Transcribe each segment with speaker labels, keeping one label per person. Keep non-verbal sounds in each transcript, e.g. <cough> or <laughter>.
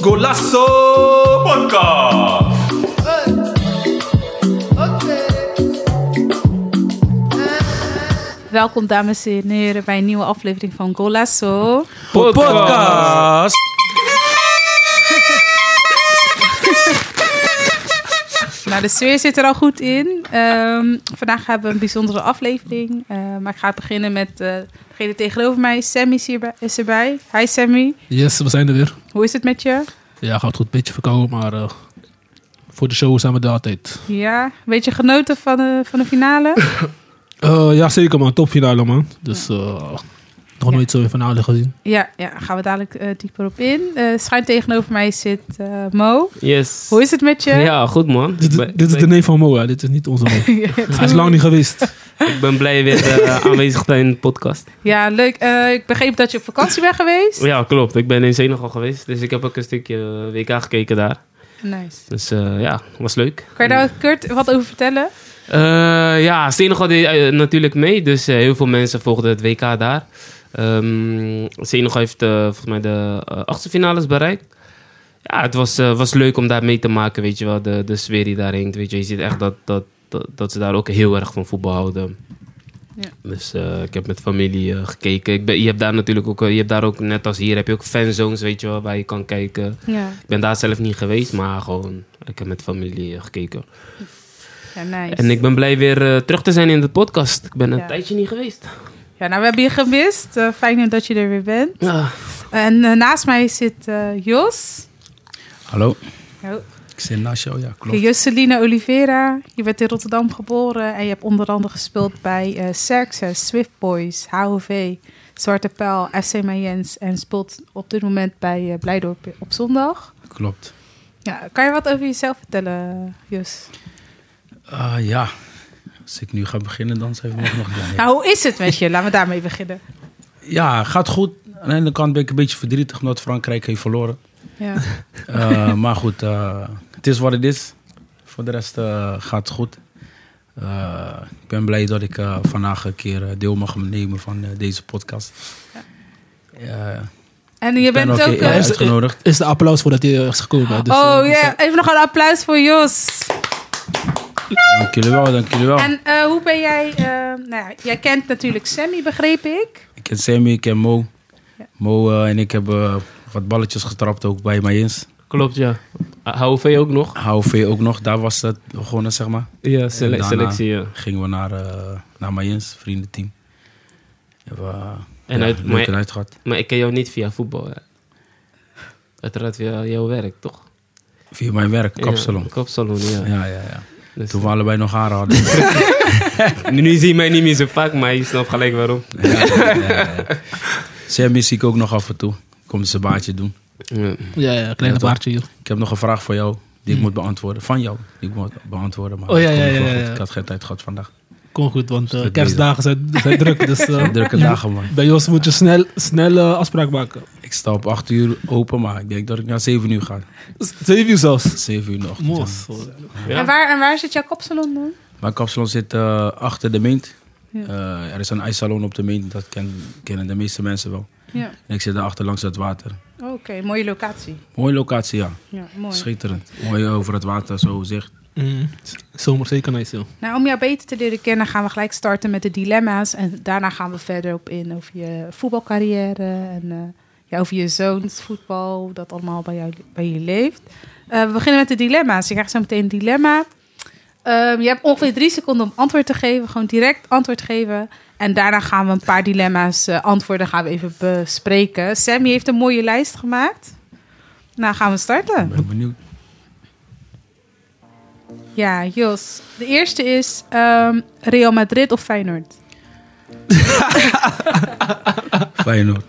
Speaker 1: Golasso Podcast.
Speaker 2: Welkom dames en heren bij een nieuwe aflevering van Golasso.
Speaker 1: Podcast.
Speaker 2: Nou, de sfeer zit er al goed in. Ehm, vandaag hebben we een bijzondere aflevering. Eh, maar ik ga beginnen met eh, degene tegenover mij. Sammy is, hierbij, is erbij. Hi Sammy,
Speaker 3: Yes, we zijn er weer.
Speaker 2: hoe is het met je?
Speaker 3: Ja, gaat goed. Beetje verkouden, maar eh, voor de show zijn we er altijd.
Speaker 2: Ja, een beetje genoten van de, van de finale?
Speaker 3: Eh, ja, zeker man. Topfinale man. Dus eh,
Speaker 2: Ja.
Speaker 3: nog nooit zo'n finale gezien.
Speaker 2: Ja, ja daar gaan we dadelijk eh, dieper op in. Eh, schuin tegenover mij zit eh, Mo.
Speaker 4: Yes.
Speaker 2: Hoe is het met je?
Speaker 4: Ja, goed man.
Speaker 3: Dit,
Speaker 4: ik, ben,
Speaker 3: dit is de
Speaker 4: ik,
Speaker 3: neef van Mo, hè. Dit is niet
Speaker 2: <laughs>
Speaker 3: onze Mo. Hij is lang niet geweest.
Speaker 4: ik ben blij weer
Speaker 3: <laughs>
Speaker 4: eh, aanwezig te zijn in de podcast.
Speaker 2: Ja, leuk. Eh, ik begreep dat je op vakantie bent geweest.
Speaker 4: Ja, klopt. Ik ben in Senegal geweest, dus ik heb ook een stukje eh, WK gekeken daar.
Speaker 2: Nice.
Speaker 4: Dus eh, ja, was leuk.
Speaker 2: Kan je daar kort wat over vertellen?
Speaker 4: Eh, ja, Senegal deed eh, natuurlijk mee, dus eh, heel veel mensen volgden het WK daar. Ehm Senegal heeft eh, volgens mij de eh, achtste finales bereikt. Ja, het was, eh, was leuk om daar mee te maken, weet je wel, de, de sfeer die daar hangt. Weet je, je ziet echt dat, dat, dat, dat ze daar ook heel erg van voetbal houden.
Speaker 2: Ja.
Speaker 4: Dus eh, ik heb met familie eh, gekeken. Ik ben, je hebt daar natuurlijk ook, eh, je hebt daar ook, net als hier, heb je ook fanzones, weet je wel, waar je kan kijken.
Speaker 2: Ja,
Speaker 4: Ik ben daar zelf niet geweest, maar gewoon, ik heb met familie eh, gekeken.
Speaker 2: ja nice.
Speaker 4: En ik ben blij weer eh, terug te zijn in de podcast. Ik ben een
Speaker 2: Ja.
Speaker 4: tijdje niet geweest.
Speaker 2: Ja, nou, we hebben je gemist. Eh, fijn dat je er weer bent.
Speaker 4: Ja.
Speaker 2: En eh, naast mij zit eh, Jos.
Speaker 5: Hallo,
Speaker 2: Oh,
Speaker 5: ik zit naast jou, ja, klopt.
Speaker 2: Joseline Oliveira. Je bent in Rotterdam geboren en je hebt onder andere gespeeld bij eh Xerxes, Swift Boys, HOV, Zwarte Pijl, FC Mayens en speelt op dit moment bij eh, Blijdorp op zondag.
Speaker 5: Klopt.
Speaker 2: Ja, kan je wat over jezelf vertellen, Jos?
Speaker 5: Ah, ja, als ik nu ga beginnen, dan zijn we nog nog lang.
Speaker 2: Nou, hoe is het met je? Laten we daarmee
Speaker 3: <laughs>
Speaker 2: beginnen.
Speaker 5: Ja, gaat goed. Aan de ene kant ben ik een beetje verdrietig omdat Frankrijk heeft verloren.
Speaker 2: Ja,
Speaker 5: Eh, maar goed, eh, het is wat het is. Voor de rest eh, gaat het goed. Eh, ik ben blij dat ik eh, vandaag een keer eh, deel mag nemen van eh, deze podcast. Eh,
Speaker 2: en je
Speaker 5: ik ben
Speaker 2: bent ook...
Speaker 5: ook
Speaker 2: eh, <laughs>
Speaker 5: eh, uitgenodigd.
Speaker 3: Is de applaus voordat hij is gekomen. Dus,
Speaker 2: oh ja,
Speaker 3: eh, dus, eh,
Speaker 2: even nog een applaus voor Jos.
Speaker 5: Dank jullie wel, dank jullie wel.
Speaker 2: En eh, hoe ben jij... eh, nou ja, jij kent natuurlijk Sammy, begreep ik.
Speaker 5: Ik ken Sammy, ik ken Mo.
Speaker 2: Ja.
Speaker 5: Mo eh, en ik hebben eh, wat balletjes getrapt ook bij Mayens.
Speaker 4: Klopt, ja. HOV ook nog? Eh,
Speaker 5: HOV ook nog, daar was het begonnen, zeg maar.
Speaker 4: Ja,
Speaker 5: sele-
Speaker 4: selectie,
Speaker 5: selectie,
Speaker 4: ja.
Speaker 5: Gingen we naar, eh naar Mayens, vriendenteam. Hebben we eh,
Speaker 4: En
Speaker 5: ja,
Speaker 4: uit-
Speaker 5: leuk
Speaker 4: maar-
Speaker 5: en uit gehad.
Speaker 4: Maar ik ken jou niet via voetbal, hè? Uiteraard via jouw werk, toch?
Speaker 5: Via mijn werk,
Speaker 4: Ja,
Speaker 5: kapsalon.
Speaker 4: kapsalon, ja.
Speaker 5: Ja, ja, ja.
Speaker 4: Dus-
Speaker 5: Toen we allebei nog haren hadden.
Speaker 3: <laughs>
Speaker 4: <laughs> Nu zie je mij niet meer zo vaak, maar je snapt gelijk waarom.
Speaker 5: ja, ja, ja, ja. Sammy zie ik ook nog af en toe. Komt zijn baardje doen.
Speaker 4: Ja.
Speaker 3: ja, ja, kleine
Speaker 5: Ja, toch?
Speaker 3: baardje hier.
Speaker 5: Ik heb nog een vraag voor jou, die ik moet beantwoorden. Van jou, die ik moet beantwoorden. Maar
Speaker 3: Hmm. Oh, ja,
Speaker 5: dat
Speaker 3: ja,
Speaker 5: komt nog
Speaker 3: ja,
Speaker 5: wel
Speaker 3: ja,
Speaker 5: goed.
Speaker 3: ja.
Speaker 5: Ik had geen tijd gehad vandaag.
Speaker 3: Kom goed, want eh,
Speaker 5: Druk
Speaker 3: kerstdagen zijn, zijn druk.
Speaker 5: <laughs>
Speaker 3: Dus eh,
Speaker 5: Drukke dagen, man.
Speaker 3: bij Jos moet je snel, snel eh, afspraak maken.
Speaker 5: Ik sta op 8 uur open, maar ik denk dat ik naar 7 uur ga.
Speaker 3: Z- Zeven uur zelfs.
Speaker 5: 7 uur nog.
Speaker 3: Mos.
Speaker 2: En, waar, en waar zit jouw kopsalon dan?
Speaker 5: Mijn kapsalon zit eh, achter de meent.
Speaker 2: Ja.
Speaker 5: Eh, er is een ijssalon op de meent, dat ken- kennen de meeste mensen wel.
Speaker 2: Ja.
Speaker 5: En ik zit daarachter langs het water.
Speaker 2: Oké, mooie locatie.
Speaker 5: Mooie locatie, ja.
Speaker 2: Ja, mooi.
Speaker 5: Schitterend. Mooi over het water, zo zicht.
Speaker 3: Mm. Zomer zeker nice, joh.
Speaker 2: Nou, om jou beter te leren kennen gaan we gelijk starten met de dilemma's. En daarna gaan we verder op in over je voetbalcarrière en eh, ja, over je zoons voetbal, hoe dat allemaal bij, jou, bij je leeft. Eh, we beginnen met de dilemma's. Je krijgt zo meteen een dilemma. Ehm, je hebt ongeveer drie seconden om antwoord te geven. Gewoon direct antwoord geven. En daarna gaan we een paar dilemma's eh, antwoorden gaan we even bespreken. Sammy heeft een mooie lijst gemaakt. Nou, gaan we starten.
Speaker 5: Ik ben benieuwd.
Speaker 2: Ja, Jos. De eerste is ehm, Real Madrid of Feyenoord?
Speaker 5: Feyenoord,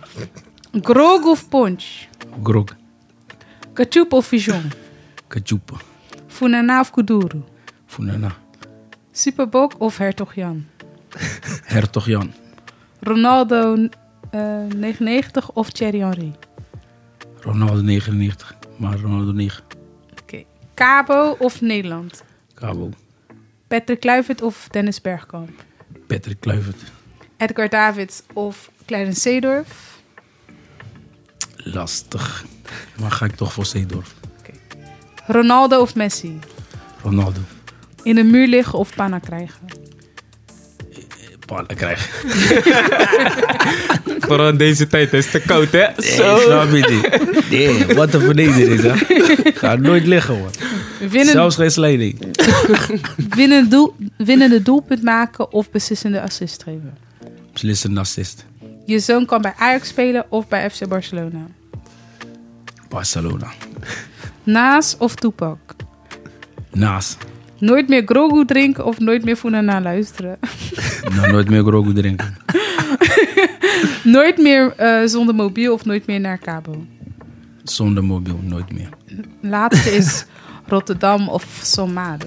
Speaker 2: Grog of Punch?
Speaker 5: Grok,
Speaker 2: Kachup of Vision?
Speaker 5: Kachupa,
Speaker 2: Funana of Kuduru?
Speaker 5: Funana,
Speaker 2: Superbok of Hertog Jan?
Speaker 5: Hertog Jan,
Speaker 2: Ronaldo eh, 99 of Thierry Henry?
Speaker 5: Ronaldo 99, maar Ronaldo 9,
Speaker 2: Oké. Cabo of Nederland?
Speaker 5: Cabo,
Speaker 2: Patrick Kluivert of Dennis Bergkamp?
Speaker 5: Patrick Kluivert,
Speaker 2: Edgar Davids of Clarence Seedorf?
Speaker 5: Lastig. Maar ga ik toch voor Seedorf.
Speaker 2: Ronaldo of Messi?
Speaker 5: Ronaldo.
Speaker 2: In de muur liggen of panna krijgen?
Speaker 5: Paarden krijg.
Speaker 4: Vooral in deze tijd, het is te koud, hè?
Speaker 5: Zo. snap je niet. Nee, wat een vernedering, hè. Ga nooit liggen, hoor.
Speaker 2: Winnen,
Speaker 5: Zelfs geen slijding.
Speaker 2: winnen doel, winnende doelpunt maken of beslissende assist geven?
Speaker 5: Beslist een narcist.
Speaker 2: Je zoon kan bij Ajax spelen of bij FC Barcelona.
Speaker 5: Barcelona.
Speaker 2: Naas of Toepak?
Speaker 5: Naast.
Speaker 2: Nooit meer Grogu drinken of nooit meer Funana luisteren. <laughs>
Speaker 5: Nou, nooit meer Grogu drinken.
Speaker 2: nooit meer eh, zonder mobiel of nooit meer naar Cabo.
Speaker 5: Zonder mobiel, nooit meer.
Speaker 2: Laatste is Rotterdam of Somade.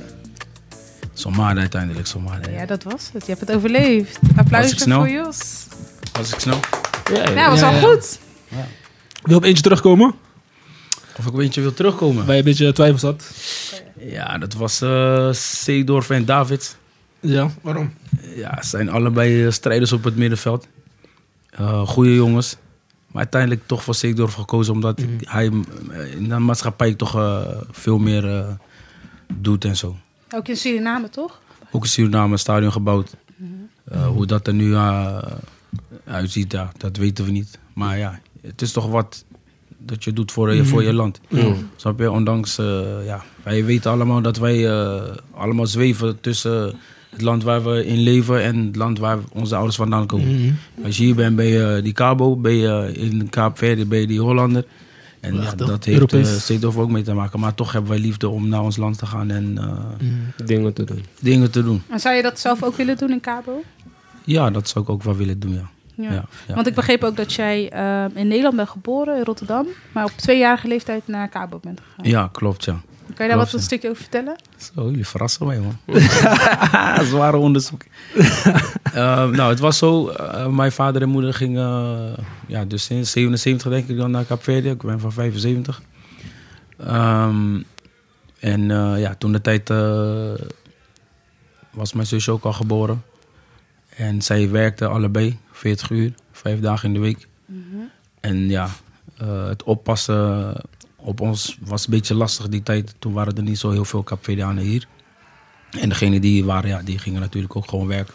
Speaker 5: Somade uiteindelijk, Somade.
Speaker 2: Ja,
Speaker 5: Ja.
Speaker 2: dat was het. Je hebt het overleefd. Applausje
Speaker 5: Was ik snel?
Speaker 2: voor Jos.
Speaker 5: Was ik snel?
Speaker 2: Ja, was al
Speaker 3: ja.
Speaker 2: goed.
Speaker 3: Wil op eentje terugkomen?
Speaker 5: Of ik een beetje wil terugkomen?
Speaker 3: Waar je een beetje twijfels had.
Speaker 5: Ja, dat was eh Seedorf en David.
Speaker 3: Ja, waarom?
Speaker 5: Ja, ze zijn allebei eh, strijders op het middenveld. Eh goede jongens. Maar uiteindelijk toch voor Seedorf gekozen. Omdat hij eh, in de maatschappij toch eh, veel meer eh, doet en zo.
Speaker 2: Ook in Suriname, toch?
Speaker 5: Ook in Suriname een stadion gebouwd. Eh, hoe dat er nu eh, uitziet, ja, dat weten we niet. Maar ja, het is toch wat dat je doet voor, je- voor je land. Mm. Snap je? Ondanks, eh, ja, wij weten allemaal dat wij eh, allemaal zweven tussen het land waar we in leven en het land waar onze ouders vandaan komen. Als je hier bent, ben je die Cabo, ben je in Kaapverdi, ben je die Hollander. En ja,
Speaker 3: toch?
Speaker 5: dat heeft
Speaker 3: Europees.
Speaker 5: eh Zeedorf ook mee te maken. Maar toch hebben wij liefde om naar ons land te gaan en eh,
Speaker 4: Dingen te doen.
Speaker 5: dingen te doen.
Speaker 2: En zou je dat zelf ook willen doen in Cabo?
Speaker 5: Ja, dat zou ik ook wel willen doen, ja.
Speaker 2: Ja.
Speaker 5: Ja, ja.
Speaker 2: Want ik begreep ook dat jij ehm, in Nederland bent geboren, in Rotterdam. Maar op tweejarige leeftijd naar Cabo bent gegaan.
Speaker 5: Ja, klopt, ja.
Speaker 2: Kan je daar wat
Speaker 5: klopt,
Speaker 2: een
Speaker 5: ja.
Speaker 2: stukje over vertellen?
Speaker 5: Zo, jullie verrassen mij, man. <laughs> Zware onderzoek. Eh, nou, het was zo. eh, mijn vader en moeder gingen... eh, ja, dus sinds 77 denk ik dan naar Kaapverdië. Ik ben van 75. Ehm, en eh, ja, toen de tijd... eh, was mijn zusje ook al geboren. En zij werkte allebei 40 uur, vijf dagen in de week.
Speaker 2: Mhm.
Speaker 5: En ja, eh, het oppassen op ons was een beetje lastig die tijd. Toen waren er niet zo heel veel Capverdianen hier. En degenen die hier waren, ja, die gingen natuurlijk ook gewoon werken.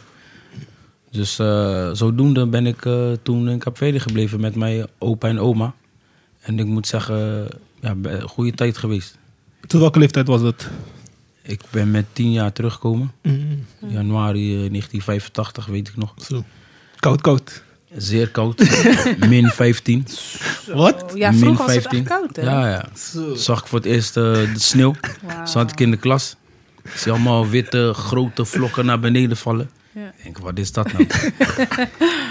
Speaker 5: Dus eh, zodoende ben ik eh, toen in Capverdië gebleven met mijn opa en oma. En ik moet zeggen, ja, be- een goede tijd geweest.
Speaker 3: Tot welke leeftijd was dat?
Speaker 5: Ik ben met tien jaar teruggekomen.
Speaker 3: Mm.
Speaker 5: Januari eh, 1985, weet ik nog.
Speaker 3: Zo. Koud, koud.
Speaker 5: Zeer koud. Min 15.
Speaker 3: Wat?
Speaker 2: Oh, ja,
Speaker 5: Min
Speaker 2: vroeger was het
Speaker 5: 15.
Speaker 2: echt koud, hè?
Speaker 5: Ja, ja.
Speaker 3: Zo.
Speaker 5: Zag ik voor het eerst eh, de sneeuw.
Speaker 2: Wauw.
Speaker 5: Zat ik in de klas. Ik zie allemaal witte, grote vlokken naar beneden vallen.
Speaker 2: Ja.
Speaker 5: Ik denk, wat
Speaker 2: <laughs>
Speaker 5: is dat nou?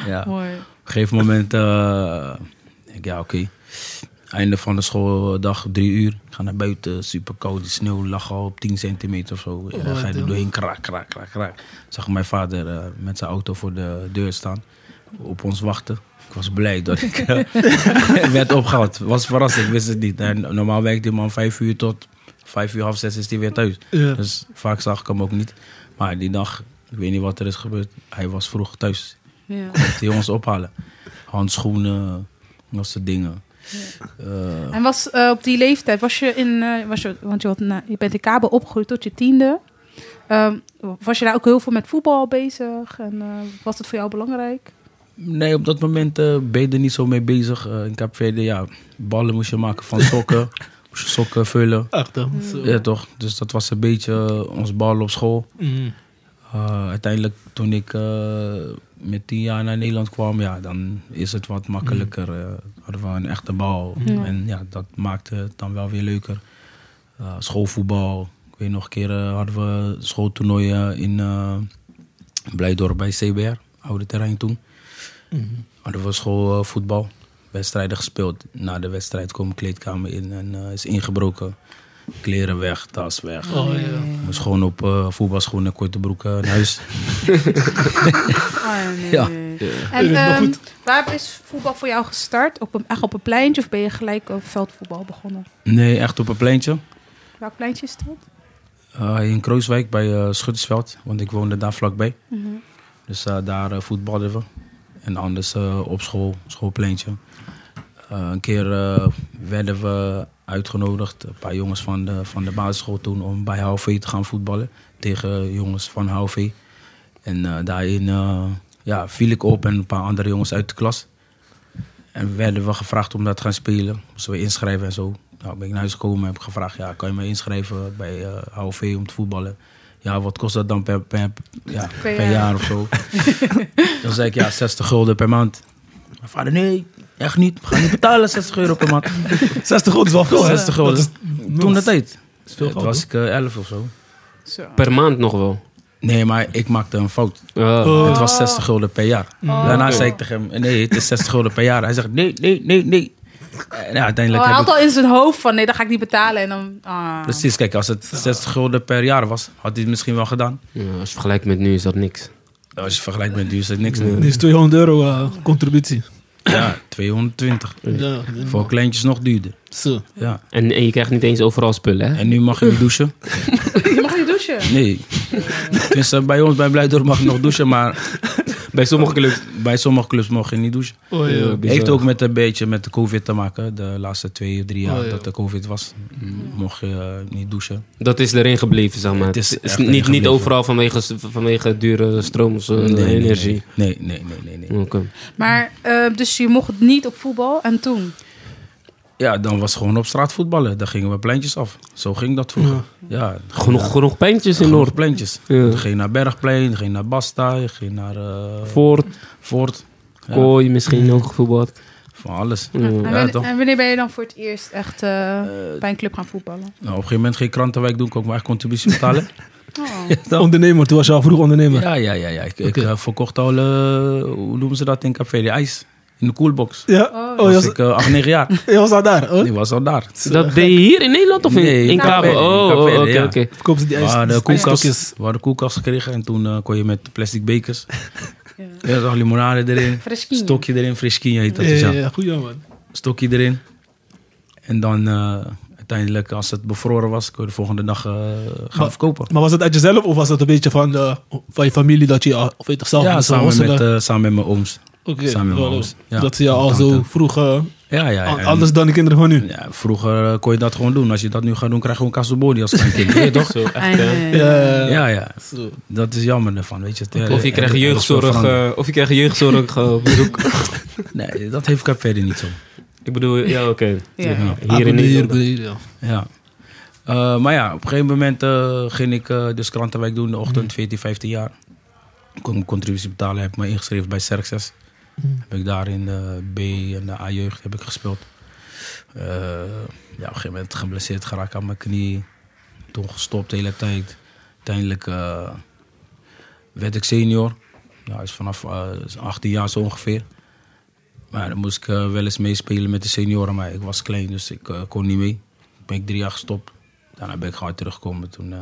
Speaker 5: ja. Op
Speaker 2: Mooi.
Speaker 5: een gegeven moment, eh, denk ik, ja oké. Einde van de schooldag, drie uur. Ik ga naar buiten, super koud. Die sneeuw lag al op 10 centimeter of zo. En dan ga je er doorheen, kraak, kraak, kraak, kraak. Zag ik mijn vader eh, met zijn auto voor de deur staan. Op ons wachten. Ik was blij dat ik eh, <laughs> werd opgehaald. Was verrassing, ik wist het niet. En normaal werkt die man vijf uur tot vijf uur, half zes is hij weer thuis.
Speaker 3: Ja.
Speaker 5: Dus vaak zag ik hem ook niet. Maar die dag, ik weet niet wat er is gebeurd. Hij was vroeg thuis.
Speaker 2: Ja.
Speaker 5: Moest hij ons ophalen. Handschoenen, dat soort dingen. Eh,
Speaker 2: En was eh, op die leeftijd, was je in, eh, was je, want je, had, na- je bent in Cabo opgegroeid tot je tiende. Ehm, was je daar ook heel veel met voetbal bezig? En eh, was dat voor jou belangrijk?
Speaker 5: nee, op dat moment eh, ben je er niet zo mee bezig. Eh, in Kaapverdië, ja, ballen moest je maken van sokken. <laughs> moest je sokken vullen.
Speaker 3: Echt, hè? Zo.
Speaker 5: Ja, toch? Dus dat was een beetje eh, ons bal op school.
Speaker 3: Mm.
Speaker 5: Eh, uiteindelijk, toen ik eh, met tien jaar naar Nederland kwam, ja, dan is het wat makkelijker.
Speaker 3: Mm.
Speaker 5: eh hadden we een echte bal.
Speaker 2: Ja.
Speaker 5: En ja, dat maakte het dan wel weer leuker. Eh, schoolvoetbal. Ik weet nog een keer eh, hadden we schooltoernooien in eh Blijdorp bij CBR, oude terrein toen.
Speaker 3: Mm.
Speaker 5: Hadden we schoolvoetbal. Wedstrijden gespeeld. Na de wedstrijd kwam kleedkamer in en eh, is ingebroken. Kleren weg, tas weg.
Speaker 3: Oh, ja.
Speaker 5: Moest gewoon op eh, voetbalschoenen, korte broeken naar huis.
Speaker 2: Ah, nee.
Speaker 5: Ja.
Speaker 2: En ehm, waar is voetbal voor jou gestart? Op een, echt op een pleintje of ben je gelijk op veldvoetbal begonnen?
Speaker 5: Nee, echt op een pleintje.
Speaker 2: Welk pleintje is dat?
Speaker 5: Eh, in Krooswijk bij eh Schuttersveld, want ik woonde daar vlakbij. Dus eh, daar eh, voetbalden we. En anders eh, op school, schoolpleintje. Eh, een keer eh, werden we uitgenodigd, een paar jongens van de, van de basisschool toen, om bij HV te gaan voetballen. Tegen jongens van HV. En eh, daarin eh, ja, viel ik op en een paar andere jongens uit de klas. En werden we gevraagd om dat te gaan spelen. Moesten we inschrijven en zo. Nou ben ik naar huis gekomen en heb ik gevraagd, ja, kan je me inschrijven bij eh HOV om te voetballen? Ja, wat kost dat dan per, per, ja, per,
Speaker 2: jaar.
Speaker 5: jaar. of zo? dan zei ik, ja, 60 gulden per maand. Mijn vader, nee, echt niet. We gaan niet betalen 60 euro per maand.
Speaker 6: 60 gulden is wel veel, hè?
Speaker 5: 60 gulden. Toen dat tijd.
Speaker 3: is veel
Speaker 5: Toen
Speaker 3: geld,
Speaker 5: was ik eh, 11 of zo.
Speaker 2: Zo.
Speaker 4: Per maand nog wel.
Speaker 5: Nee, maar ik maakte een fout.
Speaker 4: Ah.
Speaker 5: Het was 60 gulden per jaar.
Speaker 2: Oh.
Speaker 5: Daarna zei ik tegen hem, nee, het is 60 gulden per jaar. Hij zegt, nee, nee, nee, nee. En ja,
Speaker 2: Oh,
Speaker 5: uiteindelijk
Speaker 2: hij
Speaker 5: heb
Speaker 2: had
Speaker 5: ik...
Speaker 2: al in zijn hoofd van nee, dat ga ik niet betalen. En dan, ah.
Speaker 5: Precies, kijk, als het 60 gulden per jaar was, had hij het misschien wel gedaan.
Speaker 4: Ja, als je vergelijkt met nu is dat niks.
Speaker 5: Als je vergelijkt met duur is het niks meer.
Speaker 3: Dit is 200 euro eh, contributie.
Speaker 5: Ja, 220.
Speaker 3: Ja,
Speaker 5: Voor kleintjes nog duurder.
Speaker 3: zo.
Speaker 5: Ja.
Speaker 4: En, en je krijgt niet eens overal spullen, hè?
Speaker 5: En nu mag je niet douchen.
Speaker 2: Je mag niet douchen.
Speaker 5: Nee. Tenminste, bij ons, bij Blijdorp mag je nog douchen, maar
Speaker 4: Bij sommige clubs.
Speaker 5: bij sommige clubs mag je niet douchen. Eh,
Speaker 3: Oh, ja.
Speaker 4: Bizar.
Speaker 5: Heeft ook met een beetje met de COVID te maken. De laatste twee, drie jaar
Speaker 3: Oh, ja.
Speaker 5: dat de COVID was, mocht je eh, niet douchen.
Speaker 4: Dat is erin gebleven, zeg maar. Het
Speaker 5: Het
Speaker 4: is,
Speaker 5: is echt erin
Speaker 4: niet, niet
Speaker 5: gebleven.
Speaker 4: overal vanwege, vanwege dure stroom of zo, energie.
Speaker 5: Nee, nee, nee, nee. nee.
Speaker 4: Oké.
Speaker 2: Maar, eh, dus je mocht niet op voetbal. En toen?
Speaker 5: Ja, dan was het gewoon op straat voetballen. Dan gingen we pleintjes af. Zo ging dat vroeger. Ja,
Speaker 4: Genoeg, genoeg pijntjes in Noord.
Speaker 5: genoeg pleintjes.
Speaker 4: Ja.
Speaker 5: Je ging naar Bergplein, je ging naar Basta, je ging naar eh,
Speaker 4: Voort,
Speaker 5: Voort. Ja,
Speaker 4: kooi, misschien ook gevoetbald.
Speaker 5: Van alles.
Speaker 4: Ja.
Speaker 2: en,
Speaker 5: Ja,
Speaker 2: wanneer,
Speaker 5: toch? Nou,
Speaker 2: en wanneer ben je dan voor het eerst echt eh, bij een club gaan voetballen?
Speaker 5: Nou, op een gegeven moment ging ik krantenwijk doen, kon ik mijn eigen contributie betalen.
Speaker 2: Oh.
Speaker 3: <laughs> Ondernemer, toen was je al vroeg ondernemer.
Speaker 5: ja, ja, ja. ja. Ik, ik
Speaker 3: Oké.
Speaker 5: eh, verkocht al, eh, hoe noemen ze dat in Café de IJs? In de koelbox.
Speaker 3: Ja?
Speaker 2: Oh,
Speaker 3: Oh, je
Speaker 5: was
Speaker 3: was,
Speaker 5: ik eh, acht, negen
Speaker 3: <laughs>
Speaker 5: jaar.
Speaker 3: je was al daar, hoor.
Speaker 5: Ik was al daar.
Speaker 4: Dat deed je hier in Nederland of in,
Speaker 5: Nee,
Speaker 4: in
Speaker 5: in
Speaker 4: Kabel?
Speaker 5: Capelle, in
Speaker 4: Oh,
Speaker 5: Capelle,
Speaker 4: oh, oké,
Speaker 5: ja.
Speaker 4: oké.
Speaker 3: Verkopen ze die
Speaker 5: We
Speaker 3: ijs,
Speaker 5: hadden, koelkast,
Speaker 3: ijsstokjes.
Speaker 5: we hadden koelkast gekregen en toen eh, kon je met
Speaker 3: <laughs>
Speaker 5: plastic bekers. Ja, zag limonade erin,
Speaker 2: Fresquinho.
Speaker 5: stokje erin, friskin heet dat. dus
Speaker 3: Ja,
Speaker 5: ja.
Speaker 3: ja, goeie man.
Speaker 5: stokje erin. En dan eh, uiteindelijk, als het bevroren was, kon je de volgende dag eh, gaan
Speaker 3: Wat?
Speaker 5: verkopen.
Speaker 3: Maar was het uit jezelf of was dat een beetje van, eh, van je familie dat je, al- of weet je, zelf
Speaker 5: Ja,
Speaker 3: moest
Speaker 5: samen met,
Speaker 3: worstelen?
Speaker 5: eh, samen met mijn ooms.
Speaker 3: Oké,
Speaker 5: samen met
Speaker 3: wel,
Speaker 5: mijn ouders. Ja,
Speaker 3: Dat ze je al
Speaker 5: tante.
Speaker 3: zo vroeg, eh,
Speaker 5: Ja, ja.
Speaker 3: an-
Speaker 5: en-
Speaker 3: anders dan de kinderen van nu.
Speaker 5: ja, vroeger eh, kon je dat gewoon doen. Als je dat nu gaat doen, krijg je gewoon kasselbody als klein kind. <laughs> Weet je toch?
Speaker 4: Zo, echt,
Speaker 2: En,
Speaker 4: hè.
Speaker 2: eh,
Speaker 3: Ja,
Speaker 5: Ja, ja.
Speaker 3: Zo.
Speaker 5: Dat is jammer ervan, weet je. Het, eh,
Speaker 4: Of je krijgt
Speaker 5: er- er is veel
Speaker 4: jeugdzorg,
Speaker 5: veranderd.
Speaker 4: eh, of je krijgt jeugdzorg eh, op bezoek.
Speaker 5: Nee, dat heeft Cap verder niet zo.
Speaker 4: Ik bedoel, ja, oké.
Speaker 2: ja.
Speaker 4: Hier in
Speaker 3: Ah, Hier,
Speaker 4: Nederland.
Speaker 3: beneden, ja.
Speaker 5: Ja. Eh, maar ja, op een gegeven moment eh, ging ik eh, dus krantenwijk doen in de ochtend, 14, 15 jaar. Ik kon mijn contributie betalen, heb me ingeschreven bij Serxes. Heb ik daar in de B en de A-jeugd heb ik gespeeld. Eh, ja, op een gegeven moment geblesseerd geraakt aan mijn knie. Toen gestopt de hele tijd. Uiteindelijk eh, werd ik senior. Ja, is vanaf eh, 18 jaar zo ongeveer. Maar dan moest ik eh, wel eens meespelen met de senioren, maar ik was klein, dus ik eh, kon niet mee. Toen ben ik drie jaar gestopt. Daarna ben ik gewoon teruggekomen. Toen eh,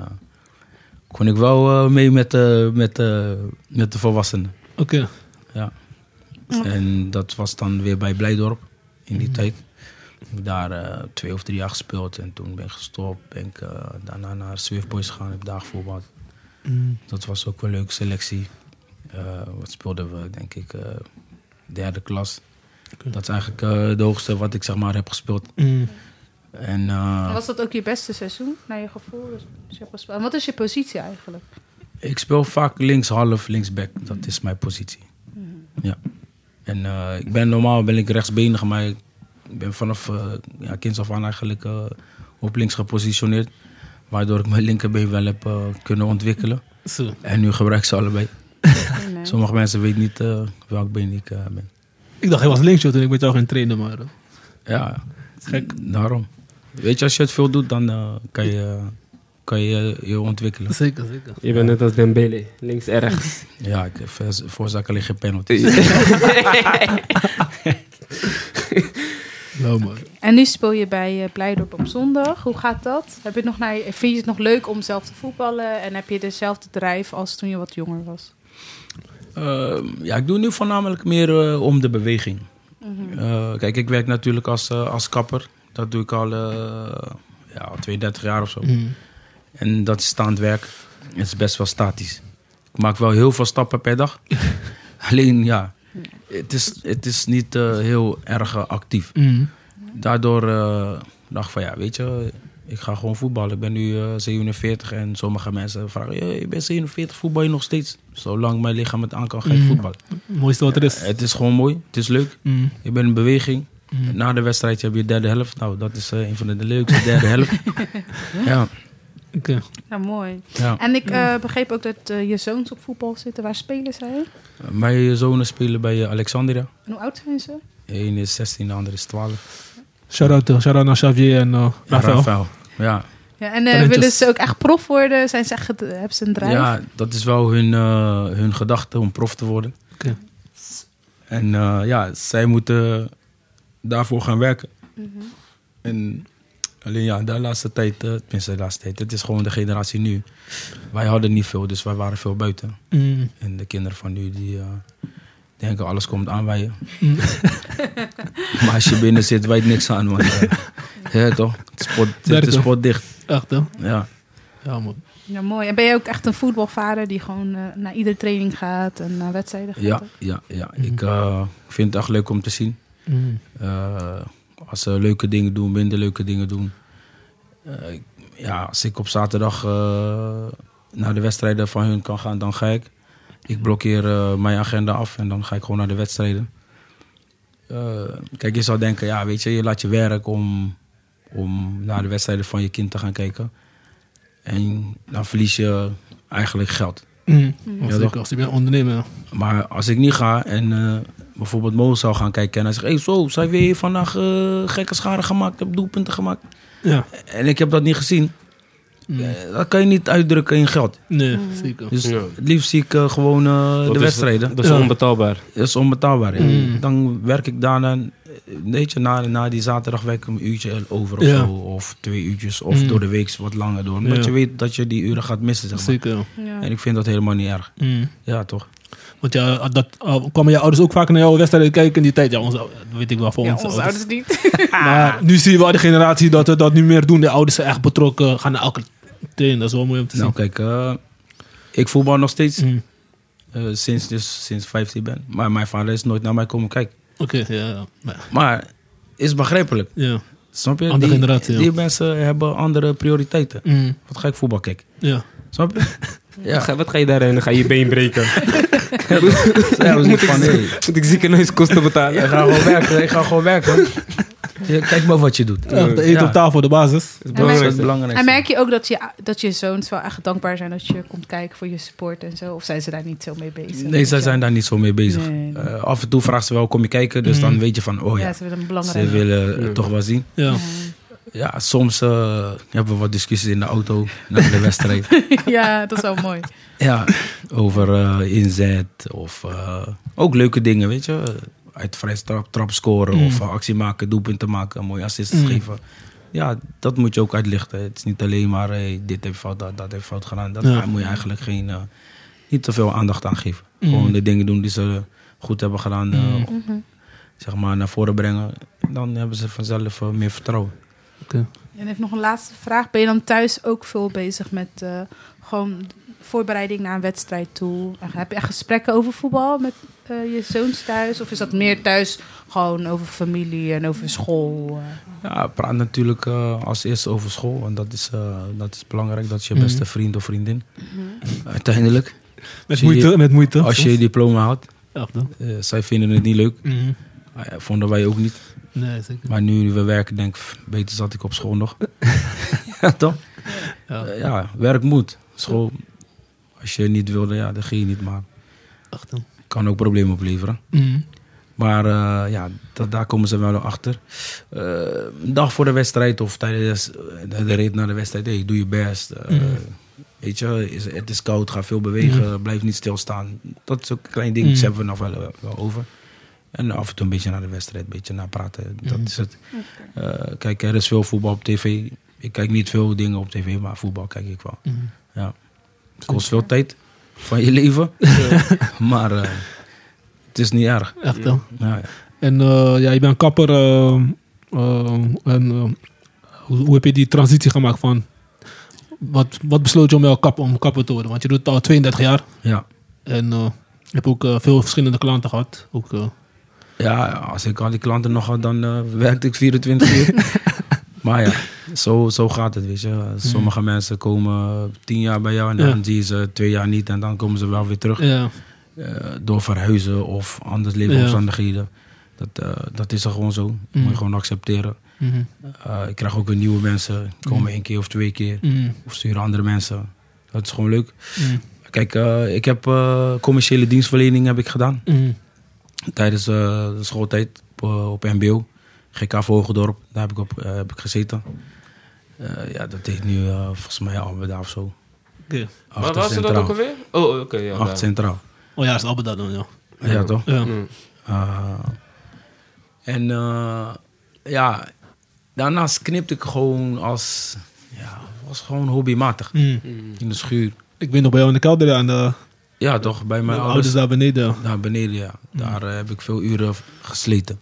Speaker 5: kon ik wel eh, mee met, eh, met, eh, met de volwassenen.
Speaker 3: Oké.
Speaker 5: Ja. En dat was dan weer bij Blijdorp in die tijd. Ik heb daar eh, twee of drie jaar gespeeld en toen ben ik gestopt. Ben ik eh, daarna naar Swift Boys gegaan, heb daar gevoetbald. Dat was ook wel een leuke selectie. Eh, wat speelden we, denk ik, eh, derde klas. Dat is eigenlijk eh de hoogste wat ik zeg maar heb gespeeld.
Speaker 3: Mm.
Speaker 5: En
Speaker 2: En
Speaker 5: eh,
Speaker 2: Was dat ook je beste seizoen, naar je gevoel? Dus je hebt gespeeld. En wat is je positie eigenlijk?
Speaker 5: ik speel vaak linkshalf, linksback. Dat is mijn positie. Ja. En eh, ik ben normaal ben ik rechtsbenig, maar ik ben vanaf eh ja, kinds af aan eigenlijk eh, op links gepositioneerd. Waardoor ik mijn linkerbeen wel heb eh, kunnen ontwikkelen.
Speaker 3: Zo.
Speaker 5: En nu gebruik ik ze allebei.
Speaker 2: Nee.
Speaker 5: Sommige mensen weten niet eh, welk been ik eh, ben.
Speaker 3: Ik dacht, hij was linksje toen ik met jou ging trainen, maar... eh,
Speaker 5: Ja, gek. Daarom. Weet je, als je het veel doet, dan eh, kan je kan je, eh, je ontwikkelen.
Speaker 3: Zeker, zeker.
Speaker 4: Je bent net als Dembele, links en rechts.
Speaker 5: Ja, ik eh, vers- veroorzaak alleen geen penalty.
Speaker 3: Nou, man.
Speaker 2: En nu speel je bij eh Blijdorp op zondag. Hoe gaat dat? Heb je het nog naar, je- vind je het nog leuk om zelf te voetballen? En heb je dezelfde drijf als toen je wat jonger was?
Speaker 5: Eh, ja, ik doe nu voornamelijk meer eh, om de beweging. Eh, kijk, ik werk natuurlijk als, eh, als kapper. Dat doe ik al, eh ja, al 32 jaar of zo. En dat is staand werk. Het is best wel statisch. Ik maak wel heel veel stappen per dag. Alleen ja, het is, het is niet eh, heel erg eh, actief.
Speaker 3: Mm.
Speaker 5: Daardoor eh, dacht ik van ja, weet je, ik ga gewoon voetballen. Ik ben nu eh, 47 en sommige mensen vragen, "Hey, je bent 47, voetbal je nog steeds? Zolang mijn lichaam het aan kan, ga ik
Speaker 3: Mm.
Speaker 5: voetballen.
Speaker 3: Mooiste wat er is.
Speaker 5: Het is gewoon mooi, het is leuk.
Speaker 3: Mm.
Speaker 5: Je bent in beweging.
Speaker 3: Mm.
Speaker 5: Na de wedstrijd heb je de derde helft. Nou, dat is eh, een van de leukste derde helft.
Speaker 3: <laughs>
Speaker 5: ja,
Speaker 3: Oké.
Speaker 2: Nou, mooi.
Speaker 5: ja.
Speaker 2: En ik eh, begreep ook dat eh, je zoons op voetbal zitten. Waar spelen zij?
Speaker 5: Mijn zonen spelen bij eh, Alexandria.
Speaker 2: En hoe oud zijn ze?
Speaker 5: Eén is 16, de andere is 12.
Speaker 3: Shout-out eh, shout-out naar Xavier en eh Rafael.
Speaker 5: Ja.
Speaker 2: Ja, en eh,
Speaker 3: Talentjes.
Speaker 2: willen ze ook echt prof worden? Zijn ze echt, ged- hebben ze een drijf?
Speaker 5: ja, dat is wel hun, eh, hun gedachte om prof te worden.
Speaker 3: Oké.
Speaker 5: En eh, ja, zij moeten daarvoor gaan werken. En alleen ja, de laatste tijd, eh, tenminste de laatste tijd, het is gewoon de generatie nu. Wij hadden niet veel, dus wij waren veel buiten.
Speaker 3: Mm.
Speaker 5: En de kinderen van nu, die eh, denken alles komt aan wij. maar als je binnen zit, weet niks aan. Want, eh, hè, toch? Het is pot, het
Speaker 3: Werk,
Speaker 5: is
Speaker 3: toch?
Speaker 5: potdicht.
Speaker 3: Echt, hè?
Speaker 5: Ja.
Speaker 3: Ja, man.
Speaker 2: Ja, Nou, mooi. En ben je ook echt een voetbalvader die gewoon eh, naar iedere training gaat en naar wedstrijden gaat?
Speaker 5: Ja, ja, ja. Ik eh, vind het echt leuk om te zien.
Speaker 3: Mm.
Speaker 5: Eh, als ze leuke dingen doen, minder leuke dingen doen. Eh, ik- ja, als ik op zaterdag eh, naar de wedstrijden van hun kan gaan, dan ga ik. Ik blokkeer eh, mijn agenda af en dan ga ik gewoon naar de wedstrijden. Eh, kijk, je zou denken, ja, weet je, je laat je werk om, om naar de wedstrijden van je kind te gaan kijken. En dan verlies je eigenlijk geld.
Speaker 3: Mm.
Speaker 5: Ja,
Speaker 3: Ja,
Speaker 5: toch?
Speaker 3: Als ik ben ondernemer.
Speaker 5: Maar als ik niet ga en eh, bijvoorbeeld Mo zou gaan kijken en hij zegt: Hey, zo, zij weer vandaag eh, gekke scharen gemaakt, heb doelpunten gemaakt.
Speaker 3: Ja.
Speaker 5: En ik heb dat niet gezien.
Speaker 3: Mm.
Speaker 5: Eh, dat kan je niet uitdrukken in geld.
Speaker 3: Nee, zeker.
Speaker 5: Dus
Speaker 4: Ja.
Speaker 5: het liefst zie ik eh, gewoon eh, de wedstrijden.
Speaker 4: Dat is
Speaker 3: Ja.
Speaker 4: onbetaalbaar.
Speaker 5: Dat is onbetaalbaar. hè.
Speaker 3: Mm.
Speaker 5: Dan werk ik daarna, eh, weet je, na, na die zaterdag werk ik een uurtje over of
Speaker 3: Ja.
Speaker 5: zo. Of twee uurtjes. Of
Speaker 3: Mm.
Speaker 5: door de week wat langer door. Omdat
Speaker 3: Ja.
Speaker 5: je weet dat je die uren gaat missen. Zeg maar.
Speaker 3: Zeker.
Speaker 2: Ja.
Speaker 5: En ik vind dat helemaal niet erg.
Speaker 3: Mm.
Speaker 5: Ja, toch?
Speaker 3: Want ja, dat, eh, kwamen jouw ouders ook vaak naar jouw wedstrijden kijken in die tijd? Ja, onze, dat weet ik wel voor
Speaker 2: Ja,
Speaker 3: onze
Speaker 2: onze
Speaker 3: ouders.
Speaker 2: ouders niet. <laughs>
Speaker 3: <laughs> Maar nu zie je wel de generatie dat we dat niet meer doen. De ouders zijn echt betrokken, gaan naar elke training. Dat is wel mooi om te
Speaker 5: Nou,
Speaker 3: zien.
Speaker 5: kijk, eh, ik voetbal nog steeds.
Speaker 3: Mm.
Speaker 5: Eh, sinds, dus, sinds 15 ben. Maar mijn vader is nooit naar mij komen kijken.
Speaker 3: Oké, ja, ja. Maar,
Speaker 5: Maar is begrijpelijk.
Speaker 3: ja.
Speaker 5: Snap je?
Speaker 3: Andere
Speaker 5: die,
Speaker 3: generatie, ja.
Speaker 5: die mensen hebben andere prioriteiten.
Speaker 3: Mm.
Speaker 5: Wat ga ik voetbal kijken?
Speaker 3: ja.
Speaker 5: Snap je?
Speaker 4: Wat,
Speaker 5: Ja,
Speaker 4: ga, wat ga je daarin? Dan ga je je been breken.
Speaker 5: <laughs> ja was ik van, hey,
Speaker 4: Moet ik ziekenhuiskosten betalen?
Speaker 5: ik ga gewoon werken. Ik ga gewoon werken. Ja, Kijk maar wat je doet.
Speaker 3: Echt, eten
Speaker 5: Eh, Ja,
Speaker 3: op tafel, de basis.
Speaker 4: Dat is
Speaker 5: Dat is
Speaker 4: belangrijk.
Speaker 5: het belangrijkste.
Speaker 2: En merk je ook dat je, dat je zoons wel echt dankbaar zijn dat je komt kijken voor je support en zo? Of zijn ze daar niet zo mee bezig?
Speaker 5: Nee, zij zijn daar niet zo mee bezig.
Speaker 2: Nee, nee.
Speaker 5: Eh, af en toe vraagt ze wel, kom je kijken? Dus dan weet je van, oh
Speaker 2: Ja,
Speaker 5: ja,
Speaker 2: ze willen een
Speaker 5: ze
Speaker 2: belangrijke.
Speaker 5: willen het
Speaker 4: Ja.
Speaker 5: toch wel zien.
Speaker 3: Ja.
Speaker 5: Ja, soms eh, hebben we wat discussies in de auto na de wedstrijd.
Speaker 2: <laughs> ja, dat is wel mooi.
Speaker 5: Ja, over eh, inzet of eh, ook leke dingen, weet je. Uit vrij trap, trap scoren of eh, actie maken, doelpunten maken, mooie assists geven. Ja, dat moet je ook uitlichten. Het is niet alleen maar hey, dit heeft fout, dat, dat heeft fout gedaan. Dat,
Speaker 3: Ja.
Speaker 5: Daar moet je eigenlijk geen, eh, niet te veel aandacht aan geven. Gewoon de dingen doen die ze goed hebben gedaan, eh, zeg maar naar voren brengen. Dan hebben ze vanzelf eh, meer vertrouwen.
Speaker 3: Oké.
Speaker 2: En even nog een laatste vraag. Ben je dan thuis ook veel bezig met eh, gewoon voorbereiding naar een wedstrijd toe? En heb je echt gesprekken over voetbal met eh, je zoons thuis? Of is dat meer thuis gewoon over familie en over school? eh?
Speaker 5: Ja, ik praat natuurlijk eh, als eerste over school. Want dat is, eh, dat is belangrijk. Dat is je
Speaker 3: Mhm.
Speaker 5: beste vriend of vriendin. Uiteindelijk.
Speaker 3: Met
Speaker 5: Zie je-
Speaker 3: moeite, met moeite.
Speaker 5: Als je je diploma had.
Speaker 3: Echt, hè?
Speaker 5: eh, zij vinden het niet leuk.
Speaker 3: Mm.
Speaker 5: Eh, vonden wij ook niet.
Speaker 3: Nee, zeker.
Speaker 5: Maar nu we werken denk ik, pff, beter zat ik op school
Speaker 3: <laughs>
Speaker 5: nog. ja, toch?
Speaker 3: Ja.
Speaker 5: Eh, ja, werk moet. School, als je niet wilde, ja, dan ging je niet. Maar
Speaker 3: Echt, hè?
Speaker 5: kan ook problemen opleveren.
Speaker 3: Mm.
Speaker 5: Maar eh, ja, dat, daar komen ze wel achter. Eh, een dag voor de wedstrijd of tijdens eh, de, de rit naar de wedstrijd. Hey, doe je best. Eh,
Speaker 3: Mm.
Speaker 5: Weet je, is, het is koud, ga veel bewegen, blijf niet stilstaan. Dat is ook een klein dingetje,
Speaker 3: Mm.
Speaker 5: hebben we nog wel, eh, wel over. En af en toe een beetje naar de wedstrijd, een beetje naar praten. Dat
Speaker 3: Mm.
Speaker 5: is het. Eh, kijk, er is veel voetbal op tv. Ik kijk niet veel dingen op tv, maar voetbal kijk ik wel.
Speaker 3: Mm.
Speaker 5: Ja. Kost veel tijd van je <laughs> leven. maar eh, het is niet erg.
Speaker 3: Echt, hè?
Speaker 5: Ja, ja.
Speaker 3: En eh, ja, je bent kapper. eh, eh, en eh, hoe, hoe heb je die transitie gemaakt van... Wat, wat besloot je om, jou kap, om kapper te worden? Want je doet het al 32 jaar.
Speaker 5: ja.
Speaker 3: En eh, heb ook eh, veel verschillende klanten gehad. Ook, eh,
Speaker 5: Ja, als ik al die klanten nog had, dan eh, werkte ik 24
Speaker 3: <laughs>
Speaker 5: uur. maar ja, zo, zo gaat het, weet je. Sommige mensen komen eh, tien jaar bij jou en dan
Speaker 3: Ja.
Speaker 5: zie je ze twee jaar niet. En dan komen ze wel weer terug
Speaker 3: ja.
Speaker 5: eh, door verhuizen of anders leefomstandigheden. Dat, eh, dat is er gewoon zo.
Speaker 3: Mm.
Speaker 5: Dat moet je gewoon accepteren.
Speaker 3: Mhm.
Speaker 5: Eh, ik krijg ook weer nieuwe mensen. Komen
Speaker 3: Mm.
Speaker 5: één keer of twee keer.
Speaker 3: Mhm.
Speaker 5: Of sturen andere mensen. Dat is gewoon leuk.
Speaker 3: Mhm.
Speaker 5: Kijk, eh, ik heb eh, commerciële dienstverlening heb ik gedaan
Speaker 3: Mhm.
Speaker 5: tijdens eh, de schooltijd op, eh, op MBO. GK Vogeldorp, daar heb ik op eh, heb ik gezeten. Eh, ja, dat deed nu eh, volgens mij Albeda of zo.
Speaker 3: Oké.
Speaker 4: Waar was het dat ook alweer? Oh, oké. ja, daar.
Speaker 5: Acht centraal.
Speaker 3: Oh ja, is het Albeda dan, ja.
Speaker 5: Ja, toch?
Speaker 3: Ja.
Speaker 4: Mm.
Speaker 5: Eh, en eh, ja, daarnaast knipte ik gewoon als... Ja, was gewoon hobbymatig.
Speaker 3: Mhm.
Speaker 5: In de schuur.
Speaker 3: Ik ben nog bij jou in de kelder aan de
Speaker 5: Ja, toch? Bij mijn
Speaker 3: ouders,
Speaker 5: ouders.
Speaker 3: daar beneden.
Speaker 5: Daar beneden, ja. Daar eh, heb ik veel uren gesleten.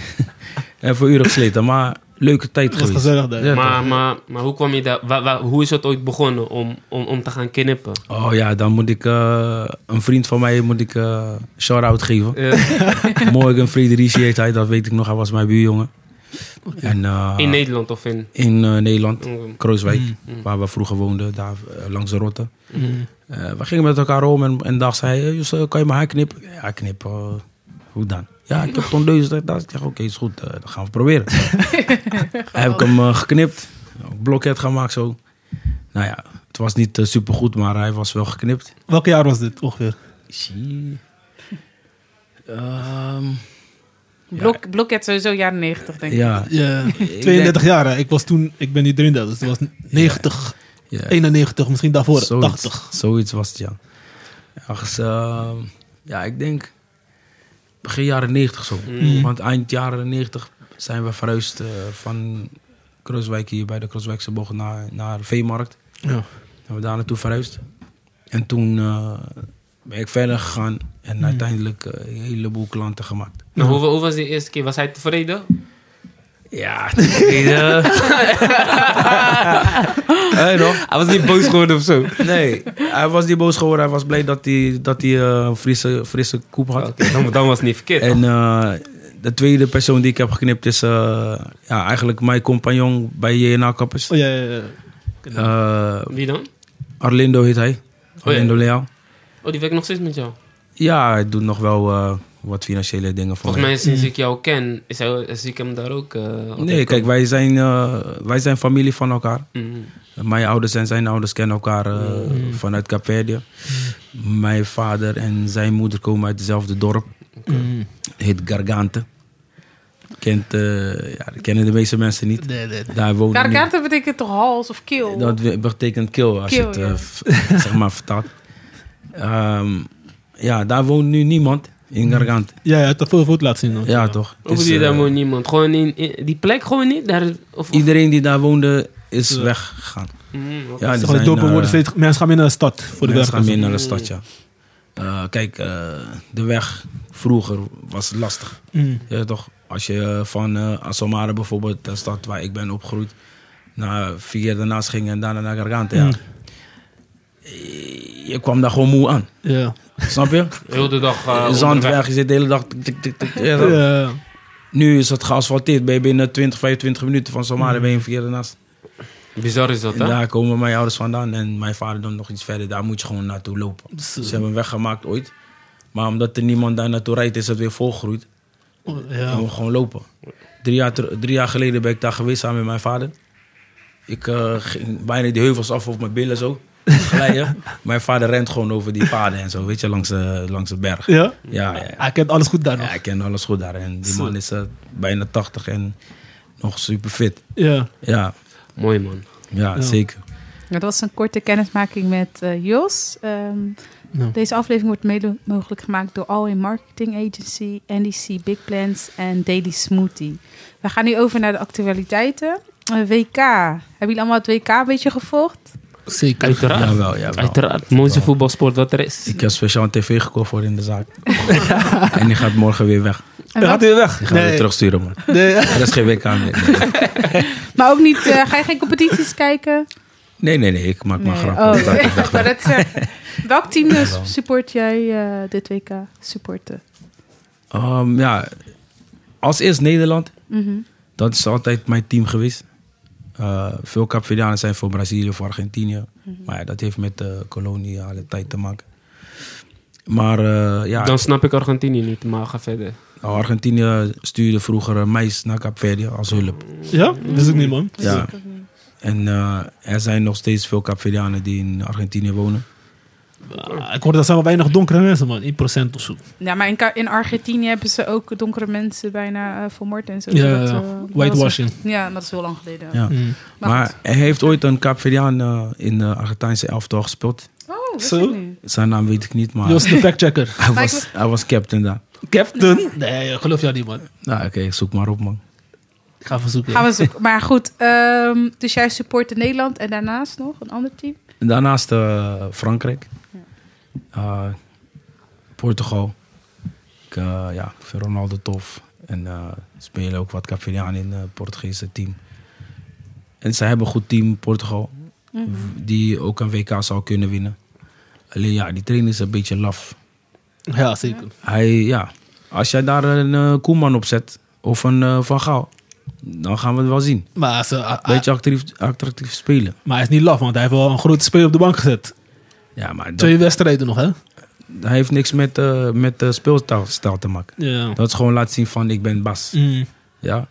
Speaker 5: <laughs> en voor uren gesleten, maar leuke tijd
Speaker 3: Het was
Speaker 5: geweest.
Speaker 3: gezellig daar.
Speaker 5: Ja,
Speaker 4: Maar, maar, maar hoe kwam je daar? wa- wa- hoe is het ooit begonnen om, om, om te gaan knippen?
Speaker 5: Oh ja, dan moet ik eh, een vriend van mij moet ik eh shout-out geven.
Speaker 4: <laughs> Eh,
Speaker 5: Morgan Frederici heet hij, dat weet ik nog. Hij was mijn buurjongen. En, eh,
Speaker 4: in Nederland of in.
Speaker 5: in, eh, Nederland,
Speaker 4: Mm.
Speaker 5: Krooswijk, waar we vroeger woonden, daar eh, langs de Rotte.
Speaker 3: Mhm.
Speaker 5: Eh, we gingen met elkaar om en, en dag zei hij, "Eh, Justel, kan je mijn haar knippen? Ja, knippen. eh, hoe dan? Ja, ik heb tondeus. Ik dacht, oké, is goed, eh, dan gaan we proberen. heb ik hem eh, geknipt, een blokhead gemaakt zo. Nou ja, het was niet super supergoed, maar hij was wel geknipt.
Speaker 3: Welk jaar was dit ongeveer?
Speaker 5: Zie. Ehm,
Speaker 2: Blok, Blokket sowieso jaren 90, denk ik.
Speaker 5: ja,
Speaker 3: Ja,
Speaker 5: denk-
Speaker 3: 32 jaar. hè. Ik was toen, ik ben nu 33, dus het was 90,
Speaker 5: ja.
Speaker 3: 91, misschien daarvoor,
Speaker 5: Zoiets-
Speaker 3: 80.
Speaker 5: Zoiets was het, ja. Ergens, ehm, ja, ik denk begin jaren 90 zo. Want eind jaren 90 zijn we verhuisd eh, van Krooswijk hier bij de Krooswijkse bocht naar, naar Veemarkt.
Speaker 3: Ja.
Speaker 5: Zijn we daar naartoe verhuisd. En toen eh, ben ik verder gegaan en uiteindelijk eh, een heleboel klanten gemaakt.
Speaker 4: Nou, hoe, hoe was die eerste keer? Was hij tevreden?
Speaker 5: Ja, tevreden. hey, nog.
Speaker 4: Hij was niet boos geworden of zo.
Speaker 5: Nee, hij was niet boos geworden. Hij was blij dat hij, dat hij eh, een frisse, frisse koep had.
Speaker 4: Oké, <laughs> dan, dan was het niet verkeerd.
Speaker 5: En eh, de tweede persoon die ik heb geknipt is eh, ja, eigenlijk mijn compagnon bij JNA Kappers.
Speaker 3: Oh ja, ja, ja.
Speaker 5: Eh,
Speaker 4: Wie dan?
Speaker 5: Arlindo heet hij.
Speaker 4: ja.
Speaker 5: Arlindo Leal.
Speaker 4: Oh, die werkt nog steeds met jou.
Speaker 5: Ja, hij doet nog wel eh, wat financiële dingen voor
Speaker 4: Volgens
Speaker 5: mij.
Speaker 4: mij, sinds ik jou ken, is hij, zie ik hem daar ook. eh, altijd
Speaker 5: Nee, kijk,
Speaker 4: komen.
Speaker 5: wij zijn, eh, wij zijn familie van elkaar.
Speaker 4: Mm.
Speaker 3: Mm-hmm.
Speaker 5: Mijn ouders en zijn ouders kennen elkaar eh, vanuit Capverdië.
Speaker 3: Mm-hmm.
Speaker 5: Mijn vader en zijn moeder komen uit hetzelfde dorp.
Speaker 3: Mm.
Speaker 5: heet Gargante. Kent, eh, ja, dat kennen de meeste mensen niet.
Speaker 3: Nee, nee, nee.
Speaker 5: Daar wonen nu-
Speaker 2: Garganta betekent toch hals of keel?
Speaker 5: Dat we- betekent kill als
Speaker 2: Kil,
Speaker 5: je het
Speaker 2: ja.
Speaker 5: eh, f- <laughs> zeg maar vertaalt. Ehm, ja, daar woont nu niemand in Gargante.
Speaker 3: Ja, ja, het had veel foto laten zien. hoor.
Speaker 5: Ja, toch?
Speaker 4: Hoe
Speaker 5: Het is,
Speaker 4: bedoel je daar
Speaker 5: eh,
Speaker 4: woont niemand? Gewoon in, in- die plek gewoon niet? Daar, of, of-
Speaker 5: iedereen die daar woonde is weggegaan.
Speaker 4: Mm, oké.
Speaker 5: Ja,
Speaker 3: Zeg
Speaker 5: die
Speaker 3: maar, de
Speaker 5: zijn,
Speaker 3: dorpen
Speaker 5: eh,
Speaker 3: worden steeds, mensen gaan meer naar de stad voor de
Speaker 5: mensen gaan
Speaker 3: werk.
Speaker 5: meer naar de stad, ja. Eh, kijk, eh, de weg vroeger was lastig.
Speaker 3: Mm.
Speaker 5: Ja, toch? Als je van eh Asomare bijvoorbeeld, de stad waar ik ben opgegroeid, naar vier jaar daarnaast ging en daarna naar Garganta, ja. Eh,
Speaker 3: Mm.
Speaker 5: Je kwam daar gewoon moe aan,
Speaker 3: Ja.
Speaker 5: snap je?
Speaker 4: Heel de dag. eh, onderweg.
Speaker 5: Zandweg, je zit de hele dag... tik, tik, tik, ja, toch?
Speaker 3: Ja.
Speaker 5: Nu is het geasfalteerd, ben je binnen 20, 25 minuten van
Speaker 3: Mm.
Speaker 5: Somare ben je vier jaar daarnaast.
Speaker 4: Bizar is dat,
Speaker 5: En
Speaker 4: hè?
Speaker 5: daar komen mijn ouders vandaan en mijn vader dan nog iets verder. Daar moet je gewoon naartoe lopen.
Speaker 3: Dus, eh,
Speaker 5: Ze hebben hem weggemaakt ooit. Maar omdat er niemand daar naartoe rijdt, is het weer volgroeid.
Speaker 3: Ja.
Speaker 5: Dan moet je gewoon lopen. Drie jaar, ter- drie jaar geleden ben ik daar geweest samen met mijn vader. Ik eh, ging bijna die heuvels af op mijn billen
Speaker 3: <laughs>
Speaker 5: zo. Glijden. mijn vader rent gewoon over die paden en zo, weet je, langs, eh, langs de berg.
Speaker 3: Ja?
Speaker 5: Ja, ja,
Speaker 3: Hij kent alles goed daar
Speaker 5: ja,
Speaker 3: nog.
Speaker 5: ik ken alles goed daar. En die
Speaker 3: Zo.
Speaker 5: man is eh, bijna 80 en nog super fit.
Speaker 3: Ja.
Speaker 5: Ja,
Speaker 4: Mooi, man.
Speaker 5: ja,
Speaker 3: Ja.
Speaker 5: zeker.
Speaker 2: Nou, Dat was een korte kennismaking met eh, Jos. Ehm,
Speaker 3: Nou.
Speaker 2: Deze aflevering wordt mede mogelijk gemaakt door Alwin Marketing Agency, NDC Big Plans en Daily Smoothie. We gaan nu over naar de actualiteiten. Eh, WK. Hebben jullie allemaal het WK een beetje gevolgd?
Speaker 3: Zeker.
Speaker 4: Uiteraard.
Speaker 5: Jawel, jawel.
Speaker 4: Uiteraard. Mooiste voetbalsport wat er is.
Speaker 5: Ik heb speciaal een tv gekocht voor in de
Speaker 2: <laughs>
Speaker 5: zaak. en die gaat morgen weer weg.
Speaker 2: En
Speaker 3: Hij gaat
Speaker 2: wat-
Speaker 3: weer weg.
Speaker 5: Die gaan we weer terugsturen, man.
Speaker 3: Nee.
Speaker 5: Er is geen WK meer.
Speaker 2: Maar ook niet, eh, ga je geen competities kijken?
Speaker 5: Nee, nee, nee. Ik maak maar
Speaker 2: Nee.
Speaker 5: grappen.
Speaker 2: Oh,
Speaker 5: Dat-
Speaker 2: <laughs> ik wou net zeggen. Welk team dus support jij eh, dit WK supporten?
Speaker 5: Ehm, ja, als eerst Nederland.
Speaker 2: Mhm.
Speaker 5: Dat is altijd mijn team geweest. Eh, veel Capverdianen zijn voor Brazilië, voor Argentinië.
Speaker 2: Mhm.
Speaker 5: Maar ja, dat heeft met de koloniale tijd te maken. Maar eh, ja,
Speaker 4: Dan snap ik Argentinië niet, maar ga verder.
Speaker 5: nou, Argentinië stuurde vroeger een meis naar Capverdië als hulp.
Speaker 3: Ja? Dat is ik niet, man.
Speaker 5: Ja. En eh, er zijn nog steeds veel Capverdianen die in Argentinië wonen.
Speaker 3: Ah, ik hoor dat zijn wel weinig donkere mensen, man. 1% of zo.
Speaker 2: Ja, maar in, Ka- in Argentinië hebben ze ook donkere mensen bijna eh, vermoord en zo.
Speaker 3: Ja,
Speaker 2: zodat,
Speaker 3: ja.
Speaker 2: eh, dat is-
Speaker 3: Whitewashing.
Speaker 2: Ja, maar dat is heel lang geleden.
Speaker 5: Ja.
Speaker 3: Mm.
Speaker 2: Maar
Speaker 5: Maar,
Speaker 2: goed.
Speaker 5: hij heeft ooit een Capverdiaan eh, in de Argentijnse elftal gespeeld.
Speaker 2: Oh, wist
Speaker 3: Zo.
Speaker 2: ik niet.
Speaker 5: Zijn naam weet ik niet, maar
Speaker 3: Joost
Speaker 2: <laughs>
Speaker 3: de factchecker.
Speaker 5: hij,
Speaker 2: Maar ik
Speaker 5: was, hij was captain daar.
Speaker 3: Captain? Nee, geloof jou niet, man.
Speaker 5: Nou, oké, zoek maar op, man.
Speaker 3: Ik ga verzoeken.
Speaker 2: Gaan we zoeken. Maar goed, ehm, dus jij supportte Nederland en daarnaast nog een ander team?
Speaker 5: En daarnaast eh, Frankrijk, Eh, Portugal. Ik, eh, ja, ik vind Ronaldo tof. En eh spelen ook wat Capverdianen in het Portugese team. En zij hebben een goed team, Portugal, die ook een WK zou kunnen winnen. Alleen ja, die trainer is een beetje laf.
Speaker 3: Ja, zeker.
Speaker 5: Hij, ja, als jij daar een eh, Koeman op zet of een eh, Van Gaal, dan gaan we het wel zien.
Speaker 3: Maar, ze, ah, ah,
Speaker 5: Beetje actief, attractief spelen.
Speaker 3: maar hij is niet laf, want hij heeft wel een grote speler op de bank gezet.
Speaker 5: Ja, maar dat,
Speaker 3: Twee wedstrijden nog, hè?
Speaker 5: hij heeft niks met, eh met de speelstijl te maken.
Speaker 3: Ja.
Speaker 5: Dat is gewoon laten zien van ik ben Bas.
Speaker 3: Mm,
Speaker 5: Ja?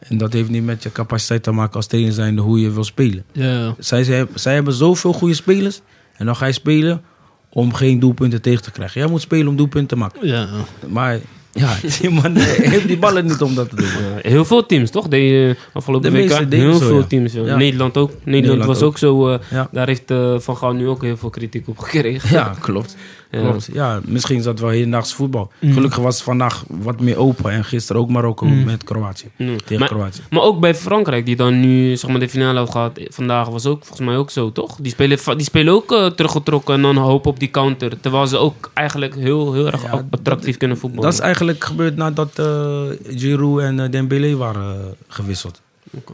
Speaker 5: En dat heeft niet met je capaciteit te maken als trainer zijnde hoe je wil spelen.
Speaker 3: ja.
Speaker 5: Zij, zij, zij hebben zoveel goede spelers en dan ga je spelen om geen doelpunten tegen te krijgen. Jij moet spelen om doelpunten te maken.
Speaker 3: Ja.
Speaker 5: Maar
Speaker 4: <laughs>
Speaker 5: ja, die man eh, heeft die ballen niet om dat te doen.
Speaker 4: Eh, heel veel teams, toch? De eh, afgelopen
Speaker 5: De
Speaker 4: WK.
Speaker 5: meeste dingen
Speaker 4: heel
Speaker 5: zo,
Speaker 4: veel
Speaker 5: ja.
Speaker 4: teams. ja.
Speaker 5: Ja.
Speaker 4: Nederland ook. Nederland,
Speaker 5: Nederland
Speaker 4: was ook,
Speaker 5: ook.
Speaker 4: zo. eh,
Speaker 5: Ja.
Speaker 4: Daar heeft eh, Van Gaal nu ook heel veel kritiek op <laughs>
Speaker 5: <laughs>
Speaker 4: gekregen.
Speaker 5: Ja, klopt.
Speaker 4: Ja. Mm.
Speaker 5: klopt. Ja, misschien is dat wel hedendaags voetbal. Gelukkig was het vandaag wat meer open. En gisteren ook Marokko met Kroatië.
Speaker 4: Mm.
Speaker 5: Tegen
Speaker 4: Maar-
Speaker 5: Kroatië.
Speaker 4: Maar ook bij Frankrijk, die dan nu zeg maar, de finale heeft gehad. eh, Vandaag was ook volgens mij ook zo, toch? Die spelen, va- die spelen ook eh, teruggetrokken en dan hoop op die counter. Terwijl ze ook eigenlijk heel, heel erg
Speaker 5: Ja,
Speaker 4: attractief kunnen voetballen.
Speaker 5: Dat is eigenlijk gebeurd nadat eh Giroud en eh, Dembélé waren eh, gewisseld.
Speaker 4: Oké.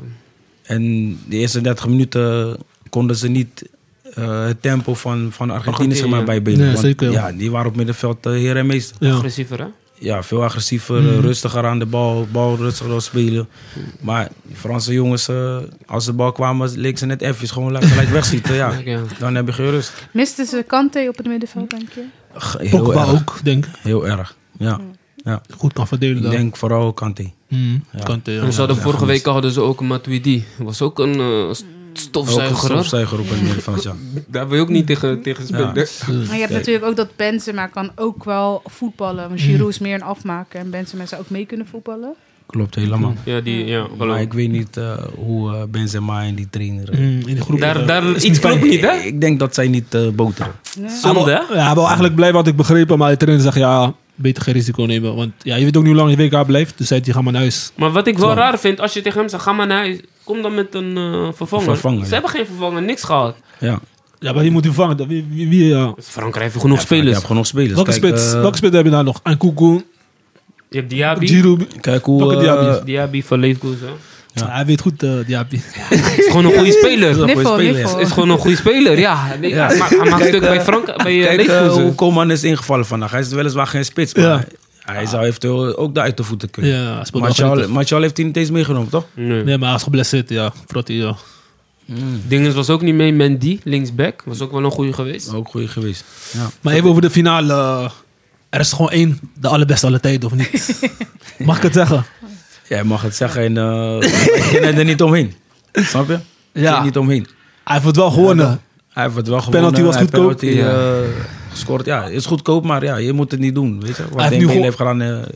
Speaker 5: En de eerste 30 minuten konden ze niet eh, het tempo van, van Argentinië zeg maar,
Speaker 4: Argentinië.
Speaker 5: bijbenen.
Speaker 3: Nee,
Speaker 5: Want,
Speaker 3: zeker.
Speaker 5: Ja, die waren op middenveld eh, heer en meester.
Speaker 3: ja.
Speaker 4: Agressiever, hè?
Speaker 5: Ja, veel agressiever, eh, rustiger aan de bal, bal rustiger spelen. Maar die Franse jongens, eh, als de bal kwamen, leek ze net even gewoon gelijk- gelijk wegschieten. Ja.
Speaker 4: Ja.
Speaker 5: Dan heb je geen rust.
Speaker 2: Misten ze Kante op het middenveld, denk je?
Speaker 5: G- Heel
Speaker 3: Pogba
Speaker 5: erg.
Speaker 3: ook, denk ik.
Speaker 5: Heel erg. Ja. ja.
Speaker 3: Goed kan verdelen
Speaker 5: Ik
Speaker 3: daar.
Speaker 5: denk vooral Kante.
Speaker 3: Mm, Kante, ja.
Speaker 4: En ze hadden vorige week hadden ze ook een Matuidi. Was ook een eh, st-
Speaker 5: Ook een
Speaker 4: stofzuiger. hoor.
Speaker 5: stofzuiger op het middenveld, ja.
Speaker 4: Daar wil je ook niet tegen, tegen spelen.
Speaker 5: Ja.
Speaker 2: Maar je hebt natuurlijk ook dat Benzema kan ook wel voetballen. Want Giroud is meer een afmaker en Benzema zou ook mee kunnen voetballen.
Speaker 5: Klopt helemaal.
Speaker 4: Ja, die, ja, wel
Speaker 5: Maar
Speaker 4: ook.
Speaker 5: ik weet niet eh, hoe eh, Benzema en die trainer... eh,
Speaker 3: Mm, in de groep.
Speaker 4: daar, daar
Speaker 3: is
Speaker 4: iets klopt niet, hè?
Speaker 5: Ik denk dat zij niet eh, boteren.
Speaker 4: Zonde, hè?
Speaker 3: Ja, hij wil eigenlijk blijven, had ik begrepen. Maar de trainer zegt, ja, beter geen risico nemen. Want ja, je weet ook niet hoe lang je WK blijft. Dus zei hij, ga maar naar huis.
Speaker 4: Maar wat ik wel raar vind, als je tegen hem zegt, ga maar naar huis. Kom dan met een eh, vervanger.
Speaker 5: Vervanger,
Speaker 4: Ze
Speaker 5: ja.
Speaker 4: hebben geen vervanger, niks gehad.
Speaker 5: Ja.
Speaker 3: Ja, maar je moet die vangen. Dat- Wie, wie, wie, ja.
Speaker 4: Frankrijk heeft genoeg
Speaker 5: Je
Speaker 4: spelers.
Speaker 5: hebt genoeg spelers.
Speaker 3: Welke
Speaker 5: Kijk,
Speaker 3: spits
Speaker 5: eh,
Speaker 3: welke spits heb je daar nog? Ankuku,
Speaker 4: Je hebt Diaby.
Speaker 3: Giroud.
Speaker 5: Kijk hoe...
Speaker 3: Welke
Speaker 5: eh,
Speaker 3: Diaby?
Speaker 4: Diaby van Leverkusen.
Speaker 3: Ja, hij weet goed, eh Diaby.
Speaker 4: Het is gewoon een
Speaker 5: <laughs>
Speaker 4: goede speler.
Speaker 5: goede
Speaker 2: Niffel,
Speaker 5: speler, ja.
Speaker 4: Het
Speaker 2: Niffel.
Speaker 4: is gewoon een goede speler, ja. Nee,
Speaker 5: Ja.
Speaker 4: Hij maakt, hij maakt
Speaker 5: Kijk,
Speaker 4: stuk bij,
Speaker 5: eh,
Speaker 4: Frank, bij eh,
Speaker 5: Kijk eh,
Speaker 4: Leverkusen.
Speaker 5: hoe Coman is ingevallen vandaag. Hij is weliswaar geen spits, maar
Speaker 3: Ja.
Speaker 5: hij, hij zou eventueel ook daar uit de voeten
Speaker 3: <laughs>
Speaker 5: kunnen.
Speaker 3: Ja, hij speelt wel
Speaker 5: Martial,
Speaker 3: gretig.
Speaker 5: Martial heeft hij niet eens meegenomen, toch?
Speaker 4: Nee.
Speaker 3: Nee, maar hij is geblesseerd, ja. Frotti, ja.
Speaker 4: Dingens was ook niet mee. Mendy, linksback. Was ook wel een goede geweest.
Speaker 5: Ook goed geweest. Ja.
Speaker 3: Maar even over de finale. eh, Er is gewoon één, de allerbeste alle tijden, of niet? Mag ik het zeggen?
Speaker 5: Jij mag het zeggen en eh
Speaker 3: <laughs>
Speaker 5: wij kunnen er niet omheen. Snap je?
Speaker 3: Ja.
Speaker 5: Kun je Niet omheen.
Speaker 3: Hij heeft het wel gewonnen.
Speaker 5: Hij heeft het wel gewonnen.
Speaker 3: Penalty was
Speaker 5: Hij heeft
Speaker 3: goedkoop.
Speaker 5: penalty, eh, gescoord. Ja, is goedkoop, maar ja, je moet het niet doen. Weet je?
Speaker 3: heeft
Speaker 5: Wat
Speaker 3: nu
Speaker 5: Dembele
Speaker 3: gewoon-
Speaker 5: heeft gedaan. eh,
Speaker 3: Hij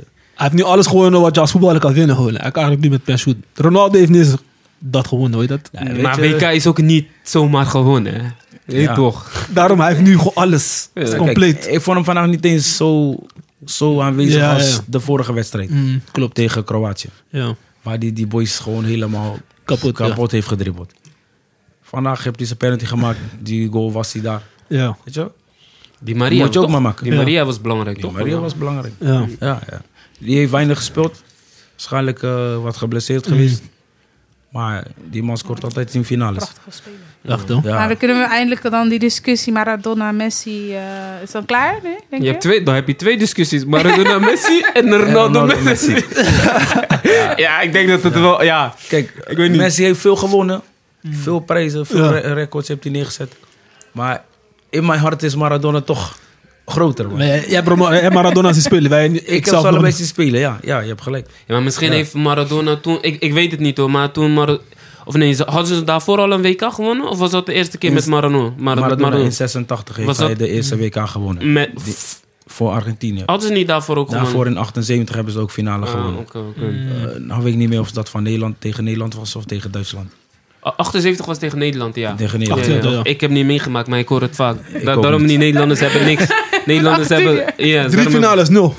Speaker 3: heeft nu alles gewonnen wat je als voetballer kan winnen. Gewoon. Hij kan eigenlijk niet met pensioen. Ronaldo heeft niet eens dat gewonnen, hoor je dat?
Speaker 5: ja, weet
Speaker 4: maar
Speaker 5: je,
Speaker 4: WK is ook niet zomaar gewonnen. hè. Weet
Speaker 5: Ja.
Speaker 4: toch?
Speaker 3: Daarom, hij heeft nu gewoon alles. Het is
Speaker 5: kijk,
Speaker 3: compleet.
Speaker 5: ik vond hem vandaag niet eens zo, zo aanwezig
Speaker 3: Ja,
Speaker 5: als
Speaker 3: ja.
Speaker 5: de vorige wedstrijd.
Speaker 3: Mm, klopt.
Speaker 5: Tegen Kroatië.
Speaker 3: Ja.
Speaker 5: Waar die, die boys gewoon helemaal
Speaker 3: Kapot, ja.
Speaker 5: kapot heeft gedribbeld. Vandaag heeft hij zijn penalty gemaakt. Die goal was hij daar.
Speaker 3: Ja.
Speaker 5: Weet je?
Speaker 4: Die Maria
Speaker 5: Moet je ook
Speaker 4: toch?
Speaker 5: maar maken.
Speaker 4: Die
Speaker 3: Ja.
Speaker 4: Maria was belangrijk,
Speaker 5: Die
Speaker 4: toch?
Speaker 5: Maria was belangrijk.
Speaker 3: ja. Mm.
Speaker 5: Ja, ja. Die heeft weinig gespeeld. Waarschijnlijk eh, wat geblesseerd geweest. Maar die man scoort altijd in finales.
Speaker 2: Prachtige speler.
Speaker 3: Echt, hè?
Speaker 5: Ja.
Speaker 2: Maar we kunnen we eindelijk dan die discussie Maradona, Messi, eh, is dan klaar? Nee, denk
Speaker 4: Je
Speaker 2: je?
Speaker 4: hebt twee, dan heb je twee discussies. Maradona Messi en Ronaldo
Speaker 5: Ronaldo
Speaker 4: Messi. ja, ik denk dat het wel... Ja,
Speaker 5: Kijk,
Speaker 4: Ik weet niet.
Speaker 5: Messi heeft veel gewonnen.
Speaker 4: Hmm.
Speaker 5: Veel prijzen, veel re- records heeft hij neergezet. Maar in mijn hart is Maradona toch groter. man.
Speaker 3: Maar jij- jij hebt Ronaldo- jij hebt Maradona zien spelen. Wij, ik,
Speaker 5: Ik, heb
Speaker 3: zelf
Speaker 5: ze allebei
Speaker 3: nog
Speaker 5: zien spelen, ja. Ja, je hebt gelijk.
Speaker 4: Ja, maar misschien
Speaker 5: Ja.
Speaker 4: heeft Maradona toen... Ik, ik weet het niet hoor, maar toen... Mara- of nee, ze- hadden ze daarvoor al een WK gewonnen? Of was dat de eerste keer met Maradona? Mar- met
Speaker 5: Maradona
Speaker 4: Maradona.
Speaker 5: in 86
Speaker 4: Was
Speaker 5: heeft
Speaker 4: dat- Hmm.
Speaker 5: hij de eerste WK gewonnen.
Speaker 4: Met,
Speaker 5: Voor Argentinië.
Speaker 4: hadden ze niet daarvoor ook
Speaker 5: Daarvoor
Speaker 4: gewonnen?
Speaker 5: in 78 hebben ze ook finale
Speaker 4: Ah,
Speaker 5: gewonnen.
Speaker 4: oké, Hmm. oké.
Speaker 5: Eh, nou weet ik niet meer of dat van Nederland tegen Nederland was of tegen Duitsland.
Speaker 4: Ah, 78 was tegen Nederland, ja.
Speaker 5: Tegen Nederland.
Speaker 4: Ja, ja,
Speaker 3: 78, ja.
Speaker 4: Ik heb niet meegemaakt, maar ik hoor het vaak. Da-
Speaker 5: ook
Speaker 4: daarom
Speaker 5: niet.
Speaker 4: die Nederlanders hebben niks. Nederlanders hebben... Ja, daarom
Speaker 3: Drie
Speaker 4: heb-
Speaker 3: finales, nul.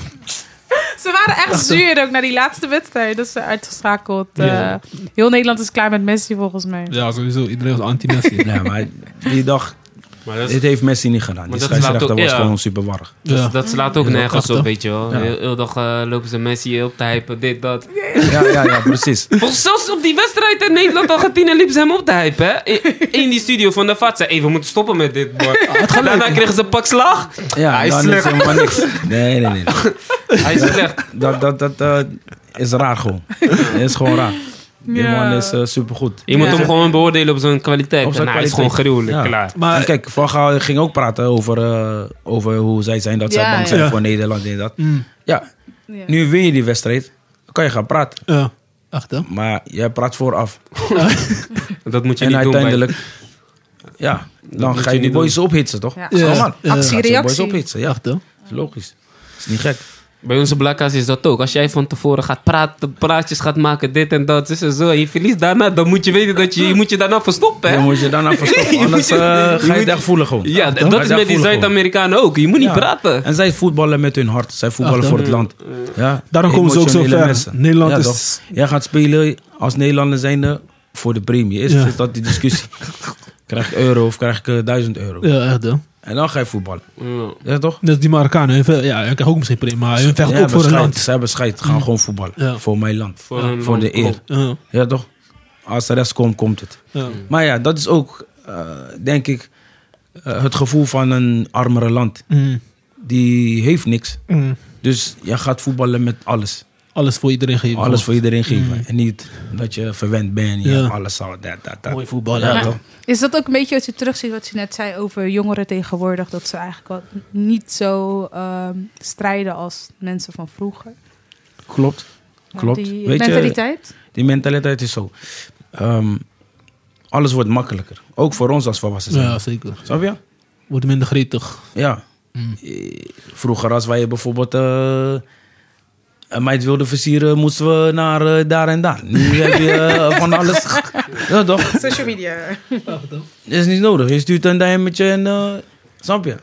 Speaker 2: Ze waren echt zuur ook naar die laatste wedstrijd. Dat ze uitgeschakeld. eh,
Speaker 3: Ja.
Speaker 2: heel Nederland is klaar met Messi volgens mij.
Speaker 3: Ja, sowieso. Iedereen was <laughs> anti-Messi.
Speaker 5: Nee, maar die dag,
Speaker 4: Maar dat, is-
Speaker 5: dit heeft Messi niet gedaan.
Speaker 4: Dus- Maar dat
Speaker 5: Die
Speaker 4: laat
Speaker 5: scheidsrechter
Speaker 4: ook-
Speaker 5: was
Speaker 4: ja.
Speaker 5: gewoon super warrig.
Speaker 4: dat-
Speaker 3: Ja.
Speaker 4: dat slaat ook
Speaker 3: Ja,
Speaker 4: nergens op,
Speaker 3: prachtig.
Speaker 4: weet je wel.
Speaker 5: Ja.
Speaker 4: Heel, heel dag eh, lopen ze Messi op te hypen, dit, dat.
Speaker 5: Ja, ja, ja, precies.
Speaker 4: Volgens zelfs op die wedstrijd in Nederland-Argentinië liep ze hem op te hypen. hè. In, in die studio van de FAT zei, hey, we moeten stoppen met dit,
Speaker 5: Ah,
Speaker 4: man. Daarna kregen ze een pak slag.
Speaker 5: Ja,
Speaker 4: Hij is
Speaker 5: dan
Speaker 4: slecht.
Speaker 5: is helemaal niks. Nee, nee, nee.
Speaker 4: Hij is slecht.
Speaker 5: Dat, dat, dat eh, is raar
Speaker 2: <laughs>
Speaker 5: gewoon. Het is gewoon raar. Die
Speaker 2: Ja.
Speaker 5: man is eh, supergoed.
Speaker 4: Je moet
Speaker 2: Ja.
Speaker 4: hem gewoon beoordelen op zijn kwaliteit.
Speaker 5: Op zijn
Speaker 4: en hij is gewoon
Speaker 5: kwaliteit.
Speaker 4: gruwelijk,
Speaker 5: Ja.
Speaker 4: klaar.
Speaker 3: Maar-
Speaker 5: En kijk, Van Gaal ging ook praten over, eh, over hoe zij zijn dat zij
Speaker 2: Ja,
Speaker 5: bang
Speaker 2: ja.
Speaker 5: zijn
Speaker 3: Ja.
Speaker 5: voor Nederland en dat.
Speaker 3: Mm.
Speaker 5: Ja,
Speaker 2: Ja.
Speaker 5: nu win je die wedstrijd, dan kan je gaan praten.
Speaker 3: Ja, echt, hè?
Speaker 5: Maar jij praat vooraf.
Speaker 4: Dat moet je
Speaker 5: En
Speaker 4: niet doen. bij-
Speaker 5: uiteindelijk, ja, dan
Speaker 4: moet
Speaker 5: ga
Speaker 4: je
Speaker 5: je die
Speaker 4: niet
Speaker 5: boys ophitsen, toch?
Speaker 2: Ja.
Speaker 5: Dat is normaal.
Speaker 3: Ja.
Speaker 5: Gaat ze die boys
Speaker 2: Actie-reactie.
Speaker 5: ophitsen, ja.
Speaker 3: Echt, hè?
Speaker 5: is logisch. is niet gek.
Speaker 4: Bij onze blakka's is dat ook. Als jij van tevoren gaat praten, praatjes gaat maken, dit en dat, zus en zo. En je verliest daarna, dan moet je weten dat je, je moet je daarna verstoppen. hè.
Speaker 5: Dan moet je
Speaker 4: <laughs>
Speaker 5: daarna verstoppen, anders eh, ga je het echt voelen gewoon.
Speaker 4: Ja, d-
Speaker 5: Ga je
Speaker 4: dat
Speaker 5: het
Speaker 4: is
Speaker 5: echt
Speaker 4: met die
Speaker 5: voelen gewoon.
Speaker 4: Zuid-Amerikanen ook. Je moet niet
Speaker 5: Ja.
Speaker 4: praten.
Speaker 5: En zij voetballen met hun hart. Zij voetballen
Speaker 3: Ach, Eh,
Speaker 5: voor het land. Ja,
Speaker 3: Daarom komen ze ook zo
Speaker 5: emotionele
Speaker 3: ver.
Speaker 5: mensen.
Speaker 3: Nederland
Speaker 5: Ja,
Speaker 3: is-
Speaker 5: toch? Jij gaat spelen als Nederlander zijnde voor de premie. Is,
Speaker 3: Ja.
Speaker 5: is dat die
Speaker 3: <laughs>
Speaker 5: discussie? krijg ik euro of krijg ik eh, 1000 euro?
Speaker 3: Ja, echt, hè?
Speaker 5: En dan ga je voetballen.
Speaker 4: Ja.
Speaker 5: Ja, toch?
Speaker 3: Net als die Marokkanen. hun ve- Ja, hun krijgen ook misschien prima. Maar hun vechten
Speaker 5: Zij
Speaker 3: ook
Speaker 5: hebben
Speaker 3: voor hun
Speaker 5: scheid.
Speaker 3: land. Mm.
Speaker 5: Zij hebben scheid. Gaan gewoon voetballen.
Speaker 3: Ja.
Speaker 5: Voor mijn land.
Speaker 4: Voor
Speaker 5: Voor,
Speaker 4: hun land,
Speaker 5: de eer.
Speaker 4: klopt.
Speaker 3: Ja,
Speaker 5: Ja, toch? Als de rest komt, komt het.
Speaker 3: ja.
Speaker 5: Maar ja, dat is ook, eh, denk ik, eh, het gevoel van een armere land.
Speaker 3: Mm,
Speaker 5: Die heeft niks.
Speaker 3: mm.
Speaker 5: Dus je gaat voetballen met alles.
Speaker 3: Alles voor iedereen geven.
Speaker 5: Alles voor iedereen geven. En niet dat je verwend bent. Je
Speaker 3: Ja.
Speaker 5: hebt alles al. Dat, dat, dat.
Speaker 3: Mooi voetbal,
Speaker 5: Ja,
Speaker 3: ja.
Speaker 5: toch?
Speaker 2: Is dat ook een beetje wat je terugziet, wat je net zei over jongeren tegenwoordig? Dat ze eigenlijk wel niet zo ehm, strijden als mensen van vroeger.
Speaker 5: Klopt. Klopt.
Speaker 2: Die
Speaker 5: Weet je,
Speaker 2: mentaliteit.
Speaker 5: die mentaliteit is zo. Ehm, alles wordt makkelijker. Ook voor ons als volwassenen.
Speaker 3: Ja, zeker.
Speaker 5: Snap je?
Speaker 3: Wordt minder gretig.
Speaker 5: Ja. Eh, Vroeger als wij bijvoorbeeld eh, een meid wilden versieren, moesten we naar eh, daar en daar. Nu heb je eh, van alles. ja toch?
Speaker 2: Social media.
Speaker 5: Dat is niet nodig. Je stuurt een diamantje en... eh snap je?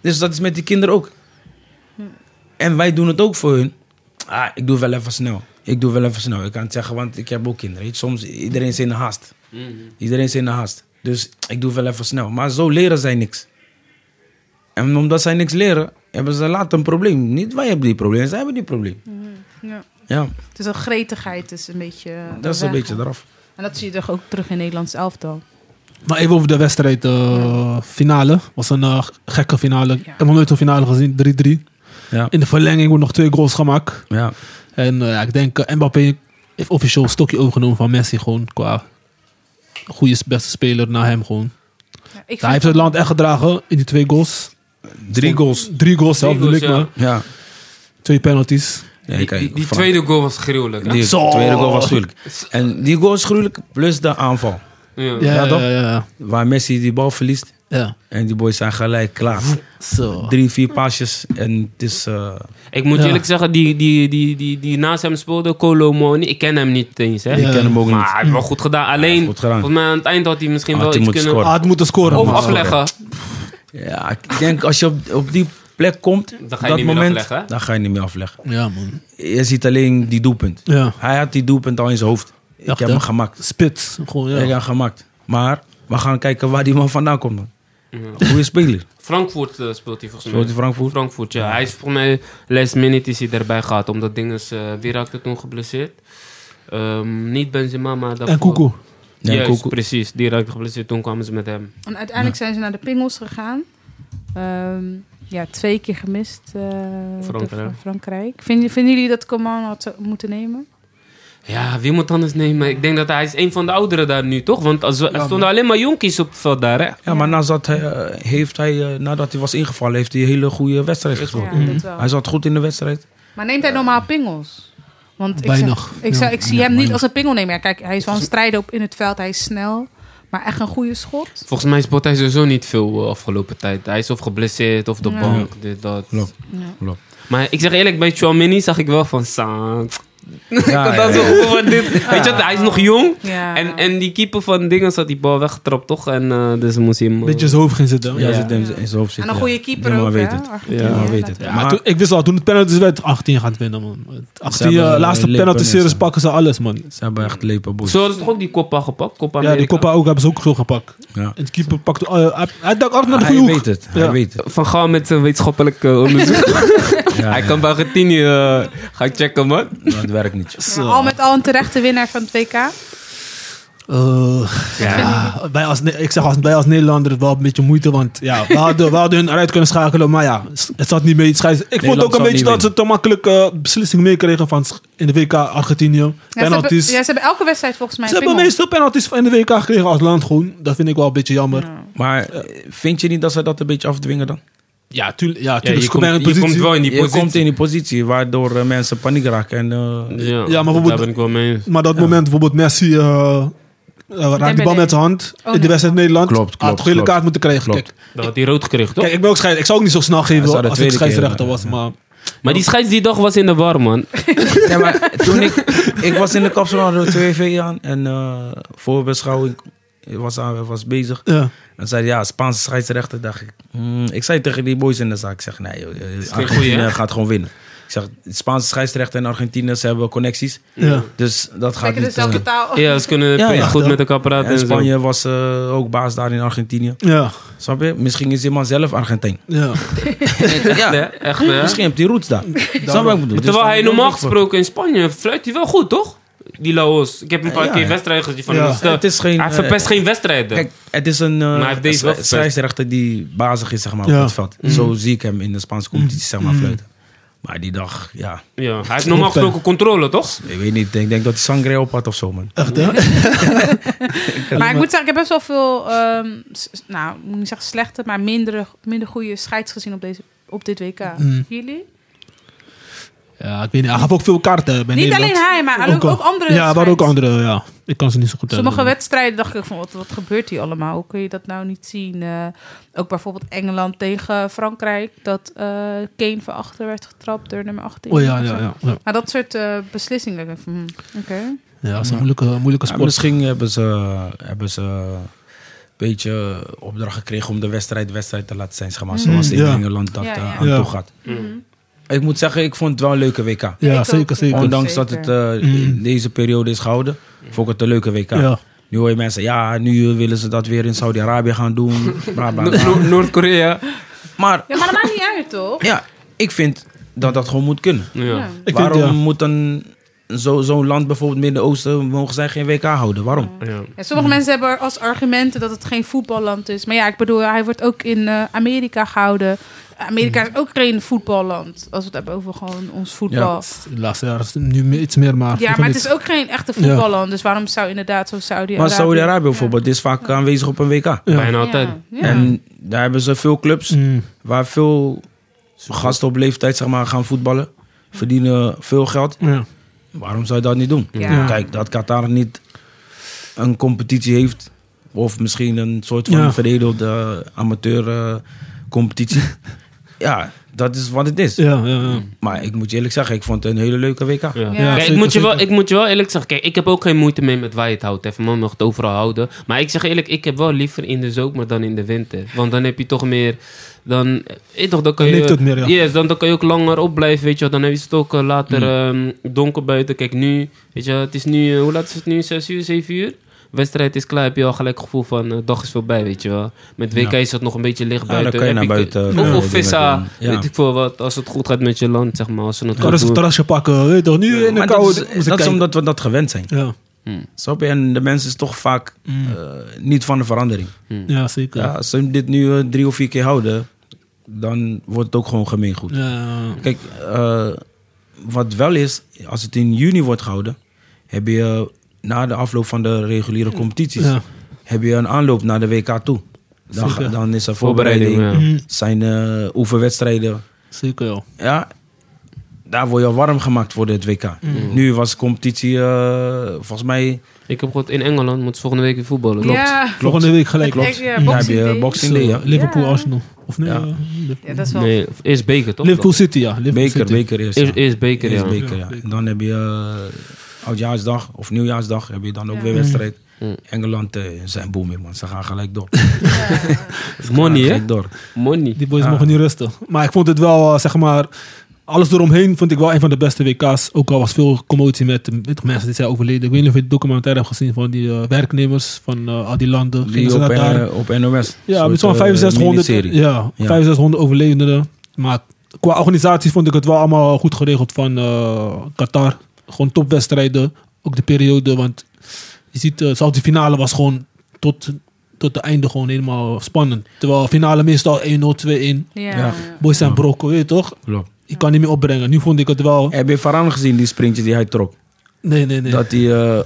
Speaker 5: Dus dat is met die kinderen ook.
Speaker 2: Hmm.
Speaker 5: En wij doen het ook voor hun. Ah, ik doe wel even snel. Ik doe wel even snel. Ik kan het zeggen, want ik heb ook kinderen. weet je. Soms, iedereen is in de haast. Iedereen is in de haast. Dus ik doe wel even snel. Maar zo leren zij niks. En omdat zij niks leren, hebben ze later een probleem. Niet wij hebben die probleem, zij hebben die probleem.
Speaker 2: Ja.
Speaker 5: Ja,
Speaker 2: Dus een gretigheid is een beetje. eh,
Speaker 5: dat is een
Speaker 2: weg.
Speaker 5: beetje eraf.
Speaker 2: En dat zie je toch ook terug in Nederlands elftal.
Speaker 3: Maar even over de wedstrijd. eh, finale. Was een eh, gekke finale. Ik heb nog nooit zo'n finale gezien. 3-3.
Speaker 5: Ja,
Speaker 3: In de verlenging wordt nog twee goals gemaakt.
Speaker 5: ja.
Speaker 3: En eh, ja, ik denk eh, Mbappé heeft officieel een stokje overgenomen van Messi. Gewoon qua goede beste speler naar hem gewoon.
Speaker 2: Ja, ik
Speaker 3: hij heeft het land echt gedragen in die twee goals.
Speaker 5: Drie goals.
Speaker 3: Drie goals zelf,
Speaker 4: Drie goals,
Speaker 3: bedoel ik
Speaker 4: ja.
Speaker 3: maar.
Speaker 5: Ja.
Speaker 3: Twee penalties.
Speaker 5: Ja,
Speaker 4: Die,
Speaker 5: kijk,
Speaker 4: die- die
Speaker 5: Frank-
Speaker 4: tweede goal was gruwelijk. hè.
Speaker 5: Die
Speaker 3: Zo.
Speaker 5: tweede goal was gruwelijk. En die goal is gruwelijk, plus de aanval.
Speaker 4: Ja.
Speaker 3: Ja, ja,
Speaker 5: toch?
Speaker 3: ja. ja.
Speaker 5: Waar Messi die bal verliest.
Speaker 3: Ja.
Speaker 5: En die boys zijn gelijk klaar.
Speaker 3: Zo.
Speaker 5: Drie, vier paasjes en het is... eh,
Speaker 4: Ik moet
Speaker 3: Ja.
Speaker 4: eerlijk zeggen, die, die, die, die, die naast hem speelde, Colo Moni, ik ken hem niet eens. Hè?
Speaker 3: Ik ken
Speaker 5: hem ook niet.
Speaker 4: Maar hij heeft wel goed gedaan.
Speaker 5: Hij
Speaker 4: Alleen,
Speaker 5: heeft goed gedaan.
Speaker 4: volgens mij aan het eind had hij misschien
Speaker 5: Had
Speaker 4: wel
Speaker 5: hij
Speaker 4: iets
Speaker 5: moeten
Speaker 4: kunnen...
Speaker 5: scoren.
Speaker 3: Hij had moeten scoren.
Speaker 5: Oh.
Speaker 4: Of
Speaker 3: man.
Speaker 4: afleggen.
Speaker 5: ja, ik denk als je op, op die plek komt...
Speaker 4: Dan ga je
Speaker 5: dat
Speaker 4: niet meer
Speaker 5: moment,
Speaker 4: afleggen, hè?
Speaker 5: Dan ga je niet meer afleggen.
Speaker 3: Ja, man.
Speaker 5: Je ziet alleen die doelpunt.
Speaker 3: Ja.
Speaker 5: Hij had die doelpunt al in zijn hoofd. Ik
Speaker 3: Echt,
Speaker 5: heb
Speaker 3: hè?
Speaker 5: hem gemaakt.
Speaker 3: Spits. Gewoon, ja.
Speaker 5: Ik heb hem gemaakt. Maar we gaan kijken waar die man vandaan komt. Man. Goeie speler.
Speaker 4: Frankfurt eh, speelt hij volgens mij.
Speaker 5: Speelt hij Frankfurt?
Speaker 4: Frankfurt, ja. Hij is volgens mij last minute is hij erbij gehad. Omdat Dinges, eh wie raakte toen geblesseerd? Eh, Ehm, niet Benzema, maar daarvoor.
Speaker 3: En Koekoe.
Speaker 5: Ja,
Speaker 4: Juist,
Speaker 5: Koekoe.
Speaker 4: precies. Die raakte geblesseerd. Toen kwamen ze met hem.
Speaker 2: En uiteindelijk zijn ze naar de Pingels gegaan. Ehm, ja, twee keer gemist. eh,
Speaker 4: Frankrijk.
Speaker 2: door Fra- Frankrijk. Vinden, vinden jullie dat Coman had zo- moeten nemen?
Speaker 4: Ja, wie moet anders nemen? Ik denk dat hij is een van de ouderen daar nu, toch? Want als, er stonden alleen maar jonkies op het veld daar, hè?
Speaker 5: Ja, maar nadat hij, eh, heeft hij, eh, nadat hij was ingevallen, heeft hij een hele goede wedstrijd gespeeld.
Speaker 2: Ja, dat wel.
Speaker 5: Mm. Hij zat goed in de wedstrijd.
Speaker 2: Maar neemt hij normaal pingels? Want ik,
Speaker 3: Weinig,
Speaker 2: zou- ik,
Speaker 3: ja.
Speaker 2: zou, ik zie
Speaker 3: Ja,
Speaker 2: hem niet
Speaker 3: weinig.
Speaker 2: als een pingelnemer. Kijk, hij is wel een strijder op in het veld. Hij is snel, maar echt een goede schot.
Speaker 4: Volgens mij speelt hij sowieso niet veel eh, afgelopen tijd. Hij is of geblesseerd of de
Speaker 2: Ja.
Speaker 4: bank, dit, dat.
Speaker 5: Klopt.
Speaker 2: Ja.
Speaker 4: Maar ik zeg eerlijk, bij Chouamini zag ik wel van... Sang.
Speaker 5: Ja, ja,
Speaker 4: <laughs> dat is
Speaker 5: ja.
Speaker 4: een goeie, dit. Weet je wat, hij is nog jong.
Speaker 2: Ja.
Speaker 4: En, en die keeper van Dingens had die bal weggetrapt, toch? En eh, dus moest hij hem... eh,
Speaker 3: Beetje in zijn hoofd ging zitten.
Speaker 5: Ja,
Speaker 3: Ja.
Speaker 5: zit in, in zijn hoofd
Speaker 2: En
Speaker 5: zitten,
Speaker 2: een
Speaker 5: ja.
Speaker 2: goede keeper
Speaker 5: Ja, maar
Speaker 2: ook,
Speaker 5: weet
Speaker 2: hè?
Speaker 5: het.
Speaker 2: Argentinië,
Speaker 4: Ja,
Speaker 5: maar weet
Speaker 2: laten
Speaker 5: het.
Speaker 2: we-
Speaker 3: Ja, maar toen, ik wist al, toen het penalty werd, 18 gaat winnen, man. 18,
Speaker 5: hebben,
Speaker 3: eh,
Speaker 5: eh,
Speaker 3: laatste
Speaker 5: lippen,
Speaker 3: penalty-series
Speaker 5: mensen.
Speaker 3: pakken ze alles, man.
Speaker 5: Ze hebben echt lepenboes.
Speaker 4: Zo hadden ze toch ook die Copa gepakt? Copa
Speaker 3: Ja, die
Speaker 4: America?
Speaker 3: Copa ook hebben ze ook zo gepakt.
Speaker 5: Ja.
Speaker 3: En de keeper pakte... eh, hij, hij dacht altijd naar de
Speaker 5: Hij
Speaker 3: goede hoek.
Speaker 5: Ah, weet het, hij
Speaker 3: Ja.
Speaker 5: weet het.
Speaker 4: Van Gaal met zijn wetenschappelijk eh, onderzoek.
Speaker 5: Ja,
Speaker 4: Hij
Speaker 5: ja,
Speaker 4: kan bij Argentinië eh, gaan checken, man.
Speaker 5: Dat werkt niet.
Speaker 2: Maar al met al een terechte winnaar van het WK.
Speaker 3: Eh, ja, wij als, Ne- ik zeg als, wij als Nederlander het wel een beetje moeite, want ja, we, hadden, we hadden hun eruit kunnen schakelen, maar ja, het zat niet mee. Het scheids- ik vond
Speaker 5: Nederland
Speaker 3: ook een
Speaker 5: zal
Speaker 3: beetje dat
Speaker 5: niet
Speaker 3: ze te makkelijk eh, beslissing meekregen van sch- in de WK Argentinië.
Speaker 2: Ja, ze, hebben, ja,
Speaker 3: Penalties.
Speaker 2: ze hebben elke wedstrijd volgens mij
Speaker 3: Ze
Speaker 2: een
Speaker 3: hebben
Speaker 2: pingel.
Speaker 3: meestal penalties in de WK gekregen als land gewoon. Dat vind ik wel een beetje jammer. Ja,
Speaker 5: Maar eh, vind je niet dat ze dat een beetje afdwingen dan?
Speaker 3: tuurlijk. Ja,
Speaker 4: Ja,
Speaker 3: tuurlijk
Speaker 4: je,
Speaker 3: ze komen
Speaker 4: komt,
Speaker 3: in
Speaker 4: je
Speaker 3: positie.
Speaker 4: komt wel in die
Speaker 5: Je
Speaker 4: positie.
Speaker 5: komt in die positie waardoor eh, mensen paniek raken. En, eh,
Speaker 4: Ja,
Speaker 3: Ja, maar we
Speaker 4: daar
Speaker 3: moeten-
Speaker 4: ben ik wel mee eens.
Speaker 3: Maar dat moment bijvoorbeeld Messi eh, eh, raakt die bal
Speaker 2: Dembele.
Speaker 3: met zijn hand in de
Speaker 2: nee.
Speaker 3: wedstrijd Nederland.
Speaker 5: Klopt,
Speaker 3: Had
Speaker 5: klopt,
Speaker 3: gele
Speaker 5: klopt.
Speaker 3: kaart moeten krijgen.
Speaker 5: Klopt.
Speaker 3: Kijk,
Speaker 4: Dat had hij rood gekregen, toch?
Speaker 3: kijk, ik, ben ook scheid, ik zou ook niet zo snel geven
Speaker 5: Ja, zou de
Speaker 3: als ik
Speaker 5: tweede keer,
Speaker 3: scheidsrechter
Speaker 5: ja,
Speaker 3: was,
Speaker 5: ja.
Speaker 3: maar...
Speaker 4: maar die scheids die dag was in de war, man.
Speaker 5: Nee, maar toen ik, ik was in de kapsel, hadden we twee V aan. En eh voorbeschouwing was, aan- was bezig.
Speaker 3: ja.
Speaker 5: En zei ja, Spaanse scheidsrechter, dacht ik. hmm, ik zei tegen die boys in de zaak, ik zeg, nee, joh, eh,
Speaker 4: goeie,
Speaker 5: Argentinië
Speaker 4: hè?
Speaker 5: gaat gewoon winnen. Ik zeg, Spaanse scheidsrechter en Argentinië, ze hebben connecties.
Speaker 3: Ja.
Speaker 5: Dus dat gaat
Speaker 2: Zeker
Speaker 5: niet...
Speaker 2: dezelfde
Speaker 5: eh,
Speaker 2: taal.
Speaker 4: Ja, ze kunnen
Speaker 5: Ja, ja,
Speaker 4: goed
Speaker 3: dat-
Speaker 4: met elkaar praten.
Speaker 5: en
Speaker 4: En zo.
Speaker 5: Spanje was eh, ook baas daar in Argentinië.
Speaker 3: Ja,
Speaker 5: Snap je? Misschien is die man zelf Argentijn.
Speaker 3: ja.
Speaker 5: ja,
Speaker 4: Ja, echt, hè?
Speaker 5: misschien heeft hij
Speaker 4: <laughs>
Speaker 5: roots daar. Snap je wat ik bedoel? Dus
Speaker 4: Terwijl hij
Speaker 5: dan-
Speaker 4: normaal gesproken in Spanje fluit hij wel goed, toch? Die Laos. Ik heb een paar
Speaker 5: Ja,
Speaker 4: keer
Speaker 5: ja.
Speaker 4: wedstrijden gezien van
Speaker 3: Ja.
Speaker 4: hem. Dus, eh,
Speaker 5: Het is geen,
Speaker 4: Hij
Speaker 5: eh,
Speaker 4: verpest geen wedstrijden.
Speaker 5: Kijk, het is een
Speaker 4: Maar hij heeft deze
Speaker 5: eh
Speaker 4: wel
Speaker 5: schrij-
Speaker 4: verpest.
Speaker 5: scheidsrechter die bazig is zeg maar,
Speaker 3: Ja. Mm.
Speaker 5: op het veld. Zo zie ik hem in de Spaanse competitie zeg maar, fluiten. Maar die dag, ja,
Speaker 4: ja, hij heeft normaal gesproken controle, toch?
Speaker 5: ik weet niet. Ik denk, dat hij sangria op had of zo, man.
Speaker 3: Echt, hè?
Speaker 2: Maar ik moet zeggen, ik heb best wel veel, ehm, s- s- nou, ik moet niet zeggen slechte, maar minder, minder goede scheids gezien op, deze, op dit WK.
Speaker 3: Mm.
Speaker 2: Jullie?
Speaker 3: <laughs> Ja, ik weet niet. Hij gaf ook veel kaarten bij
Speaker 2: Niet
Speaker 3: Nederland.
Speaker 2: alleen hij, maar ook,
Speaker 3: al.
Speaker 2: ook andere
Speaker 3: Ja, maar ook
Speaker 2: scheids.
Speaker 3: andere, ja. Ik kan ze niet zo goed eh,
Speaker 2: Sommige
Speaker 3: herinneren.
Speaker 2: wedstrijden dacht ik van, wat, wat gebeurt hier allemaal? Hoe kun je dat nou niet zien? Eh, ook bijvoorbeeld Engeland tegen Frankrijk, dat eh, Kane van achter werd getrapt door nummer 18.
Speaker 3: Oh ja,
Speaker 2: of zo.
Speaker 3: ja, ja. ja.
Speaker 2: Maar dat soort eh, beslissingen, denk ik van, hmm, oké.
Speaker 3: Ja, dat is een moeilijke, moeilijke
Speaker 5: Ja,
Speaker 3: sport.
Speaker 5: misschien hebben ze, hebben ze een beetje opdracht gekregen om de wedstrijd wedstrijd te laten zijn, zeg maar. Zoals in
Speaker 3: Mhm. Ja.
Speaker 5: Engeland dat
Speaker 2: Ja,
Speaker 5: eh,
Speaker 2: ja.
Speaker 5: aan
Speaker 3: Ja. Mhm.
Speaker 5: toe gaat. Ik moet zeggen, ik vond het wel een leuke WK.
Speaker 3: ja,
Speaker 2: Ik ook.
Speaker 3: zeker, zeker. Mhm.
Speaker 5: Ondanks
Speaker 2: Zeker.
Speaker 5: dat het eh, in deze periode is gehouden, vond ik het een leuke WK.
Speaker 3: Ja.
Speaker 5: Nu hoor je mensen, ja, nu willen ze dat weer in Saudi-Arabië gaan
Speaker 3: <laughs>
Speaker 5: doen. Bla, bla,
Speaker 4: No-
Speaker 5: bla.
Speaker 4: No- Noord-Korea.
Speaker 5: Maar
Speaker 2: Ja, maar dat maakt niet uit, toch?
Speaker 5: ja, ik vind dat dat gewoon moet kunnen.
Speaker 4: Ja.
Speaker 3: Ik vind,
Speaker 5: Waarom
Speaker 3: ja.
Speaker 5: moet een, zo, zo'n land, bijvoorbeeld Midden-Oosten, mogen zij geen WK houden? Waarom?
Speaker 4: Ja.
Speaker 2: Ja, sommige
Speaker 3: Hmm.
Speaker 2: mensen hebben er als argumenten dat het geen voetballand is. Maar ja, ik bedoel, hij wordt ook in eh, Amerika gehouden. Amerika is ook geen voetballand. Als we het hebben over gewoon ons voetbal.
Speaker 3: De laatste jaren is het nu me- iets meer, maar...
Speaker 2: Ja, maar het is ook geen echte voetballand. Dus waarom zou inderdaad zo
Speaker 5: Maar
Speaker 2: Saudi-Arabië...
Speaker 5: Saudi-Arabië bijvoorbeeld is vaak aanwezig op een WK.
Speaker 4: Bijna altijd.
Speaker 2: Ja, ja.
Speaker 5: En daar hebben ze veel clubs
Speaker 3: Mm.
Speaker 5: waar veel gasten op leeftijd zeg maar, gaan voetballen. Verdienen veel geld.
Speaker 3: Ja.
Speaker 5: Waarom zou je dat niet doen?
Speaker 2: Ja.
Speaker 5: Kijk, dat Qatar niet een competitie heeft. Of misschien een soort van
Speaker 3: Ja.
Speaker 5: veredelde
Speaker 3: <laughs>
Speaker 5: amateurcompetitie. ja, dat is wat het is.
Speaker 3: Ja, ja, ja.
Speaker 5: Maar ik moet je eerlijk zeggen, ik vond het een hele leuke WK.
Speaker 4: Ja.
Speaker 2: Ja,
Speaker 4: Kijk,
Speaker 3: zeker,
Speaker 4: ik, moet je wel,
Speaker 3: zeker.
Speaker 4: ik moet je wel eerlijk zeggen, kijk, ik heb ook geen moeite mee met waar je het houdt. Even man mag het overal houden. Maar ik zeg eerlijk, ik heb wel liever in de zomer dan in de winter. Want dan heb je toch meer. Dan, eh, toch, dan kan
Speaker 3: Dan
Speaker 4: je,
Speaker 3: leeft het meer, ja.
Speaker 4: Yes, dan, dan kan je ook langer opblijven, weet je wel. Dan heb je het ook eh,
Speaker 5: Mm.
Speaker 4: later ehm, donker buiten. Kijk, nu, weet je wel, het is nu, eh, hoe laat is het nu? 6 uur, 7 uur? wedstrijd is klaar, heb je al gelijk het gevoel van eh, dag is voorbij, weet je wel. Met WK
Speaker 5: Ja.
Speaker 4: is dat nog een beetje licht
Speaker 5: Ja,
Speaker 4: buiten.
Speaker 5: dan kan je
Speaker 4: Heb
Speaker 5: naar
Speaker 4: ik-
Speaker 5: buiten,
Speaker 4: Of,
Speaker 5: eh,
Speaker 4: of
Speaker 5: dingen
Speaker 4: vissa,
Speaker 5: doen. Ja.
Speaker 4: weet ik veel wat. Als het goed gaat met je land, zeg maar. Als ze het
Speaker 3: Kan
Speaker 4: goed
Speaker 3: rustig
Speaker 4: doen.
Speaker 3: een terrasje pakken. weet je toch, nu in de
Speaker 5: Maar dat
Speaker 3: koude.
Speaker 5: is, dat is omdat we dat gewend zijn.
Speaker 3: Ja.
Speaker 5: Snap je? En de mensen is toch vaak
Speaker 3: Mm.
Speaker 5: eh, niet van de verandering.
Speaker 3: ja, zeker.
Speaker 5: Ja, als ze dit nu eh, drie of vier keer houden, dan wordt het ook gewoon gemeengoed.
Speaker 3: Ja.
Speaker 5: Kijk, eh, wat wel is, als het in juni wordt gehouden, heb je eh, na de afloop van de reguliere competities,
Speaker 3: Ja.
Speaker 5: heb je een aanloop naar de WK toe. Dan, ga-
Speaker 3: Zeker.
Speaker 5: dan is er
Speaker 4: Voorbereiding,
Speaker 5: voorbereiding, zijn eh oefenwedstrijden.
Speaker 3: Mhm. Zeker, joh.
Speaker 5: Ja, daar word je warm gemaakt voor dit WK.
Speaker 3: Mm.
Speaker 4: Mm.
Speaker 5: Nu was de competitie, eh, volgens mij,
Speaker 4: Ik heb gehoord, in Engeland moeten ze volgende week weer voetballen.
Speaker 2: Ja,
Speaker 3: Volgende week gelijk.
Speaker 2: Ik denk, ja,
Speaker 5: daar heb
Speaker 2: Boxing
Speaker 5: je
Speaker 2: Day.
Speaker 5: Boxing Day, ja.
Speaker 3: Zo, Liverpool,
Speaker 2: Ja.
Speaker 3: Arsenal. Of nee?
Speaker 5: Ja.
Speaker 3: eh, Liverpool.
Speaker 2: Ja, dat is wel...
Speaker 4: Nee, eerst beker, toch?
Speaker 3: Liverpool City, ja. Liverpool
Speaker 5: Beker,
Speaker 3: City.
Speaker 5: beker eerst.
Speaker 4: Eerst,
Speaker 5: ja.
Speaker 4: eerst beker,
Speaker 5: Eerst
Speaker 4: ja.
Speaker 5: beker, ja. En dan heb je eh, oudjaarsdag of nieuwjaarsdag, heb je dan ook weer wedstrijd.
Speaker 4: Mm.
Speaker 5: Engeland eh, zijn booming, man. Ze gaan gelijk door.
Speaker 4: Money,
Speaker 5: Gaan
Speaker 4: hè?
Speaker 5: gelijk door.
Speaker 4: Money.
Speaker 3: Die boys mogen niet rusten. Maar ik vond het wel, eh, zeg maar... Alles eromheen vond ik wel een van de beste WK's. Ook al was veel commotie met eh, weet je, mensen die zijn overleden. Ik weet niet of je het documentaire hebt gezien van die eh, werknemers van eh, al die landen. Gingen
Speaker 5: Die
Speaker 3: ze
Speaker 5: op,
Speaker 3: naar daar.
Speaker 5: eh, op NOS.
Speaker 3: Ja, met
Speaker 5: Een soort,
Speaker 3: zo'n
Speaker 5: eh,
Speaker 3: 6500,
Speaker 5: miniserie.
Speaker 3: ja,
Speaker 5: Ja.
Speaker 3: 6500 overlevenden. Maar qua organisatie vond ik het wel allemaal goed geregeld van eh, Qatar. Gewoon topwedstrijden. Ook de periode, want je ziet, eh, zelfs die finale was gewoon tot, tot de einde gewoon helemaal spannend. Terwijl finale meestal 1-0, 2-1.
Speaker 2: Ja.
Speaker 5: Ja.
Speaker 3: Boys zijn brokken, weet je toch?
Speaker 5: Klopt.
Speaker 3: Je kan niet meer opbrengen. Nu vond ik het wel...
Speaker 5: Heb je Varane gezien, die sprintje die hij trok?
Speaker 3: Nee, nee, nee.
Speaker 5: Dat hij... eh,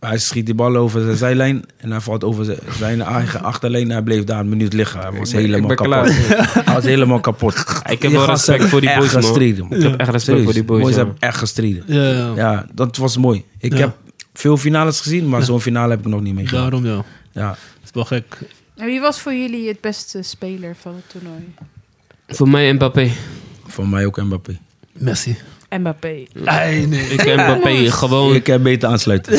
Speaker 5: hij schiet die bal over zijn zijlijn en hij valt over zijn- zijn eigen achterlijn. Hij bleef daar een minuut liggen. Hij was
Speaker 4: ben- ik
Speaker 5: helemaal
Speaker 4: ben
Speaker 5: kapot. <laughs> Hij was helemaal kapot.
Speaker 4: Ik heb wel
Speaker 5: gasten
Speaker 4: respect voor die
Speaker 5: hebben
Speaker 4: boys,
Speaker 5: echt
Speaker 4: man.
Speaker 5: gestreden,
Speaker 4: Ik heb echt respect voor die boys, ja.
Speaker 5: hebben echt gestreden.
Speaker 3: ja, ja,
Speaker 5: Ja, dat was mooi. Ik
Speaker 3: Oh. Ja.
Speaker 5: heb veel finales gezien, maar zo'n finale heb ik nog niet meegemaakt.
Speaker 3: daarom ja.
Speaker 5: Ja.
Speaker 3: Dat is wel gek.
Speaker 2: En wie was voor jullie het beste speler van het toernooi?
Speaker 4: Voor mij Mbappé.
Speaker 5: Voor mij ook Mbappé.
Speaker 3: Messi.
Speaker 2: Mbappé.
Speaker 3: Nee, nee.
Speaker 4: Ik Mbappé gewoon...
Speaker 5: Ik heb
Speaker 3: <laughs>
Speaker 5: beter aansluiten.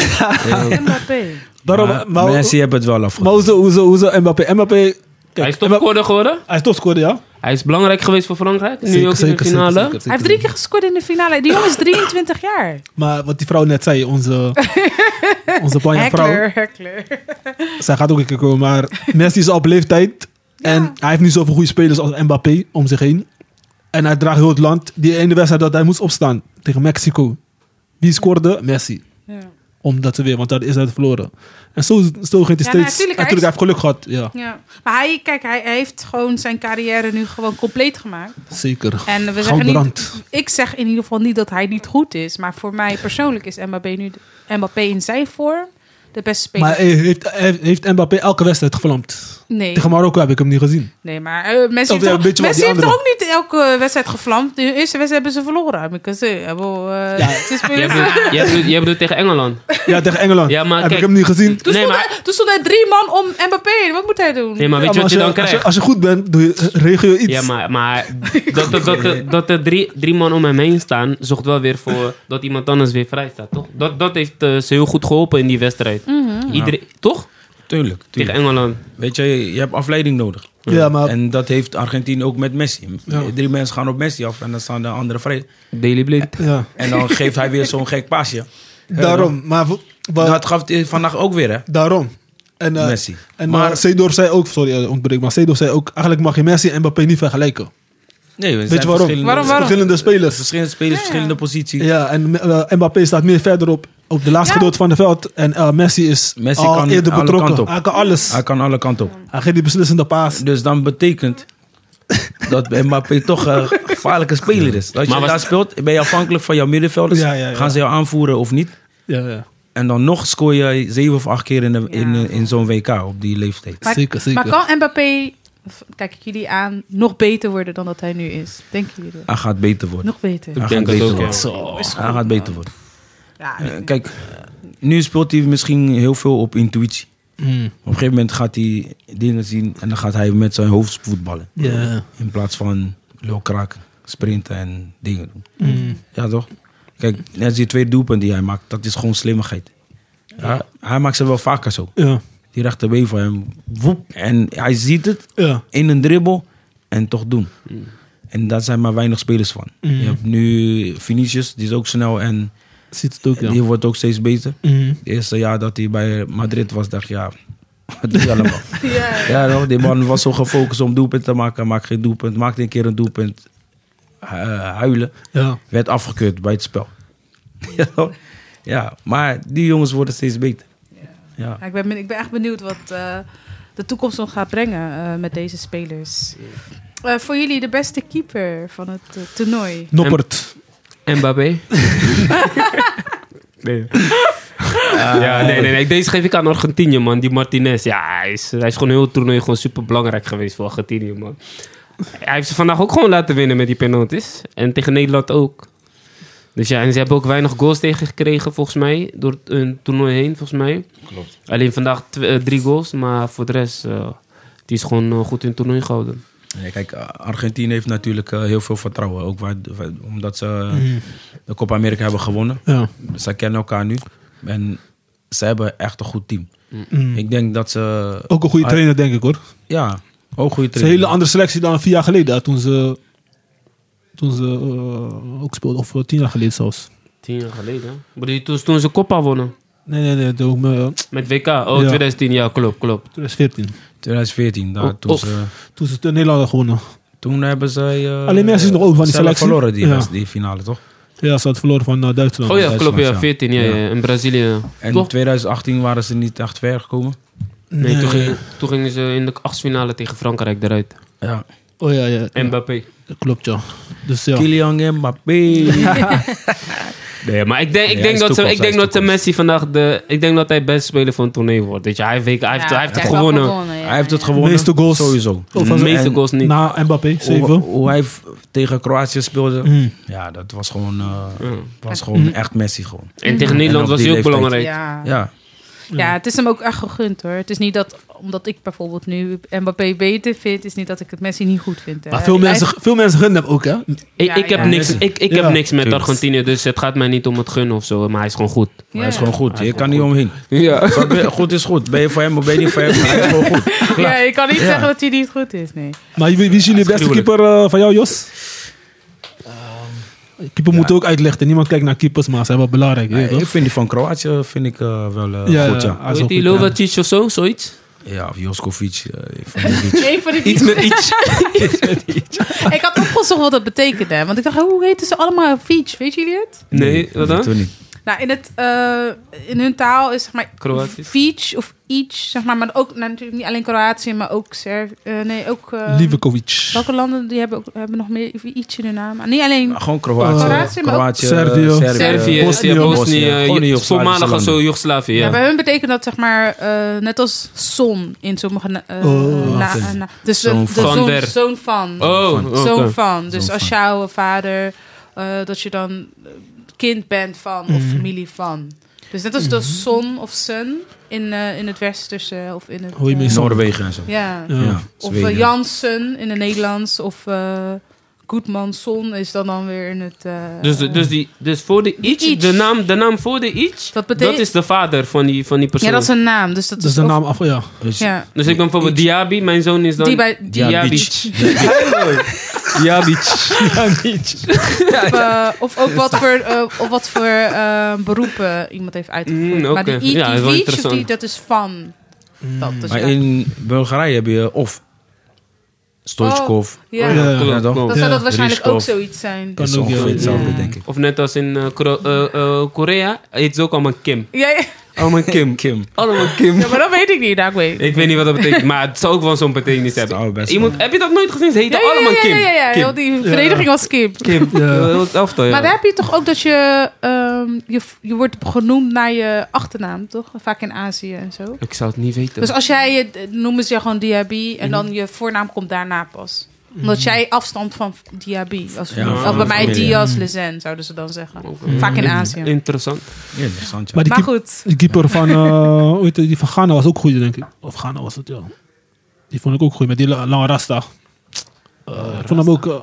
Speaker 2: Mbappé.
Speaker 3: Oh. Daarom,
Speaker 5: Maar
Speaker 3: maar-
Speaker 5: Messi heeft het wel afgemaakt.
Speaker 3: Maar hoezo, hoezo, hoezo Mbappé? Mbappé...
Speaker 4: Hij is
Speaker 3: Mbappé-
Speaker 4: topscorer geworden.
Speaker 3: Hij is topscorer, ja?
Speaker 4: Hij is belangrijk geweest voor Frankrijk. Nu ook in de finale.
Speaker 2: Hij heeft drie keer gescoord in de finale. Die jongen is 23 jaar.
Speaker 3: Maar wat die vrouw net
Speaker 2: <laughs>
Speaker 3: zei, onze, onze Spanje vrouw,
Speaker 2: Heckler, heckler.
Speaker 3: zij gaat ook een keer komen. Maar Messi is al op leeftijd en hij heeft niet zoveel goede spelers als Mbappé om zich heen. En hij draagt heel het land. Die ene wedstrijd dat hij moest opstaan tegen Mexico. Wie scoorde? Messi.
Speaker 2: Ja.
Speaker 3: Omdat ze weer, want dat is hij verloren. En zo, zo ging hij
Speaker 2: Ja, natuurlijk,
Speaker 3: steeds.
Speaker 2: hij
Speaker 3: en natuurlijk, hij heeft geluk gehad. Ja,
Speaker 2: Ja. Maar hij, kijk, hij hij heeft gewoon zijn carrière nu gewoon compleet gemaakt.
Speaker 3: zeker.
Speaker 2: En we zeggen
Speaker 3: Goudbrand.
Speaker 2: niet, ik zeg in ieder geval niet dat hij niet goed is. Maar voor mij persoonlijk is Mbappé nu Mbappé in zijn vorm de beste speler.
Speaker 3: Maar heeft, heeft, heeft Mbappé elke wedstrijd gevlamd?
Speaker 2: nee,
Speaker 3: Tegen Marokko heb ik hem niet gezien.
Speaker 2: nee, maar eh Messi,
Speaker 3: Of
Speaker 2: heeft,
Speaker 3: ja,
Speaker 2: ook,
Speaker 3: een beetje wat
Speaker 2: Messi
Speaker 3: die
Speaker 2: heeft
Speaker 3: anderen.
Speaker 2: ook niet elke eh, wedstrijd gevlamd. De eerste wedstrijd hebben ze verloren. Because, eh, hebben we, eh,
Speaker 3: Ja.
Speaker 4: <laughs>
Speaker 2: ze
Speaker 4: Jij
Speaker 2: spelen-
Speaker 4: bedoelt, jij bedoelt- jij bedoelt tegen Engeland.
Speaker 3: Ja, tegen Engeland.
Speaker 4: <laughs> Ja, maar
Speaker 3: heb
Speaker 4: kijk-
Speaker 3: ik hem niet gezien.
Speaker 2: Toen,
Speaker 4: Nee,
Speaker 2: stond
Speaker 4: maar-
Speaker 2: hij, toen stonden er drie man om Mbappé. Wat moet hij doen?
Speaker 4: Nee, maar weet je
Speaker 3: Ja,
Speaker 4: wat
Speaker 3: maar als
Speaker 4: je dan
Speaker 3: als
Speaker 4: krijgt?
Speaker 3: Als je goed bent, doe je, regel je iets.
Speaker 4: Ja, maar, maar
Speaker 3: <laughs>
Speaker 4: dat, dat, dat, dat, dat er drie, drie man om hem heen staan, zorgt wel weer voor dat iemand anders weer vrij staat, toch? Dat, dat heeft eh, ze heel goed geholpen in die wedstrijd. Iedereen, Toch?
Speaker 5: Tuurlijk,
Speaker 4: Tegen
Speaker 5: tuurlijk.
Speaker 4: Engeland.
Speaker 5: Weet je, je hebt afleiding nodig.
Speaker 3: Ja, maar-
Speaker 5: En dat heeft Argentinië ook met Messi.
Speaker 3: Ja.
Speaker 5: Drie mensen gaan op Messi af en dan staan de anderen vrij.
Speaker 4: Daily Blind.
Speaker 3: Ja, <laughs>
Speaker 5: En dan geeft hij weer zo'n gek pasje.
Speaker 3: daarom. Maar, vo- wa-
Speaker 5: Dat gaf hij vandaag ook weer, hè?
Speaker 3: daarom. En, eh,
Speaker 5: Messi.
Speaker 3: En
Speaker 5: Maar-
Speaker 3: maar Seedorf zei ook, sorry, eh, ontbreek, maar Seedorf zei ook, eigenlijk mag je Messi en Mbappé niet vergelijken.
Speaker 5: Nee,
Speaker 3: Weet je waarom?
Speaker 5: Verschillende,
Speaker 2: Waarom, waarom?
Speaker 3: Verschillende spelers.
Speaker 5: verschillende spelers, verschillende posities.
Speaker 3: Ja, en eh, Mbappé staat meer verderop op de laatste
Speaker 2: Ja.
Speaker 3: gedeelte van het veld. En eh, Messi is
Speaker 5: Messi
Speaker 3: al
Speaker 5: kan
Speaker 3: eerder
Speaker 5: alle
Speaker 3: betrokken.
Speaker 5: kanten op.
Speaker 3: Hij kan alles.
Speaker 5: Hij kan alle kanten op.
Speaker 3: Hij geeft die beslissende paas.
Speaker 5: Dus dan betekent dat Mbappé toch een gevaarlijke speler is. Als
Speaker 4: Maar
Speaker 5: je
Speaker 4: was-
Speaker 5: daar speelt, ben je afhankelijk van jouw middenvelders.
Speaker 3: Ja, ja, ja.
Speaker 5: Gaan ze jou aanvoeren of niet?
Speaker 3: Ja, ja.
Speaker 5: En dan nog scoor je zeven of acht keer in, de- in, eh,
Speaker 2: Ja.
Speaker 5: in zo'n WK op die leeftijd.
Speaker 2: Maar,
Speaker 3: Zeker, zeker.
Speaker 2: maar kan Mbappé, v- kijk ik jullie aan, nog beter worden dan dat hij nu is? Denken jullie? dat?
Speaker 5: Hij gaat beter worden.
Speaker 2: Nog beter.
Speaker 5: Hij
Speaker 4: Ik
Speaker 5: gaat
Speaker 4: denk het
Speaker 5: beter
Speaker 4: ook, ja.
Speaker 5: worden. Hij gaat beter worden.
Speaker 2: Ja,
Speaker 5: Eh, Kijk, nu speelt hij misschien heel veel op intuïtie.
Speaker 3: Mm.
Speaker 5: Op een gegeven moment gaat hij dingen zien en dan gaat hij met zijn hoofd voetballen.
Speaker 3: Ja.
Speaker 5: In plaats van lulkraak, sprinten en dingen doen.
Speaker 3: Mm.
Speaker 5: Ja, toch? Kijk, net als die twee doelpunten die hij maakt, dat is gewoon slimmigheid. Ja, hij maakt ze wel vaker zo.
Speaker 3: Ja.
Speaker 5: Die rechterbeen van hem, woep. En hij ziet het
Speaker 3: Ja.
Speaker 5: in een dribbel en toch doen.
Speaker 3: Mm.
Speaker 5: En daar zijn maar weinig spelers van. Je hebt nu Vinicius, die is ook snel en
Speaker 3: ziet het ook, ja.
Speaker 5: Die wordt ook steeds beter.
Speaker 3: Mhm.
Speaker 5: Het eerste jaar dat hij bij Madrid was, dacht ik, ja, <laughs> wat doe je allemaal?
Speaker 2: eh,
Speaker 5: ja, toch? die man was zo gefocust om doelpunt te maken. Hij maakte geen doelpunt, maakte een keer een doelpunt. Eh, huilen,
Speaker 3: ja.
Speaker 5: werd afgekeurd bij het spel. <laughs> Ja, toch? ja, maar die jongens worden steeds beter. Ja.
Speaker 2: Ja, ik, ben, ben- ik ben echt benieuwd wat eh, de toekomst nog gaat brengen eh, met deze spelers. Eh, voor jullie de beste keeper van het eh, toernooi.
Speaker 3: Noppert.
Speaker 4: Mbappé? <laughs> nee. ja, nee, nee, nee. Deze geef ik aan Argentinië, man. Die Martinez. Ja, hij is, hij is gewoon heel het toernooi gewoon super belangrijk geweest voor Argentinië, man. Hij heeft ze vandaag ook gewoon laten winnen met die penalties. En tegen Nederland ook. Dus ja, en ze hebben ook weinig goals tegengekregen, volgens mij. Door een toernooi heen, volgens mij.
Speaker 6: Klopt.
Speaker 4: Alleen vandaag tw- eh, drie goals, maar voor de rest... eh die is gewoon eh, goed in het toernooi gehouden.
Speaker 5: Ja, kijk, eh, Argentinië heeft natuurlijk eh, heel veel vertrouwen. Ook waar, waar- omdat ze eh, de Copa America hebben gewonnen.
Speaker 3: Ja.
Speaker 5: Ze kennen elkaar nu. En ze hebben echt een goed team.
Speaker 3: Mm.
Speaker 5: Ik denk dat ze...
Speaker 3: Ook een goede trainer, denk ik hoor. Het
Speaker 5: Ja, ook goede
Speaker 3: is een
Speaker 5: trainer.
Speaker 3: hele andere selectie dan vier jaar geleden, hè, toen ze, toen ze eh, ook speelden. Of eh, tien jaar geleden zelfs.
Speaker 4: Tien jaar geleden. Bedoel je toen, toen ze Copa wonnen?
Speaker 3: Nee, nee, nee. Toen, eh,
Speaker 4: Met WK? Oh,
Speaker 3: Ja.
Speaker 4: 2010. Ja, klopt, klopt.
Speaker 3: 2014.
Speaker 5: 2014, daar,
Speaker 4: Oh,
Speaker 5: toen,
Speaker 4: oh.
Speaker 5: Ze,
Speaker 3: Toen ze de Nederland hadden gewonnen.
Speaker 5: toen hebben ze... eh,
Speaker 3: Alleen Messi is nog ook van die
Speaker 5: zelf
Speaker 3: selectie.
Speaker 5: verloren die,
Speaker 3: Ja.
Speaker 5: rest- die finale, toch?
Speaker 3: Ja, ze had verloren van eh, Duitsland.
Speaker 4: Oh ja,
Speaker 5: Duitsland,
Speaker 4: klopt, ja,
Speaker 5: ja.
Speaker 4: 14, ja, ja. in Brazilië.
Speaker 5: En in
Speaker 4: Toch?
Speaker 5: 2018 waren ze niet echt ver gekomen.
Speaker 4: Nee, Toen, gingen, toen gingen ze in de achtfinale tegen Frankrijk eruit.
Speaker 5: Ja.
Speaker 3: Oh ja, ja.
Speaker 4: Mbappé.
Speaker 3: Klopt, ja. Dus ja.
Speaker 5: Kylian
Speaker 3: <laughs>
Speaker 5: Mbappé.
Speaker 4: Nee, maar ik denk, ik
Speaker 5: hij
Speaker 4: denk
Speaker 5: is
Speaker 4: dat, ze,
Speaker 5: toekomst,
Speaker 4: ik denk
Speaker 5: hij is
Speaker 4: dat de Messi vandaag de... Ik denk dat hij best speler van het toernoei wordt. Weet je, hij heeft, hij heeft, hij heeft het gewonnen.
Speaker 2: ja,
Speaker 5: Hij heeft het
Speaker 2: ja.
Speaker 5: gewonnen.
Speaker 3: Meeste goals.
Speaker 5: Sowieso.
Speaker 3: Of
Speaker 4: De
Speaker 3: als-
Speaker 4: meeste
Speaker 5: En
Speaker 4: goals niet.
Speaker 3: Na Mbappé,
Speaker 5: Hoe,
Speaker 3: 7.
Speaker 5: hoe hij v- tegen Kroatië speelde.
Speaker 3: Mm.
Speaker 5: Ja, dat was gewoon, eh,
Speaker 4: Ja.
Speaker 5: was gewoon echt Messi gewoon.
Speaker 4: En tegen Nederland
Speaker 5: op
Speaker 4: was
Speaker 5: die
Speaker 4: hij ook
Speaker 5: leeftijd.
Speaker 4: belangrijk.
Speaker 2: Ja. Ja.
Speaker 5: Ja,
Speaker 2: het is hem ook echt gegund hoor. Het is niet dat, omdat ik bijvoorbeeld nu Mbappé beter vind, is niet dat ik het Messi niet goed vind. hè.
Speaker 3: Maar veel
Speaker 2: Hij-
Speaker 3: mensen, veel mensen gunnen hem ook, hè?
Speaker 4: Ik,
Speaker 2: Ja,
Speaker 4: ik, heb
Speaker 2: ja.
Speaker 4: niks, ik, ik
Speaker 3: Ja.
Speaker 4: heb niks met
Speaker 5: Tuurlijk.
Speaker 4: Argentinië, dus het gaat mij niet om het gunnen of zo. Maar hij is gewoon goed.
Speaker 5: maar hij is
Speaker 2: Ja.
Speaker 5: gewoon goed. Je kan niet omheen.
Speaker 4: Ja.
Speaker 5: Snap je? Goed is goed. Ben je voor hem of ben je niet voor hem? Hij is gewoon goed.
Speaker 2: Ja, ik kan niet zeggen dat hij niet goed is, nee.
Speaker 3: Maar wie, wie is jullie beste
Speaker 5: gruwelijk.
Speaker 3: keeper eh, van jou, Jos? keeper moet ook uitleggen. Niemand kijkt naar keepers, maar ze hebben wel belangrijk. weet je
Speaker 5: Ik
Speaker 3: toch?
Speaker 5: vind die van Kroatië vind ik, eh, wel eh,
Speaker 3: Ja,
Speaker 5: goed, ja.
Speaker 3: hij is
Speaker 4: Weet
Speaker 3: wel
Speaker 4: je,
Speaker 3: goed, ja.
Speaker 4: Lovacic of zo, zoiets?
Speaker 5: Ja, of Joskovic. eh,
Speaker 4: <laughs>
Speaker 5: van Jovic.
Speaker 2: Eén van de
Speaker 4: Iets met
Speaker 2: <laughs>
Speaker 4: iets.
Speaker 2: Ik had opgezocht wat dat betekende. Want ik dacht, hoe heten ze allemaal Fiets? Weet jullie het?
Speaker 4: Nee, wat
Speaker 5: dat
Speaker 4: dan?
Speaker 5: doen we niet.
Speaker 2: Nou, in, het, eh, in hun taal is zeg maar
Speaker 4: Kroatisch.
Speaker 2: Fiets of iets, zeg maar. Maar ook, nou, natuurlijk niet alleen Kroatië, maar ook Serv... eh, nee, ook... eh,
Speaker 3: Livakovic.
Speaker 2: Welke landen die hebben, ook, hebben nog meer iets in hun naam? Ah, Niet alleen...
Speaker 5: Maar Gewoon Kroatië.
Speaker 3: Eh,
Speaker 5: Kroatië,
Speaker 2: Kroatië, maar ook-
Speaker 5: eh,
Speaker 3: Servië.
Speaker 4: Servië, eh,
Speaker 3: Bosnië,
Speaker 4: Bosnië,
Speaker 5: Bosnië, gewoon die
Speaker 4: Bosnië,
Speaker 5: Joegoslavische
Speaker 4: voormalig
Speaker 5: landen.
Speaker 4: zo Joegoslavië.
Speaker 2: Ja,
Speaker 4: Ja.
Speaker 2: bij hun betekent dat zeg maar eh, net als zon in sommige... na- eh,
Speaker 3: Oh,
Speaker 2: na-
Speaker 5: oké.
Speaker 2: na- dus de,
Speaker 5: Zoon
Speaker 2: de
Speaker 5: van.
Speaker 4: Van
Speaker 2: zoon,
Speaker 4: der.
Speaker 2: zoon van.
Speaker 4: Oh,
Speaker 2: zoon
Speaker 4: oké.
Speaker 2: van. Dus
Speaker 5: Zoon
Speaker 2: als
Speaker 5: van.
Speaker 2: jouw vader, eh, dat je dan eh, kind bent van of
Speaker 3: Mhm.
Speaker 2: familie van. Dus net als de zon of sun in, eh, in het westerse of in het...
Speaker 3: Hoor je
Speaker 2: eh,
Speaker 3: me zo?
Speaker 5: Noorwegen en zo.
Speaker 2: Ja.
Speaker 3: Ja.
Speaker 5: Ja,
Speaker 2: Of
Speaker 5: Zweden.
Speaker 2: eh, Jansen in het Nederlands. Of eh Goedmanson is dan dan weer in het... eh,
Speaker 4: Dus, de- dus, die, dus voor de iets,
Speaker 2: iets.
Speaker 4: de naam, de naam voor de iets,
Speaker 2: Dat
Speaker 4: dat,
Speaker 2: betekent-
Speaker 4: is de vader van die, van die persoon.
Speaker 2: ja, dat is een naam. Dus dat,
Speaker 3: Dat is de
Speaker 2: of-
Speaker 3: naam af, ja.
Speaker 5: Dus-
Speaker 2: Ja.
Speaker 4: Dus ik ben bijvoorbeeld Diaby, mijn zoon is dan...
Speaker 2: Die bij
Speaker 4: Diabic.
Speaker 2: Of, eh, of ook wat voor, eh, of wat voor eh, beroepen iemand heeft uitgevoerd.
Speaker 4: Mm,
Speaker 2: Maar E die,
Speaker 4: oké.
Speaker 2: i- die,
Speaker 4: Ja, dat is wel
Speaker 2: beach,
Speaker 4: interessant.
Speaker 2: die, dat is van. Dat, dus
Speaker 5: Maar
Speaker 2: ja.
Speaker 5: in Bulgarije heb je of Stoichkov.
Speaker 2: Ja.
Speaker 3: Ja.
Speaker 5: Ja, toch?
Speaker 2: Dat
Speaker 4: Oh, klopt.
Speaker 2: zou
Speaker 3: Ja.
Speaker 2: dat waarschijnlijk
Speaker 5: Rishkov.
Speaker 2: ook zoiets zijn.
Speaker 3: Kan
Speaker 5: is
Speaker 3: ook,
Speaker 5: ongeveer
Speaker 3: ja.
Speaker 5: hetzelfde,
Speaker 2: Ja.
Speaker 5: denk ik.
Speaker 4: Of net als in eh, Kro- eh, eh, Korea, heet ze ook allemaal Kim.
Speaker 2: Ja, ja.
Speaker 4: Allemaal Oh, Kim.
Speaker 5: <laughs> Kim.
Speaker 4: Allemaal Kim.
Speaker 2: Ja, maar dat weet ik niet. Nou, ik weet.
Speaker 4: <laughs> Ik weet niet wat dat betekent, maar het zou ook wel zo'n betekenis
Speaker 5: zou
Speaker 4: hebben.
Speaker 5: best
Speaker 4: Iemand, heb je dat nooit gezien? Ze heten
Speaker 2: Ja, ja,
Speaker 4: allemaal
Speaker 2: ja,
Speaker 4: Kim.
Speaker 2: Ja, ja, ja.
Speaker 4: Kim.
Speaker 2: Heel die vereniging was Kim.
Speaker 4: Kim.
Speaker 3: Ja.
Speaker 4: Eh, heel het elftal, ja.
Speaker 2: Maar daar heb je toch ook dat je, ehm, je, je wordt genoemd naar je achternaam, toch? Vaak in Azië en zo.
Speaker 4: Ik zou het niet weten.
Speaker 2: Dus als jij, je, noemen ze je gewoon Diaby
Speaker 5: Mhm.
Speaker 2: en dan je voornaam komt daarna pas. Omdat jij afstand van Diaby. Als,
Speaker 5: Ja,
Speaker 2: of
Speaker 5: van
Speaker 2: bij
Speaker 5: de
Speaker 2: mij
Speaker 5: familie, Mhm.
Speaker 2: Diaz Lezen, zouden ze dan zeggen. Vaak in Azië.
Speaker 4: Interessant.
Speaker 5: Ja, interessant, ja.
Speaker 3: Maar die,
Speaker 2: maar
Speaker 3: keep-
Speaker 2: goed.
Speaker 3: die keeper van, eh, hoe heet het, die van Ghana was ook goed, denk ik. Of Ghana was het, ja. Die vond ik ook goed, met die la- lange rasta. Eh, ik vond hem ook... eh,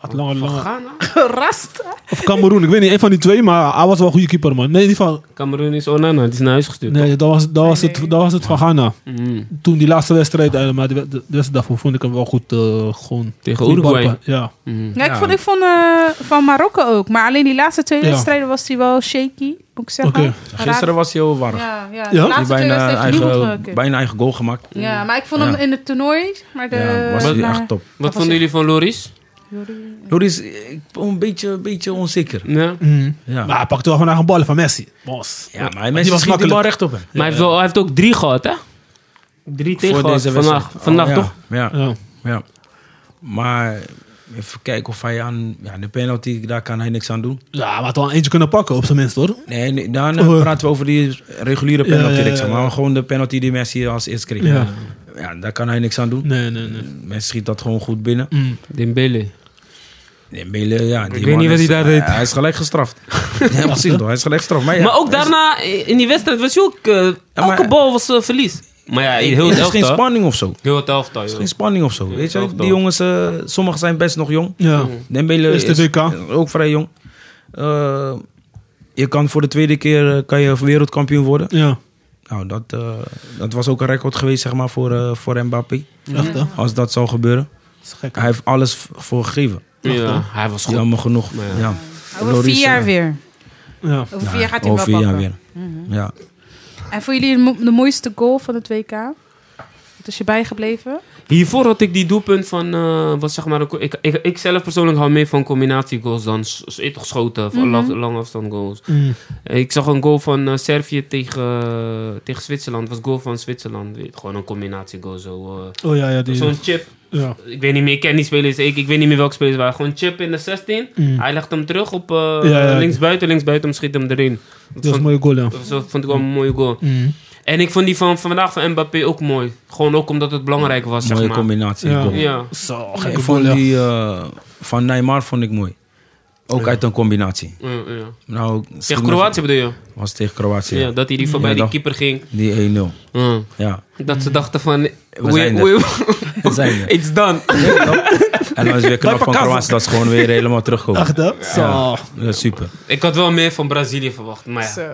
Speaker 3: Had langer, langer.
Speaker 4: Ghana?
Speaker 2: <laughs> Rast.
Speaker 3: Of Cameroen, ik weet niet, een van die twee, maar hij was wel een goede keeper, man. Nee, die van.
Speaker 4: Cameroen is Onana, die is naar huis gestuurd.
Speaker 3: Nee, dat was, dat was, het, dat was het van Ghana.
Speaker 4: toch? Mm.
Speaker 3: Toen die laatste wedstrijd, eh, maar de wed- de wedstrijd daarvoor vond ik hem wel goed. eh, gewoon
Speaker 4: Tegen
Speaker 3: goed
Speaker 4: Uruguay.
Speaker 3: balpen. Ja.
Speaker 5: Mhm.
Speaker 4: Mm.
Speaker 2: Ja, ik vond, ik vond eh, van Marokko ook. Maar alleen die laatste twee
Speaker 3: Ja.
Speaker 2: wedstrijden was hij wel shaky, moet ik zeggen.
Speaker 3: Oké.
Speaker 2: Raar-
Speaker 5: Gisteren was hij heel warm.
Speaker 2: Ja, ja, de
Speaker 3: Ja?
Speaker 5: Hij
Speaker 2: laatste twee
Speaker 5: bijna
Speaker 2: wedstrijden heeft hij niet goed
Speaker 5: eigen,
Speaker 2: gelukt.
Speaker 5: bijna eigen goal gemaakt.
Speaker 2: Ja, maar ik vond hem
Speaker 5: Ja.
Speaker 2: in het toernooi. Maar de,
Speaker 5: ja, was hij
Speaker 2: maar-
Speaker 5: echt top.
Speaker 4: Wat vonden jullie van Loris?
Speaker 5: Loris, ik ben een beetje, een beetje onzeker.
Speaker 4: Ja. Maar
Speaker 3: Mm.
Speaker 5: Ja.
Speaker 3: Maar hij pakte wel vandaag een bal van Messi. Bos.
Speaker 5: ja, maar
Speaker 3: die
Speaker 5: mensen
Speaker 3: was
Speaker 5: schiet die
Speaker 3: makkelijk.
Speaker 5: bal recht op hem.
Speaker 4: hij heeft, wel, hij heeft ook drie gehad, hè? Drie tegen gehad vandaag,
Speaker 5: wedstrijd.
Speaker 4: vandaag
Speaker 5: Oh, ja.
Speaker 4: toch?
Speaker 5: Ja,
Speaker 3: Ja.
Speaker 5: ja. Maar even kijken of hij aan... Ja, de penalty, daar kan hij niks aan doen.
Speaker 3: ja, maar had wel eentje kunnen pakken, op zijn minst hoor.
Speaker 5: Nee, nee, dan eh,
Speaker 3: Oh.
Speaker 5: praten we over die reguliere
Speaker 3: Ja,
Speaker 5: penalty,
Speaker 3: ja,
Speaker 5: ik zeg
Speaker 3: ja,
Speaker 5: maar.
Speaker 3: ja.
Speaker 5: Gewoon de penalty die Messi als eerst kreeg.
Speaker 3: Ja.
Speaker 5: Ja. daar kan hij niks aan doen.
Speaker 3: Nee, nee, nee.
Speaker 5: Messi schiet dat gewoon goed binnen.
Speaker 3: Mm.
Speaker 4: Dembele.
Speaker 5: Nee, Mele, ja, die
Speaker 4: weet
Speaker 5: man
Speaker 4: niet wat
Speaker 5: is-
Speaker 4: hij daar deed.
Speaker 5: Hij is gelijk gestraft. ja, precies, toch? hij is gelijk gestraft. Maar, ja,
Speaker 4: maar ook
Speaker 5: hij is-
Speaker 4: daarna, eh, in die wedstrijd, was je ook... eh, elke
Speaker 5: maar-
Speaker 4: bal was eh, verlies. Maar ja, heel
Speaker 5: Er
Speaker 4: het
Speaker 5: is geen
Speaker 4: elftal.
Speaker 5: spanning of zo.
Speaker 4: Heel het elftal, joh.
Speaker 5: Geen spanning of zo. Weet je,
Speaker 4: elftal.
Speaker 5: die jongens, eh, sommigen zijn best nog jong.
Speaker 3: Ja.
Speaker 5: Dembele is,
Speaker 3: Eerste WK.
Speaker 5: ook vrij jong. Eh, je kan voor de tweede keer eh, kan je wereldkampioen worden.
Speaker 3: Ja.
Speaker 5: Nou, dat, eh, dat was ook een record geweest zeg maar, voor, eh, voor Mbappé.
Speaker 3: Echt hè?
Speaker 5: Als dat zou gebeuren.
Speaker 3: is gek.
Speaker 5: Hij heeft alles v- voor gegeven.
Speaker 4: Ja, hij was goed.
Speaker 5: Jammer genoeg.
Speaker 4: Maar
Speaker 5: Ja.
Speaker 4: ja.
Speaker 2: Over vier
Speaker 5: Loris,
Speaker 2: jaar
Speaker 5: eh,
Speaker 2: weer.
Speaker 3: Ja.
Speaker 2: Over vier jaar gaat hij
Speaker 5: Over vier
Speaker 2: wel
Speaker 5: jaar
Speaker 2: pakken. Mhm.
Speaker 5: weer. Ja.
Speaker 2: En voor jullie de mo- de mooiste goal van het WK? Wat is je bijgebleven?
Speaker 4: Hiervoor had ik die doelpunt van, eh, wat zeg maar, ik, ik, ik zelf persoonlijk hou meer van combinatiegoals dan s- s- toch schoten, van lang, afstand goals.
Speaker 3: Mm.
Speaker 4: Ik zag een goal van eh, Servië tegen, eh, tegen Zwitserland, was goal van Zwitserland, weet, gewoon een combinatiegoal zo. eh.
Speaker 3: Oh ja, ja. Die,
Speaker 4: Zo'n chip,
Speaker 3: ja.
Speaker 4: ik weet niet meer, ik ken die spelers, ik, ik weet niet meer welke spelers het waren, gewoon chip in de 16,
Speaker 3: Mm.
Speaker 4: hij legt hem terug op eh,
Speaker 3: ja.
Speaker 4: linksbuiten, linksbuiten, hem schiet hem erin. Dat
Speaker 3: Dat was een
Speaker 4: vond,
Speaker 3: mooie goal, ja.
Speaker 4: dat vond ik wel een mooie goal.
Speaker 3: Mm.
Speaker 4: En ik vond die van vandaag van Mbappé ook mooi, gewoon ook omdat het belangrijk was,
Speaker 5: Mooie
Speaker 4: zeg maar.
Speaker 5: combinatie.
Speaker 3: Ja.
Speaker 5: goal.
Speaker 4: Ja.
Speaker 3: Zo,
Speaker 5: Ik
Speaker 3: gekke goal,
Speaker 5: vond
Speaker 3: ja.
Speaker 5: die eh, van Neymar vond ik mooi. Ook uit een combinatie.
Speaker 4: Ja, ja.
Speaker 5: Nou,
Speaker 4: Tegen Kroatië bedoel je?
Speaker 5: Was tegen Kroatië.
Speaker 4: Ja, dat hij die voorbij
Speaker 5: Ja,
Speaker 4: die
Speaker 5: dat-
Speaker 4: keeper ging.
Speaker 5: Die 1-0.
Speaker 4: <laughs>
Speaker 5: Ja.
Speaker 4: Dat ze dachten van... We
Speaker 5: zijn er. Dat zijn we.
Speaker 4: <laughs> it's done.
Speaker 5: En dan is weer knap van
Speaker 3: Pakazo.
Speaker 5: Kroatië dat ze gewoon weer helemaal terugkomen.
Speaker 3: Echt hè? Zo.
Speaker 5: Ja. Ja, super.
Speaker 4: Ik had wel meer van Brazilië verwacht. Maar, ja.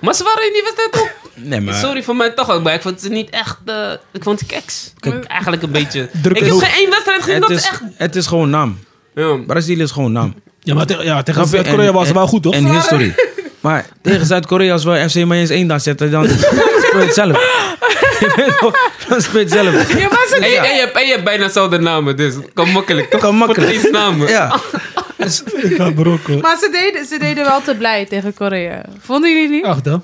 Speaker 4: maar ze waren in die wedstrijd ook...
Speaker 5: Nee, <laughs> maar
Speaker 4: Sorry voor mij toch ook, maar ik vond ze niet echt... eh, ik vond ze keks. Eigenlijk een
Speaker 5: <laughs>
Speaker 4: beetje...
Speaker 3: Druk
Speaker 4: ik
Speaker 3: is
Speaker 4: heb
Speaker 3: hoog.
Speaker 4: geen één wedstrijd gezien
Speaker 5: het
Speaker 4: dat ze
Speaker 5: is,
Speaker 4: echt...
Speaker 5: het is gewoon naam.
Speaker 4: Ja.
Speaker 5: Brazilië is gewoon naam.
Speaker 3: Ja, maar te- ja, tegen
Speaker 5: Dat-
Speaker 3: Zuid-Korea
Speaker 5: en-
Speaker 3: was het wel
Speaker 5: en-
Speaker 3: goed, toch?
Speaker 5: En history. Maar tegen Zuid-Korea, als we FC Mayens 1 daar
Speaker 2: <laughs>
Speaker 5: zetten, dan speelt het zelf. Je weet toch? dan speelt het zelf.
Speaker 2: Ja, maar
Speaker 4: En, je- en je, hebt- en je hebt bijna dezelfde namen, dus kan makkelijk toch?
Speaker 5: Kan makkelijk.
Speaker 4: Portugese namen.
Speaker 5: Ja.
Speaker 3: <laughs> Ik ga brokken.
Speaker 2: Maar ze deden, ze deden wel te blij tegen Korea. Vonden jullie niet?
Speaker 3: Echt hè?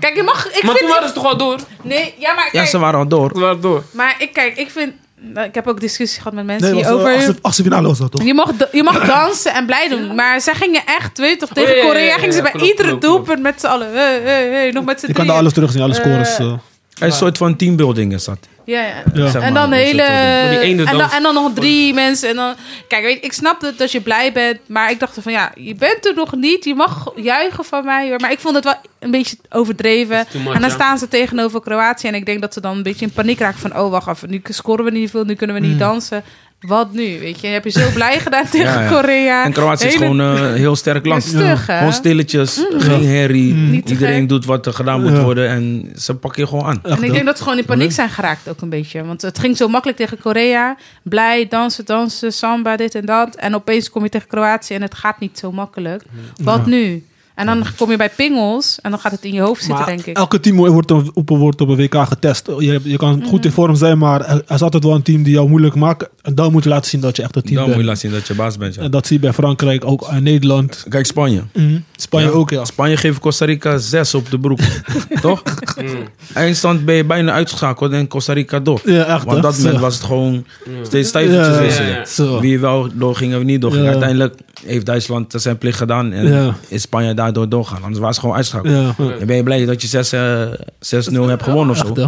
Speaker 2: Kijk, je mag... Ik
Speaker 4: Maar toen
Speaker 2: vind,
Speaker 4: waren ze toch wel door?
Speaker 2: nee, ja, maar
Speaker 5: ja,
Speaker 2: kijk,
Speaker 5: ze waren al door.
Speaker 4: Ze waren door.
Speaker 2: Maar ik, kijk, ik vind... nou, Ik heb ook discussies gehad met mensen
Speaker 3: Nee, was,
Speaker 2: hierover.
Speaker 3: eh, achtste- achtste finale was dat, toch?
Speaker 2: Je mag, da- je mag dansen en blij doen, maar zij gingen echt, weet je toch, tegen
Speaker 4: Oh, ja, ja, ja,
Speaker 2: Korea
Speaker 4: ja,
Speaker 2: gingen ze
Speaker 4: ja,
Speaker 2: bij
Speaker 4: klopt,
Speaker 2: iedere
Speaker 4: klopt,
Speaker 2: doelpunt met z'n allen. Hey, hey, hey, nog met z'n
Speaker 3: Je kan
Speaker 2: drieën.
Speaker 3: daar alles terugzien, alle
Speaker 2: Eh,
Speaker 3: scores. eh.
Speaker 5: Het is een soort van teambuilding is dat.
Speaker 2: Ja, ja.
Speaker 3: Ja.
Speaker 5: Zeg
Speaker 2: En
Speaker 5: maar,
Speaker 2: dan
Speaker 5: hoe ze
Speaker 2: hele...
Speaker 5: het zo doen.
Speaker 4: Voor die ene
Speaker 2: en, dan,
Speaker 4: dans.
Speaker 2: en dan nog drie mensen. En dan, kijk, weet, je, ik snap dat, dat je blij bent. Maar ik dacht van, ja, je bent er nog niet. Je mag juichen van mij. hoor. Maar ik vond het wel een beetje overdreven.
Speaker 4: too much,
Speaker 2: en dan
Speaker 4: ja.
Speaker 2: staan ze tegenover Kroatië. En ik denk dat ze dan een beetje in paniek raken van... Oh, wacht even. Nu scoren we niet veel. Nu kunnen we niet dansen. Wat nu, weet je? Heb je zo
Speaker 5: <laughs>
Speaker 2: blij gedaan tegen
Speaker 5: Hmm. ja.
Speaker 2: Korea.
Speaker 5: En Kroatië is
Speaker 2: Hele-
Speaker 5: gewoon eh, een heel sterk land.
Speaker 2: Ja, stug, hè? Mm.
Speaker 5: Gewoon stilletjes, geen herrie.
Speaker 2: Niet te
Speaker 5: Iedereen
Speaker 2: gek.
Speaker 5: doet wat er gedaan moet
Speaker 3: Ja.
Speaker 5: worden en ze pakken je gewoon aan.
Speaker 2: En ik denk dat ze gewoon in paniek zijn geraakt ook een beetje. Want het ging zo makkelijk tegen Korea. Blij, dansen, dansen, samba, dit en dat. En opeens kom je tegen Kroatië en het gaat niet zo makkelijk. Wat nu? En dan kom je bij pingels en dan gaat het in je hoofd zitten,
Speaker 3: Maar
Speaker 2: denk ik.
Speaker 3: elke team wordt op, op, wordt op een WK getest. Je, je kan goed
Speaker 2: Mhm.
Speaker 3: in vorm zijn, maar er er is altijd wel een team die jou moeilijk maakt. En dan moet je laten zien dat je echt een team
Speaker 5: Dan moet je
Speaker 3: bent.
Speaker 5: laten Mhm. zien dat je baas bent. ja.
Speaker 3: En dat zie je bij Frankrijk, ook aan Nederland.
Speaker 5: Kijk, Spanje.
Speaker 3: Spanje ook, ja.
Speaker 5: Spanje geeft Costa Rica zes op de broek.
Speaker 3: <laughs>
Speaker 5: Toch? Eindstand ben je bijna uitgeschakeld en Costa Rica door.
Speaker 3: Ja, echt,
Speaker 5: Want
Speaker 3: hè?
Speaker 5: op dat moment
Speaker 3: Zo.
Speaker 5: was het gewoon steeds
Speaker 3: Ja,
Speaker 5: stijvertjes
Speaker 3: ja,
Speaker 5: wisselen.
Speaker 4: ja.
Speaker 3: Zo.
Speaker 5: Wie wel doorging en wie niet doorging.
Speaker 3: Ja.
Speaker 5: Uiteindelijk heeft Duitsland zijn plicht gedaan en
Speaker 3: Ja.
Speaker 5: is Spanje daardoor doorgaan. Anders was het gewoon uitschakeld.
Speaker 3: Ja, ja.
Speaker 5: Dan ben je blij dat je zes, eh, 6-0 hebt gewonnen of
Speaker 3: Echt,
Speaker 5: zo.
Speaker 3: hè?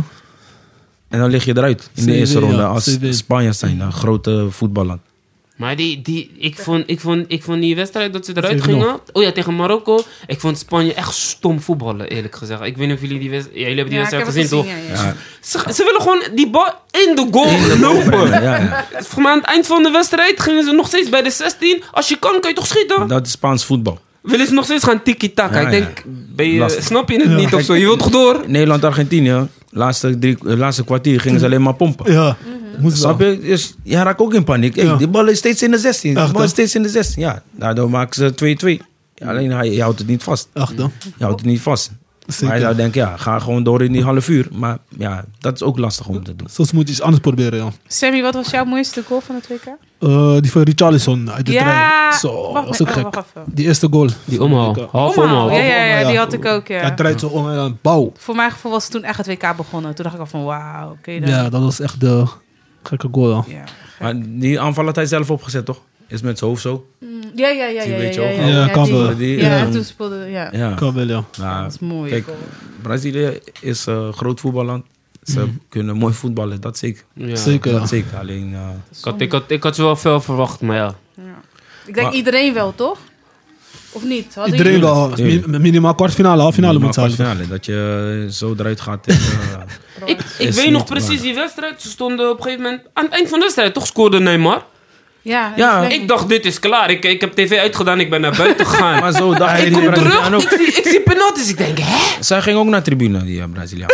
Speaker 5: En dan lig je eruit in de
Speaker 3: CD,
Speaker 5: eerste
Speaker 3: ja,
Speaker 5: ronde als
Speaker 3: CD. <laughs>
Speaker 5: Spanje zijn, een grote voetballand.
Speaker 4: Maar die, die, ik, vond, ik, vond, ik vond die wedstrijd dat ze eruit
Speaker 3: Tegen
Speaker 4: gingen. Oh ja, tegen Marokko. Ik vond Spanje echt stom voetballen, eerlijk gezegd. Ik weet niet of jullie die wedstrijd... Ja, jullie hebben die wedstrijd gezien, toch?
Speaker 2: ja, ja.
Speaker 5: Ja.
Speaker 4: Ze, ze willen gewoon die bal in de goal lopen.
Speaker 5: Ja, ja.
Speaker 4: Volgens mij aan het eind van de wedstrijd gingen ze nog steeds bij de 16. Als je kan, kan je toch schieten?
Speaker 5: Dat is Spaans voetbal.
Speaker 4: Willen ze nog steeds gaan tiki-taka?
Speaker 5: Ja,
Speaker 4: ik denk, ben je,
Speaker 5: Lastig.
Speaker 4: snap je het niet of zo? Je wilt toch door?
Speaker 5: Nederland-Argentinië, laatste, drie- eh, laatste kwartier gingen ze alleen maar pompen.
Speaker 3: Ja,
Speaker 2: Mhm.
Speaker 3: moest wel.
Speaker 5: Snap je? Dus jij raakt ook in paniek. Hey,
Speaker 3: Ja.
Speaker 5: Die bal is steeds in de 16.
Speaker 3: Echt,
Speaker 5: die bal
Speaker 3: hè?
Speaker 5: is steeds in de 16. Ja, daardoor maken ze 2-2. Ja, Alleen hij, je houdt het niet vast.
Speaker 3: Echt dan.
Speaker 5: Je houdt het niet vast. Maar
Speaker 3: Zeker.
Speaker 5: je zou denken, ja, ga gewoon door in die half uur. Maar ja, dat is ook lastig om te doen.
Speaker 3: Soms moet je iets anders proberen, ja.
Speaker 2: Sammy, wat was jouw mooiste goal van het WK?
Speaker 3: Eh, die van Richarlison uit de
Speaker 2: Ja,
Speaker 3: trein. Zo,
Speaker 2: wacht
Speaker 3: was
Speaker 2: even,
Speaker 3: ook
Speaker 2: oh,
Speaker 3: gek.
Speaker 2: wacht even.
Speaker 3: Die eerste goal.
Speaker 4: Die omhaal. Half
Speaker 2: Omhaal,
Speaker 4: omhaal.
Speaker 2: ja, ja, ja,
Speaker 3: Omhaal,
Speaker 2: die
Speaker 3: ja.
Speaker 2: had ik ook, ja.
Speaker 3: Hij draait zo om en dan bouw.
Speaker 2: Voor mijn gevoel was toen echt het WK begonnen. Toen dacht ik al van, wauw, oké dan.
Speaker 3: Ja, dat was echt de gekke goal. ja.
Speaker 2: Ja.
Speaker 5: Maar die aanval had hij zelf opgezet, toch? Is met zijn hoofd zo.
Speaker 2: Mm, Ja, ja, ja,
Speaker 5: Die
Speaker 2: ja,
Speaker 5: weet je
Speaker 2: ja,
Speaker 5: ook
Speaker 2: ja,
Speaker 5: al.
Speaker 3: Ja, kan
Speaker 2: die-
Speaker 3: wel.
Speaker 5: Die,
Speaker 2: Ja,
Speaker 5: eh,
Speaker 2: toen speelde, ja.
Speaker 5: Ja.
Speaker 3: Kan wel, ja.
Speaker 5: Nou,
Speaker 2: Dat is mooi.
Speaker 5: kijk,
Speaker 2: goal.
Speaker 5: Brazilië is een groot voetballand. Ze kunnen mooi voetballen, dat zeker.
Speaker 4: Ja.
Speaker 3: Mhm. Zeker.
Speaker 5: Dat
Speaker 3: ja.
Speaker 5: zeker. Alleen, eh,
Speaker 4: Ik had, ik, had, ik had ze wel veel verwacht, maar ja.
Speaker 2: Ik denk
Speaker 5: Maar-
Speaker 2: iedereen wel, toch? Of niet? Hadden
Speaker 3: Iedereen
Speaker 2: jullie-
Speaker 3: wel.
Speaker 5: Tuurlijk.
Speaker 3: mi- Minimaal kwartfinale, half finale
Speaker 5: maar
Speaker 3: moet zijn.
Speaker 5: kwartfinale, Dat je eh, zo eruit gaat.
Speaker 4: <laughs>
Speaker 5: en, eh,
Speaker 4: Ik, ik
Speaker 5: Is
Speaker 4: weet
Speaker 5: niet
Speaker 4: nog
Speaker 5: waar.
Speaker 4: precies die wedstrijd. Ze stonden op een gegeven moment... Aan het eind van de wedstrijd toch scoorde Neymar.
Speaker 2: Ja,
Speaker 5: Ja,
Speaker 2: dat is
Speaker 4: Ik dacht, dit is klaar. Ik, ik heb tv uitgedaan. Ik ben naar buiten gegaan.
Speaker 5: <laughs> maar zo dacht
Speaker 4: ik
Speaker 5: die
Speaker 4: kom
Speaker 5: Braziliaan
Speaker 4: terug. Ik zie, ik zie penalties. Ik denk, hè?
Speaker 5: Zij ging ook naar tribune, die eh, Braziliaan.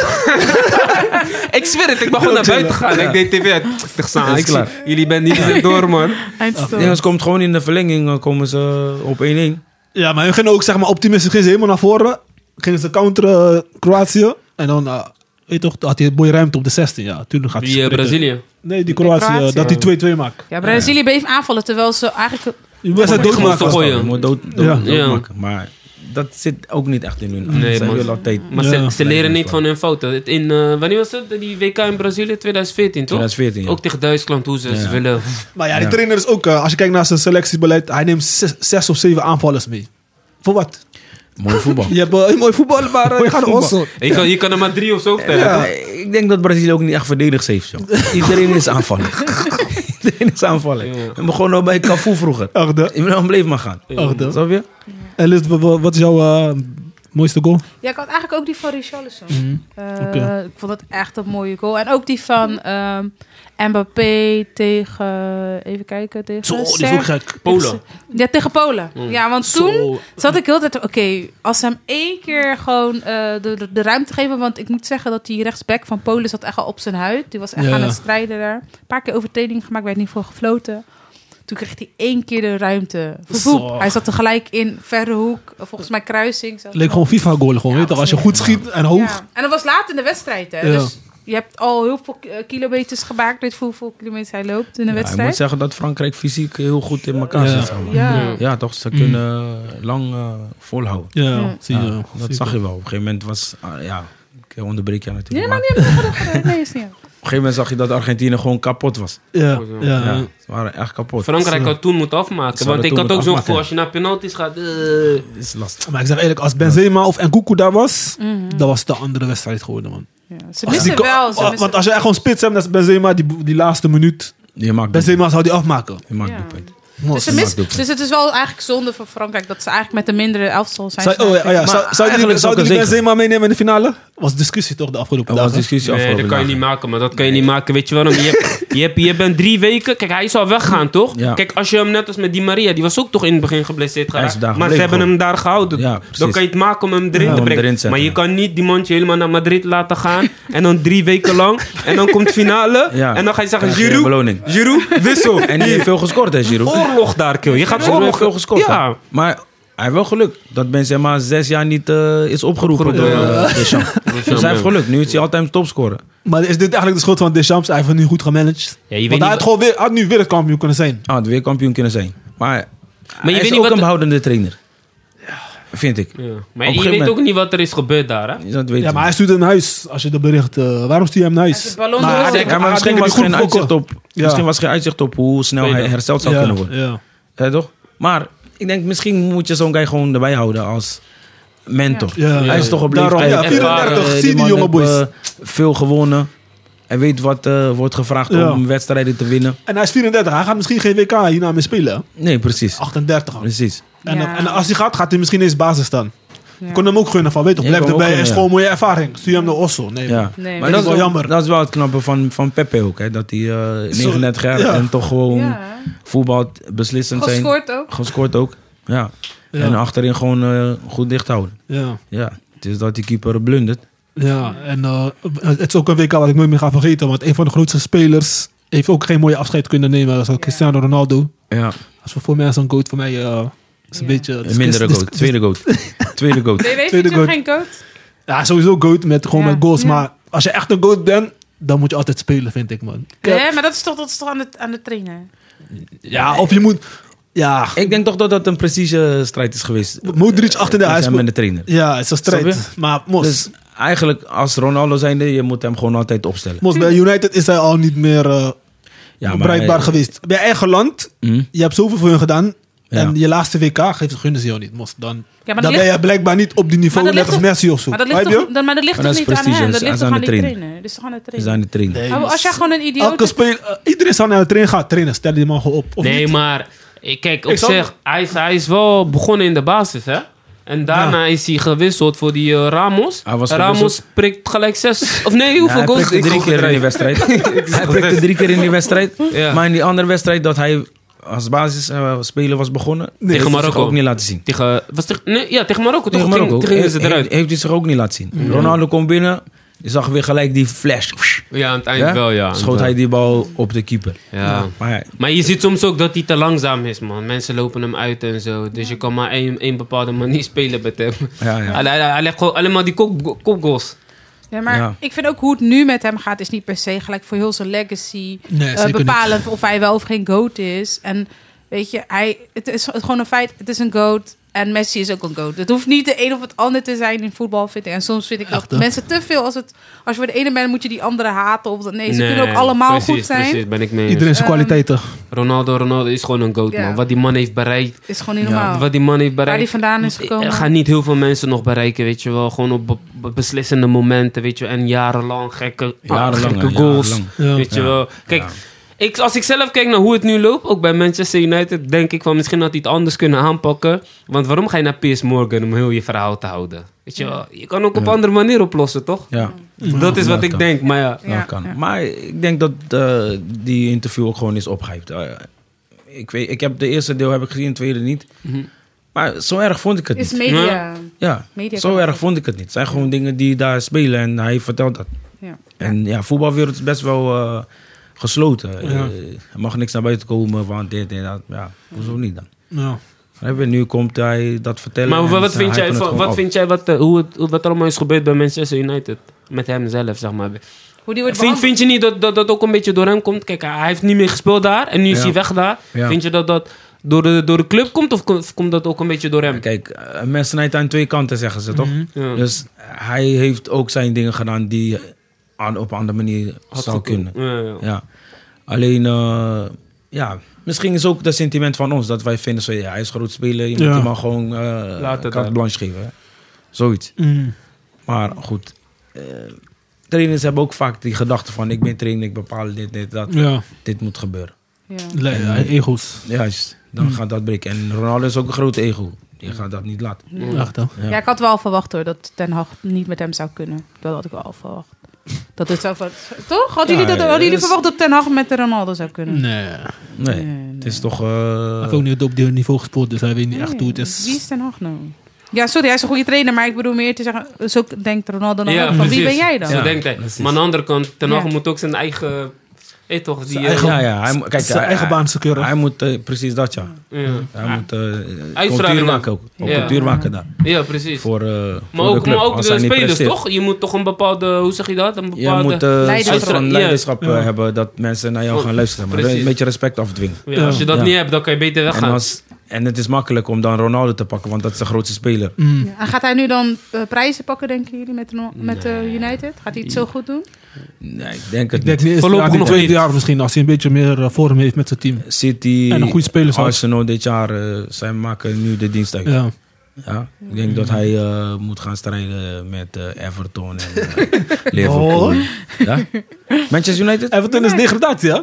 Speaker 4: Ik zweer het. Ik ben gewoon naar buiten gegaan. Ik deed tv uit. Ik dacht, "Sa,
Speaker 5: Is
Speaker 4: ik
Speaker 5: klaar."
Speaker 4: zie- jullie bent niet meer door, man.
Speaker 2: eindstand.
Speaker 5: Jongens, komt gewoon in de verlenging, eh, komen ze op 1-1.
Speaker 3: Ja, maar hun gingen ook, zeg maar, optimistisch. Gingen ze helemaal naar voren. Gingen ze counteren eh, Kroatië. En dan, eh, weet je toch, had hij een mooie ruimte op de 16. Ja, tuurlijk gaat hij
Speaker 4: Die eh,
Speaker 3: sprinten.
Speaker 4: Brazilië.
Speaker 3: Nee, die Kroatië. eh,
Speaker 2: Kroatië.
Speaker 3: Dat hij 2-2 maakt.
Speaker 2: Ja, Brazilië bleef aanvallen, terwijl ze eigenlijk...
Speaker 3: Je was het
Speaker 4: maar die
Speaker 3: doodmaken.
Speaker 4: moesten gooien.
Speaker 5: Je moet dood, dood,
Speaker 3: Ja.
Speaker 5: doodmaken. Maar dat zit ook niet echt in hun.
Speaker 4: Nee,
Speaker 5: Nee, Zij
Speaker 4: man.
Speaker 5: willen altijd.
Speaker 4: Maar
Speaker 3: Ja.
Speaker 4: ze, ze leren niet van hun fouten. Het In, eh, wanneer was het? Die WK in Brazilië? 2014, toch?
Speaker 5: 2014, ja.
Speaker 4: Ook tegen Duitsland, hoe ze ze
Speaker 5: Ja.
Speaker 4: willen.
Speaker 3: Maar ja, die
Speaker 5: Ja.
Speaker 3: trainer is ook, eh, als je kijkt naar zijn selectiebeleid, hij neemt zes, zes of zeven aanvallers mee. Voor wat?
Speaker 5: Mooi
Speaker 4: <laughs>
Speaker 5: voetbal.
Speaker 3: Je hebt eh, mooi voetbal, maar eh, je gaat ons.
Speaker 4: Je kan, je kan er maar drie of zo tellen.
Speaker 5: Ja, Ik denk dat Brazilië ook niet echt verdedigd heeft.
Speaker 4: <laughs>
Speaker 5: Joh. Iedereen is aanvallen. Iedereen is aanvallen.
Speaker 4: Ja.
Speaker 5: We begonnen bij Cafu vroeger.
Speaker 3: Echt, hè?
Speaker 5: Iemand bleef maar gaan.
Speaker 3: Echt, hè?
Speaker 5: Snap je?
Speaker 3: En Liz, wa- wa- Eh, wat is jouw eh, mooiste goal?
Speaker 2: Ja, ik had eigenlijk ook die van Richarlison. Eh,
Speaker 3: oké.
Speaker 2: Ik vond dat echt een mooie goal. En ook die van ehm, Mbappé tegen... Even kijken, tegen...
Speaker 3: Zo, die is
Speaker 2: Serg-
Speaker 3: ook gek.
Speaker 4: Polen.
Speaker 2: Ja, tegen Polen. Ja, want
Speaker 3: Zo.
Speaker 2: toen zat ik heel de tijd... Oké, als ze hem één keer gewoon eh, de, de, de ruimte geven... Want ik moet zeggen dat die rechtsback van Polen zat echt al op zijn huid. Die was echt
Speaker 3: Ja.
Speaker 2: aan het strijden daar. Een paar keer overtreding gemaakt, werd niet voor gefloten. Toen kreeg hij één keer de ruimte. Vervoep.
Speaker 3: Zo.
Speaker 2: Hij zat tegelijk in verre hoek. Volgens mij kruising. zelfs.
Speaker 3: Leek gewoon FIFA-goal, gewoon.
Speaker 2: Ja,
Speaker 3: weet je toch? Als je goed schiet en hoog.
Speaker 2: Ja. En dat was laat in de wedstrijd, hè?
Speaker 3: Ja.
Speaker 2: Dus je hebt al heel veel eh, kilometers gemaakt. Weet je hoeveel kilometers hij loopt in de
Speaker 5: Ja, ik moet
Speaker 2: wedstrijd?
Speaker 5: zeggen dat Frankrijk fysiek heel goed in elkaar
Speaker 3: Ja.
Speaker 5: zit. zeg maar.
Speaker 2: Ja.
Speaker 4: Ja. Mm.
Speaker 5: Ja, toch? Ze kunnen lang eh, volhouden.
Speaker 3: Ja,
Speaker 2: Ja.
Speaker 3: zie je.
Speaker 5: Ja,
Speaker 3: zie
Speaker 5: dat
Speaker 3: je.
Speaker 5: zag je wel. Op een gegeven moment was... ah, ja, ik onderbreek je natuurlijk.
Speaker 2: Nee,
Speaker 5: maar
Speaker 2: maar niet hebben we gedaan. Nee, is niet. aan.
Speaker 5: Op een gegeven moment zag je dat Argentinië gewoon kapot was.
Speaker 3: Ja, ja.
Speaker 5: Ja, ze waren echt kapot.
Speaker 4: Frankrijk had toen moeten afmaken.
Speaker 5: Zouden
Speaker 4: Want ik
Speaker 5: toen
Speaker 4: had ook
Speaker 5: moeten
Speaker 4: zo'n gevoel,
Speaker 5: afmaken.
Speaker 4: als je naar penalties gaat... eh,
Speaker 5: Dat is lastig.
Speaker 3: Maar ik zeg eerlijk, als Benzema of Nkunku daar was, dat was de andere wedstrijd geworden, man.
Speaker 2: Ja, Ze
Speaker 3: Als
Speaker 2: Mhm. missen
Speaker 3: die-
Speaker 2: wel. Ze
Speaker 3: wa-
Speaker 2: missen
Speaker 3: want als je echt gewoon spits hebt, dat is Benzema die, die laatste minuut.
Speaker 5: Je maakt doelpunt.
Speaker 3: Benzema zou die afmaken.
Speaker 5: Je maakt
Speaker 2: Ja.
Speaker 5: doelpunt.
Speaker 2: Dus, ze
Speaker 5: Maakt
Speaker 2: mis-
Speaker 5: doelpunt.
Speaker 2: dus het is wel eigenlijk zonde voor Frankrijk dat ze eigenlijk met een mindere elftal zijn.
Speaker 3: Zou, oh, ja, oh ja,
Speaker 5: Maar
Speaker 3: zou, zou die,
Speaker 5: eigenlijk
Speaker 3: zou
Speaker 5: is ook
Speaker 3: die
Speaker 5: een
Speaker 3: Benzema meenemen in de finale? Was discussie toch de afgelopen
Speaker 5: Er was
Speaker 3: dagen?
Speaker 5: discussie
Speaker 4: Nee, dat
Speaker 5: afgelopen
Speaker 4: kan je
Speaker 5: dagen.
Speaker 4: niet maken, maar dat kan je niet maken. Weet je waarom? Je, hebt, je, hebt, je bent drie weken. Kijk, hij zou weggaan, toch?
Speaker 5: Ja.
Speaker 4: Kijk, als je hem net als met Di Maria, die was ook toch in het begin geblesseerd
Speaker 5: Hij is
Speaker 4: geraakt.
Speaker 5: daar
Speaker 4: Maar ze
Speaker 5: gebleven
Speaker 4: hebben hem
Speaker 5: gewoon.
Speaker 4: daar gehouden.
Speaker 5: Ja, precies.
Speaker 4: dan kan je het maken om hem erin
Speaker 5: Ja, om
Speaker 4: te
Speaker 5: hem
Speaker 4: brengen.
Speaker 5: erin te zetten,
Speaker 4: maar je
Speaker 5: ja.
Speaker 4: kan niet die mandje helemaal naar Madrid laten
Speaker 5: <laughs>
Speaker 4: gaan. en dan drie weken lang. En dan komt finale.
Speaker 5: Ja.
Speaker 4: En dan ga je zeggen:
Speaker 5: Krijg je een
Speaker 4: Giroud,
Speaker 5: beloning.
Speaker 4: Giroud, wissel.
Speaker 5: En die heeft veel gescoord, hè, Giroud?
Speaker 4: Oorlog daar, kill. Je
Speaker 5: Hij
Speaker 4: gaat
Speaker 5: heeft wel
Speaker 4: oorlog.
Speaker 5: veel gescoord.
Speaker 4: Ja.
Speaker 5: hè. Maar hij heeft wel geluk dat Benzema zes jaar niet eh, is opgeroepen
Speaker 4: Opgeroepen,
Speaker 5: door
Speaker 4: ja. <laughs>
Speaker 5: eh, Deschamps. Dus hij heeft geluk. Nu is hij altijd topscorer.
Speaker 3: Maar is dit eigenlijk de schuld van Deschamps? Hij heeft het nu goed gemanaged.
Speaker 4: Ja, je weet
Speaker 3: Want hij
Speaker 4: niet
Speaker 3: had, gewoon weer, had nu weer het kampioen kunnen zijn.
Speaker 5: Ah, had weer kampioen kunnen zijn. Maar, hij
Speaker 4: je
Speaker 5: is
Speaker 4: weet niet
Speaker 5: ook
Speaker 4: wat-
Speaker 5: een behoudende trainer. Vind ik.
Speaker 4: Ja.
Speaker 5: Op een
Speaker 4: Maar je
Speaker 5: gegeven
Speaker 4: weet
Speaker 5: moment-
Speaker 4: ook niet wat er is gebeurd daar, hè?
Speaker 5: Dat weet
Speaker 3: Ja, maar
Speaker 5: ik niet.
Speaker 3: hij stuurt hem naar huis. Als je de bericht... eh, waarom stuurt hij hem naar
Speaker 2: Hij heeft
Speaker 3: huis?
Speaker 2: de ballon
Speaker 3: Nou,
Speaker 2: door.
Speaker 3: hij denkt-
Speaker 5: Ja, maar
Speaker 3: hij
Speaker 5: misschien
Speaker 3: denkt
Speaker 5: was,
Speaker 3: die
Speaker 5: er geen
Speaker 3: goed
Speaker 5: uitzicht
Speaker 3: fokken.
Speaker 5: op, misschien was er geen uitzicht op hoe snel hij
Speaker 4: Tweede.
Speaker 5: hersteld zou
Speaker 3: Ja,
Speaker 5: kunnen worden.
Speaker 3: ja.
Speaker 5: Hè, toch? Maar ik denk, misschien moet je zo'n guy gewoon erbij houden als mentor.
Speaker 3: Ja. Ja.
Speaker 5: Hij is toch op
Speaker 3: Daarom,
Speaker 5: leeftijd.
Speaker 3: ja, 34,
Speaker 5: ervaren.
Speaker 3: zie die
Speaker 5: man
Speaker 3: jonge
Speaker 5: heeft,
Speaker 3: boys.
Speaker 5: eh, veel gewonnen. Hij weet wat eh, wordt gevraagd
Speaker 3: Ja.
Speaker 5: om wedstrijden te winnen.
Speaker 3: En hij is 34. Hij gaat misschien geen WK hierna meer spelen. hè?
Speaker 5: Nee, precies.
Speaker 3: 38. al.
Speaker 5: Precies.
Speaker 3: En,
Speaker 2: Ja.
Speaker 3: en als hij gaat, gaat hij misschien eens basis staan.
Speaker 2: Ja.
Speaker 3: Ik kon hem ook gunnen van, weet toch,
Speaker 5: Ja,
Speaker 3: blijf
Speaker 5: ik kon
Speaker 3: erbij.
Speaker 5: hem ook
Speaker 3: Het is
Speaker 5: gunnen,
Speaker 3: gewoon een mooie ervaring. Stuur hem naar Oslo. Nee,
Speaker 5: Ja.
Speaker 2: Nee,
Speaker 3: dat
Speaker 5: maar dat
Speaker 3: is
Speaker 5: is
Speaker 3: wel
Speaker 5: wel
Speaker 3: jammer.
Speaker 5: Dat is wel het knappe van, van Pepe ook. Hè? Dat hij eh, 39 jaar
Speaker 3: ja.
Speaker 5: en toch gewoon
Speaker 2: Ja.
Speaker 5: voetbal beslissend zijn.
Speaker 2: Gescoord
Speaker 5: <laughs>
Speaker 2: ook.
Speaker 5: Gescoord ook. Ja.
Speaker 3: Ja.
Speaker 5: En achterin gewoon eh, goed dicht houden.
Speaker 3: Ja.
Speaker 5: Ja. Het is dat die keeper blundert.
Speaker 3: Ja, en eh, het is ook een WK wat ik nooit meer ga vergeten. Want een van de grootste spelers heeft ook geen mooie afscheid kunnen nemen. Dat is ook
Speaker 2: Ja.
Speaker 3: Cristiano Ronaldo.
Speaker 5: Ja.
Speaker 3: Als voor mij is een goat, voor mij eh, is
Speaker 2: Ja.
Speaker 3: een beetje...
Speaker 5: Een mindere
Speaker 3: dis-
Speaker 5: goat.
Speaker 3: dis-
Speaker 5: <laughs> Tweede goat. Tweede goat.
Speaker 2: Nee, nee,
Speaker 3: Tweede
Speaker 2: vind je
Speaker 3: goal.
Speaker 2: geen coach?
Speaker 3: Ja, sowieso goat met, gewoon
Speaker 2: Ja.
Speaker 3: met goals.
Speaker 2: Ja.
Speaker 3: Maar als je echt een goat bent, dan moet je altijd spelen, vind ik, man. Ik heb-
Speaker 2: Nee, maar dat is toch, dat is toch aan, de, aan de trainer?
Speaker 3: Ja, of je moet... Ja,
Speaker 5: Ik denk toch dat dat een precieze strijd is geweest.
Speaker 3: Modric achter de
Speaker 5: Tussen
Speaker 3: huis.
Speaker 5: hem en de trainer.
Speaker 3: Ja, het is een
Speaker 5: Snap
Speaker 3: strijd. Maar Mos,
Speaker 5: Dus eigenlijk als Ronaldo zijnde, je moet hem gewoon altijd opstellen.
Speaker 3: Mos bij United is hij al niet meer eh,
Speaker 5: Ja, maar eh,
Speaker 3: bereikbaar
Speaker 5: hij-
Speaker 3: geweest. Bij eigen land,
Speaker 5: Hm?
Speaker 3: je hebt zoveel voor hun gedaan.
Speaker 5: Ja.
Speaker 3: En je laatste WK geeft gunnen ze jou niet, Mos. Dan,
Speaker 2: Ja, maar
Speaker 3: dan
Speaker 2: dat
Speaker 3: ben
Speaker 2: ligt-
Speaker 3: je blijkbaar niet op die niveau,
Speaker 2: Maar dat
Speaker 3: net als
Speaker 2: ligt
Speaker 3: Messi of zo.
Speaker 2: Maar dat ligt
Speaker 3: Begrijp je?
Speaker 2: toch, dan- maar dat ligt
Speaker 5: Maar
Speaker 2: toch
Speaker 5: dat is
Speaker 2: niet aan
Speaker 5: prestige,
Speaker 2: hem? Dat
Speaker 5: dat is
Speaker 2: ligt toch
Speaker 5: aan
Speaker 2: aan
Speaker 5: de
Speaker 2: die
Speaker 5: trainer.
Speaker 2: trainer? Dat is toch aan de
Speaker 5: Hij is
Speaker 2: trainer?
Speaker 5: aan de trainer.
Speaker 2: Maar Als jij gewoon een idioot
Speaker 3: Elke
Speaker 2: is...
Speaker 3: speler, eh, iedereen zal naar de trainer gaan trainen. Stel die man gewoon op. Of
Speaker 4: nee,
Speaker 3: niet?
Speaker 4: maar eh, kijk, op
Speaker 3: Ik zal-
Speaker 4: zich, hij is, hij is wel begonnen in de basis, hè? En daarna is hij gewisseld voor die eh, Ramos.
Speaker 5: Hij was
Speaker 4: Ramos
Speaker 5: gewisseld.
Speaker 4: prikt gelijk zes. Of nee,
Speaker 5: Ja,
Speaker 4: hoeveel
Speaker 5: Nou, hij
Speaker 4: goals?
Speaker 5: prikte drie
Speaker 4: Ik-
Speaker 5: keer in die wedstrijd.
Speaker 4: <laughs>
Speaker 5: hij prikte drie keer in die wedstrijd.
Speaker 4: Ja.
Speaker 5: Maar in die andere wedstrijd dat hij als basisspeler was begonnen... heeft hij zich
Speaker 4: Marokko.
Speaker 5: ook niet laten zien.
Speaker 4: Tegen, was tegen, nee, ja, tegen Marokko. Tegen
Speaker 5: Tegen
Speaker 4: Marokko.
Speaker 5: Marokko Eh,
Speaker 4: Tegen, tegen ze
Speaker 5: heeft,
Speaker 4: eruit.
Speaker 5: heeft hij zich ook niet laten zien. Ronaldo komt binnen, je zag weer gelijk die flash.
Speaker 4: Ja, aan het eind
Speaker 5: eh, Ja?
Speaker 4: wel, ja.
Speaker 5: Schoot hij die bal op de keeper.
Speaker 4: Ja.
Speaker 5: Maar ja,
Speaker 4: Maar je ziet soms ook dat hij te langzaam is, man. Mensen lopen hem uit en zo. Dus je kan maar één, één bepaalde manier <laughs> spelen met hem.
Speaker 5: Ja, ja.
Speaker 4: Hij, hij, hij legt gewoon allemaal die kop- kopgoals.
Speaker 2: Ja, maar
Speaker 5: Ja.
Speaker 2: ik vind ook hoe het nu met hem gaat, is niet per se gelijk voor heel zijn legacy
Speaker 3: Nee,
Speaker 2: eh,
Speaker 3: zeker
Speaker 2: bepalend of hij wel of geen goat is. En weet je, hij, het is gewoon een feit, het is een goat. En Messi is ook een goat. Het hoeft niet de een of het ander te zijn in voetbal, vind ik. En soms vind ik dat
Speaker 3: Echt, hè?
Speaker 2: mensen te veel, als, het, als je voor de ene bent, moet je die andere haten. Of dat, nee, ze
Speaker 4: Nee,
Speaker 2: kunnen ook allemaal
Speaker 4: precies,
Speaker 2: goed zijn.
Speaker 4: Precies, ben ik mee. eens.
Speaker 3: Iedereen
Speaker 2: Ehm.
Speaker 3: zijn kwaliteiten.
Speaker 4: Ronaldo, Ronaldo is gewoon een goat,
Speaker 2: Ja.
Speaker 4: man. Wat die man heeft bereikt.
Speaker 2: Is gewoon niet normaal.
Speaker 4: Wat die man heeft
Speaker 2: Waar die
Speaker 4: bereikt.
Speaker 2: vandaan is
Speaker 4: eh,
Speaker 2: gekomen.
Speaker 4: Gaan niet heel veel mensen nog bereiken, weet je wel. Gewoon op be- be- beslissende momenten, weet je wel. En jarenlang gekke,
Speaker 5: Jarenlang,
Speaker 4: gekke
Speaker 5: ja,
Speaker 4: goals.
Speaker 5: jarenlang.
Speaker 3: Ja.
Speaker 4: Weet je wel. Kijk, ik, als ik zelf kijk naar hoe het nu loopt, ook bij Manchester United, denk ik van misschien had hij het anders kunnen aanpakken. Want waarom ga je naar Piers Morgan om heel je verhaal te houden? Weet je wel, je kan ook op andere manier oplossen, toch?
Speaker 5: ja.
Speaker 4: Dat is wat
Speaker 5: Ja,
Speaker 4: ik
Speaker 5: kan.
Speaker 4: denk, maar ja.
Speaker 5: Ja,
Speaker 2: Ja,
Speaker 5: kan.
Speaker 2: ja.
Speaker 5: Maar ik denk dat eh, die interview ook gewoon is opgehypt. Eh, ik, weet, ik heb de eerste deel heb ik gezien, het tweede niet.
Speaker 4: Mhm.
Speaker 5: Maar zo erg vond ik het
Speaker 2: is
Speaker 5: niet.
Speaker 2: media.
Speaker 5: Ja,
Speaker 2: media
Speaker 5: zo
Speaker 2: kan
Speaker 5: erg
Speaker 2: ook.
Speaker 5: vond ik het niet. Het zijn gewoon dingen die daar spelen en hij vertelt dat.
Speaker 2: Ja.
Speaker 5: En ja, voetbalwereld is best wel eh, gesloten. Eh,
Speaker 3: Ja.
Speaker 5: er mag niks naar buiten komen, want dit en dat. Ja, hoezo niet dan?
Speaker 3: Ja.
Speaker 5: Begrijp je? Nu komt hij dat vertellen.
Speaker 4: Maar
Speaker 5: en
Speaker 4: wat, wat
Speaker 5: ze
Speaker 4: vind jij,
Speaker 5: hypen het
Speaker 4: van,
Speaker 5: gewoon
Speaker 4: wat
Speaker 5: op.
Speaker 4: vind jij wat, eh, hoe het, hoe- wat allemaal is gebeurd bij Manchester United? Met hem zelf, zeg maar.
Speaker 2: Hoe die wordt
Speaker 4: Vind,
Speaker 2: behandeld.
Speaker 4: vind je niet dat, dat dat ook een beetje door hem komt? Kijk, hij heeft niet meer gespeeld daar en nu is
Speaker 5: Ja.
Speaker 4: hij weg daar.
Speaker 5: Ja.
Speaker 4: Vind je dat dat door de, door de club komt of komt, komt dat ook een beetje door hem?
Speaker 5: Kijk, eh, een mens snijdt aan twee kanten, zeggen ze toch?
Speaker 4: Mhm. Ja.
Speaker 5: Dus hij heeft ook zijn dingen gedaan die aan, op een andere manier
Speaker 4: Had
Speaker 5: zou
Speaker 4: gekund.
Speaker 5: kunnen.
Speaker 4: Ja, ja.
Speaker 5: Ja. Alleen, eh, ja, misschien is ook dat sentiment van ons dat wij vinden: zo, ja, hij is groot speler, je
Speaker 3: Ja.
Speaker 5: moet hem maar gewoon eh
Speaker 4: Laat het
Speaker 5: carte
Speaker 4: dan.
Speaker 5: blanche geven. hè. Zoiets.
Speaker 3: Mm.
Speaker 5: Maar goed, eh, trainers hebben ook vaak die gedachte van: ik ben trainer, ik bepaal dit, dit, dat.
Speaker 3: Ja,
Speaker 5: Dit moet gebeuren.
Speaker 2: Ja.
Speaker 3: Le- ja, ego's.
Speaker 5: Juist, dan
Speaker 3: Hm.
Speaker 5: gaat dat breken. En Ronaldo is ook een groot ego. Die gaat dat niet laten.
Speaker 3: Echt, hè?
Speaker 5: Ja.
Speaker 2: Ja. ik had wel verwacht hoor dat Ten Hag niet met hem zou kunnen. Dat had ik wel verwacht. Dat het zou van, toch? Hadden
Speaker 5: Ja,
Speaker 2: jullie, dat, hadden
Speaker 5: dat
Speaker 2: jullie
Speaker 5: is-
Speaker 2: verwacht dat Ten Hag met de Ronaldo zou kunnen?
Speaker 3: Nee.
Speaker 5: Nee,
Speaker 2: Nee,
Speaker 5: het is toch. eh,
Speaker 3: Hij heeft ook niet op dit niveau gespeeld, dus hij weet niet echt hoe het
Speaker 2: Wie
Speaker 3: is.
Speaker 2: is Ten Hag nou? Ja, sorry, hij is een goede trainer, maar ik bedoel meer te zeggen, zo denkt Ronaldo dan
Speaker 4: Ja,
Speaker 2: ook, van wie ben
Speaker 4: precies.
Speaker 2: jij dan?
Speaker 4: Zo
Speaker 5: Ja,
Speaker 4: denkt hij.
Speaker 5: precies.
Speaker 4: Maar aan de andere kant, Ten Hag
Speaker 2: Ja.
Speaker 4: moet ook zijn eigen... eh, toch, die, eh,
Speaker 5: ja, ja, hij, moet- kijk,
Speaker 3: zijn
Speaker 5: hij-
Speaker 3: eigen
Speaker 5: hij-
Speaker 3: baan secure.
Speaker 5: Hij moet, eh, precies dat ja.
Speaker 4: ja.
Speaker 5: Hij moet eh
Speaker 4: Uitstraling
Speaker 5: cultuur
Speaker 4: dan.
Speaker 5: maken ook. Ook
Speaker 4: Ja.
Speaker 5: cultuur maken daar.
Speaker 4: Ja, precies.
Speaker 5: Voor, eh,
Speaker 4: maar,
Speaker 5: voor de
Speaker 4: ook,
Speaker 5: club.
Speaker 4: maar ook
Speaker 5: als
Speaker 4: de
Speaker 5: hij niet
Speaker 4: spelers,
Speaker 5: presteert.
Speaker 4: toch? Je moet toch een bepaalde... Hoe zeg je dat? Een
Speaker 5: Je
Speaker 4: bepaalde...
Speaker 5: moet eh
Speaker 2: Leiderschap.
Speaker 5: soort van
Speaker 4: Ja.
Speaker 5: leiderschap eh, hebben dat mensen naar jou
Speaker 4: Oh,
Speaker 5: gaan luisteren. Maar
Speaker 4: precies.
Speaker 5: een beetje respect afdwingen.
Speaker 4: Ja, als je dat
Speaker 5: Ja.
Speaker 4: niet hebt, dan kan je beter
Speaker 5: En,
Speaker 4: weggaan.
Speaker 5: als, en het is makkelijk om dan Ronaldo te pakken, want dat is de grootste speler.
Speaker 2: Ja, en gaat hij nu dan eh, prijzen pakken, denken jullie, met, Ronal- met eh, United? Gaat hij het zo goed doen?
Speaker 5: Nee, ik denk het
Speaker 3: Ik denk
Speaker 5: niet.
Speaker 3: niet eens
Speaker 4: Voorlopig
Speaker 3: na die
Speaker 4: nog
Speaker 3: tweede
Speaker 4: niet.
Speaker 3: jaar misschien, als hij een beetje meer eh, vorm heeft met zijn team.
Speaker 5: City
Speaker 3: En een goede speler zelfs.
Speaker 5: Arsenal dit jaar, eh, zij maken nu de dienst uit. Ja.
Speaker 3: Ja.
Speaker 5: Ja, ik denk dat hij eh, moet gaan strijden met eh, Everton en eh, Liverpool. Ja?
Speaker 3: <laughs>
Speaker 5: Manchester United?
Speaker 3: Everton is degradatie, hè?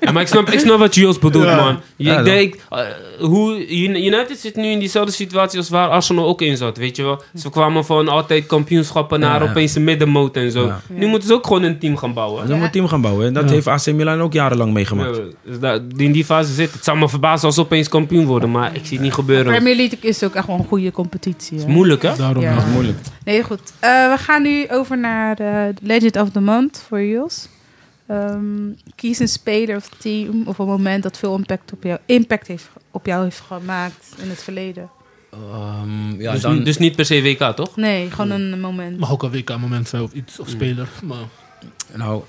Speaker 4: Ja, maar ik snap, ik snap wat Jules bedoelt, man. Je,
Speaker 5: Ja,
Speaker 4: ik
Speaker 5: dan.
Speaker 4: denk, eh, hoe, Un- United zit nu in diezelfde situatie als waar Arsenal ook in zat, weet je wel. Ze kwamen van altijd kampioenschappen naar
Speaker 5: Ja, ja.
Speaker 4: opeens een middenmoot en zo.
Speaker 5: Ja.
Speaker 4: Nu moeten ze ook gewoon een team gaan bouwen.
Speaker 5: Ze moet een team gaan bouwen. En dat heeft AC Milan ook jarenlang meegemaakt.
Speaker 4: Ja, dus daar- die in die fase zit. Het zou me verbazen als ze opeens kampioen worden, maar ik zie het niet gebeuren. Het
Speaker 2: Premier League is ook echt wel een goede competitie.
Speaker 4: is
Speaker 2: hè.
Speaker 4: moeilijk, hè?
Speaker 3: Daarom.
Speaker 2: Ja.
Speaker 3: ja.
Speaker 5: Moeilijk.
Speaker 2: Nee, goed. Eh, we gaan nu over naar de Legend of the Month voor Jules. Ehm, kies een speler of team of een moment dat veel impact op jou, impact heeft, op jou heeft gemaakt in het verleden.
Speaker 5: Ehm, ja,
Speaker 4: dus,
Speaker 5: dan,
Speaker 4: dus niet per se WK, toch?
Speaker 2: Nee, gewoon een moment.
Speaker 3: Mag ook een WK moment zijn of iets, of speler. Maar
Speaker 5: nou,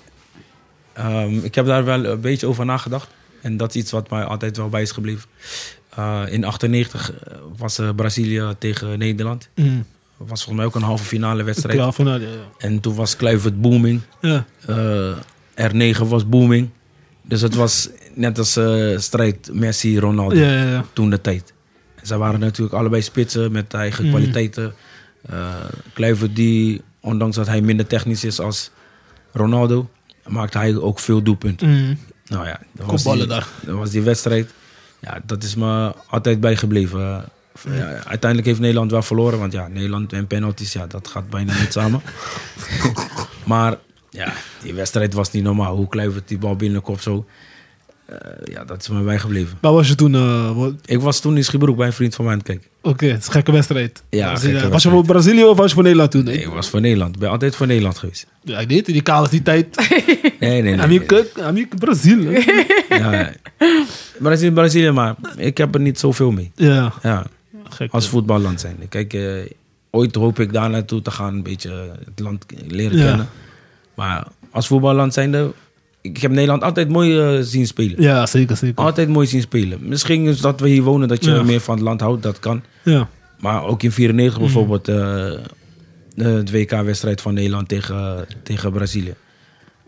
Speaker 5: ehm, ik heb daar wel een beetje over nagedacht. En dat is iets wat mij altijd wel bij is gebleven. Eh, in 98 was eh, Brazilië tegen Nederland.
Speaker 3: mm,
Speaker 5: was volgens mij ook een halve finale wedstrijd.
Speaker 3: ja, van, ja, ja.
Speaker 5: En toen was Kluivert booming.
Speaker 3: ja.
Speaker 5: Eh, R9 was booming. Dus het was net als eh, strijd Messi-Ronaldo.
Speaker 3: ja, ja, ja.
Speaker 5: toen de tijd. En zij waren natuurlijk allebei spitsen met eigen
Speaker 3: Mhm.
Speaker 5: kwaliteiten. Eh Kluivert die, ondanks dat hij minder technisch is als Ronaldo, maakte hij ook veel doelpunten.
Speaker 3: Mm.
Speaker 5: Nou ja, dat was,
Speaker 3: Kopballen
Speaker 5: die,
Speaker 3: daar.
Speaker 5: dat was die wedstrijd. Ja, dat is me altijd bijgebleven. Eh, ja, uiteindelijk heeft Nederland wel verloren, want ja, Nederland en penalties, ja, dat gaat bijna niet samen. maar ja, die wedstrijd was niet normaal. Hoe Kluivert die bal binnenkop zo. Eh, ja, dat is me bijgebleven.
Speaker 3: Waar was je toen? eh, wat-
Speaker 5: Ik was toen in Schiebroek bij een vriend van mij aan het kijken.
Speaker 3: Oké, het is een gekke wedstrijd. was,
Speaker 5: Ja, gekke
Speaker 3: was je
Speaker 5: wedstrijd.
Speaker 3: voor Brazilië of was je voor Nederland toen?
Speaker 5: Nee, ik was voor Nederland. Ik ben altijd voor Nederland geweest.
Speaker 3: Ja, ik deed het. Die kaal die tijd.
Speaker 5: Nee, nee, nee. nee.
Speaker 3: Amieke, Amieke, Brazil.
Speaker 5: Ja, ja. Brazilië, Brazilië, maar ik heb er niet zoveel mee.
Speaker 3: Ja,
Speaker 5: Ja,
Speaker 3: gek.
Speaker 5: als voetballand zijn. Kijk, eh, ooit hoop ik daar naartoe te gaan, een beetje het land k- leren
Speaker 3: Ja.
Speaker 5: kennen. Maar als voetballand zijnde, ik heb Nederland altijd mooi eh, zien spelen.
Speaker 3: Ja, zeker, zeker.
Speaker 5: Altijd mooi zien spelen. Misschien is dat we hier wonen, dat je
Speaker 3: Ja.
Speaker 5: meer van het land houdt, dat kan.
Speaker 3: Ja.
Speaker 5: Maar ook in 94 bijvoorbeeld, eh, de WK-wedstrijd van Nederland tegen, tegen Brazilië.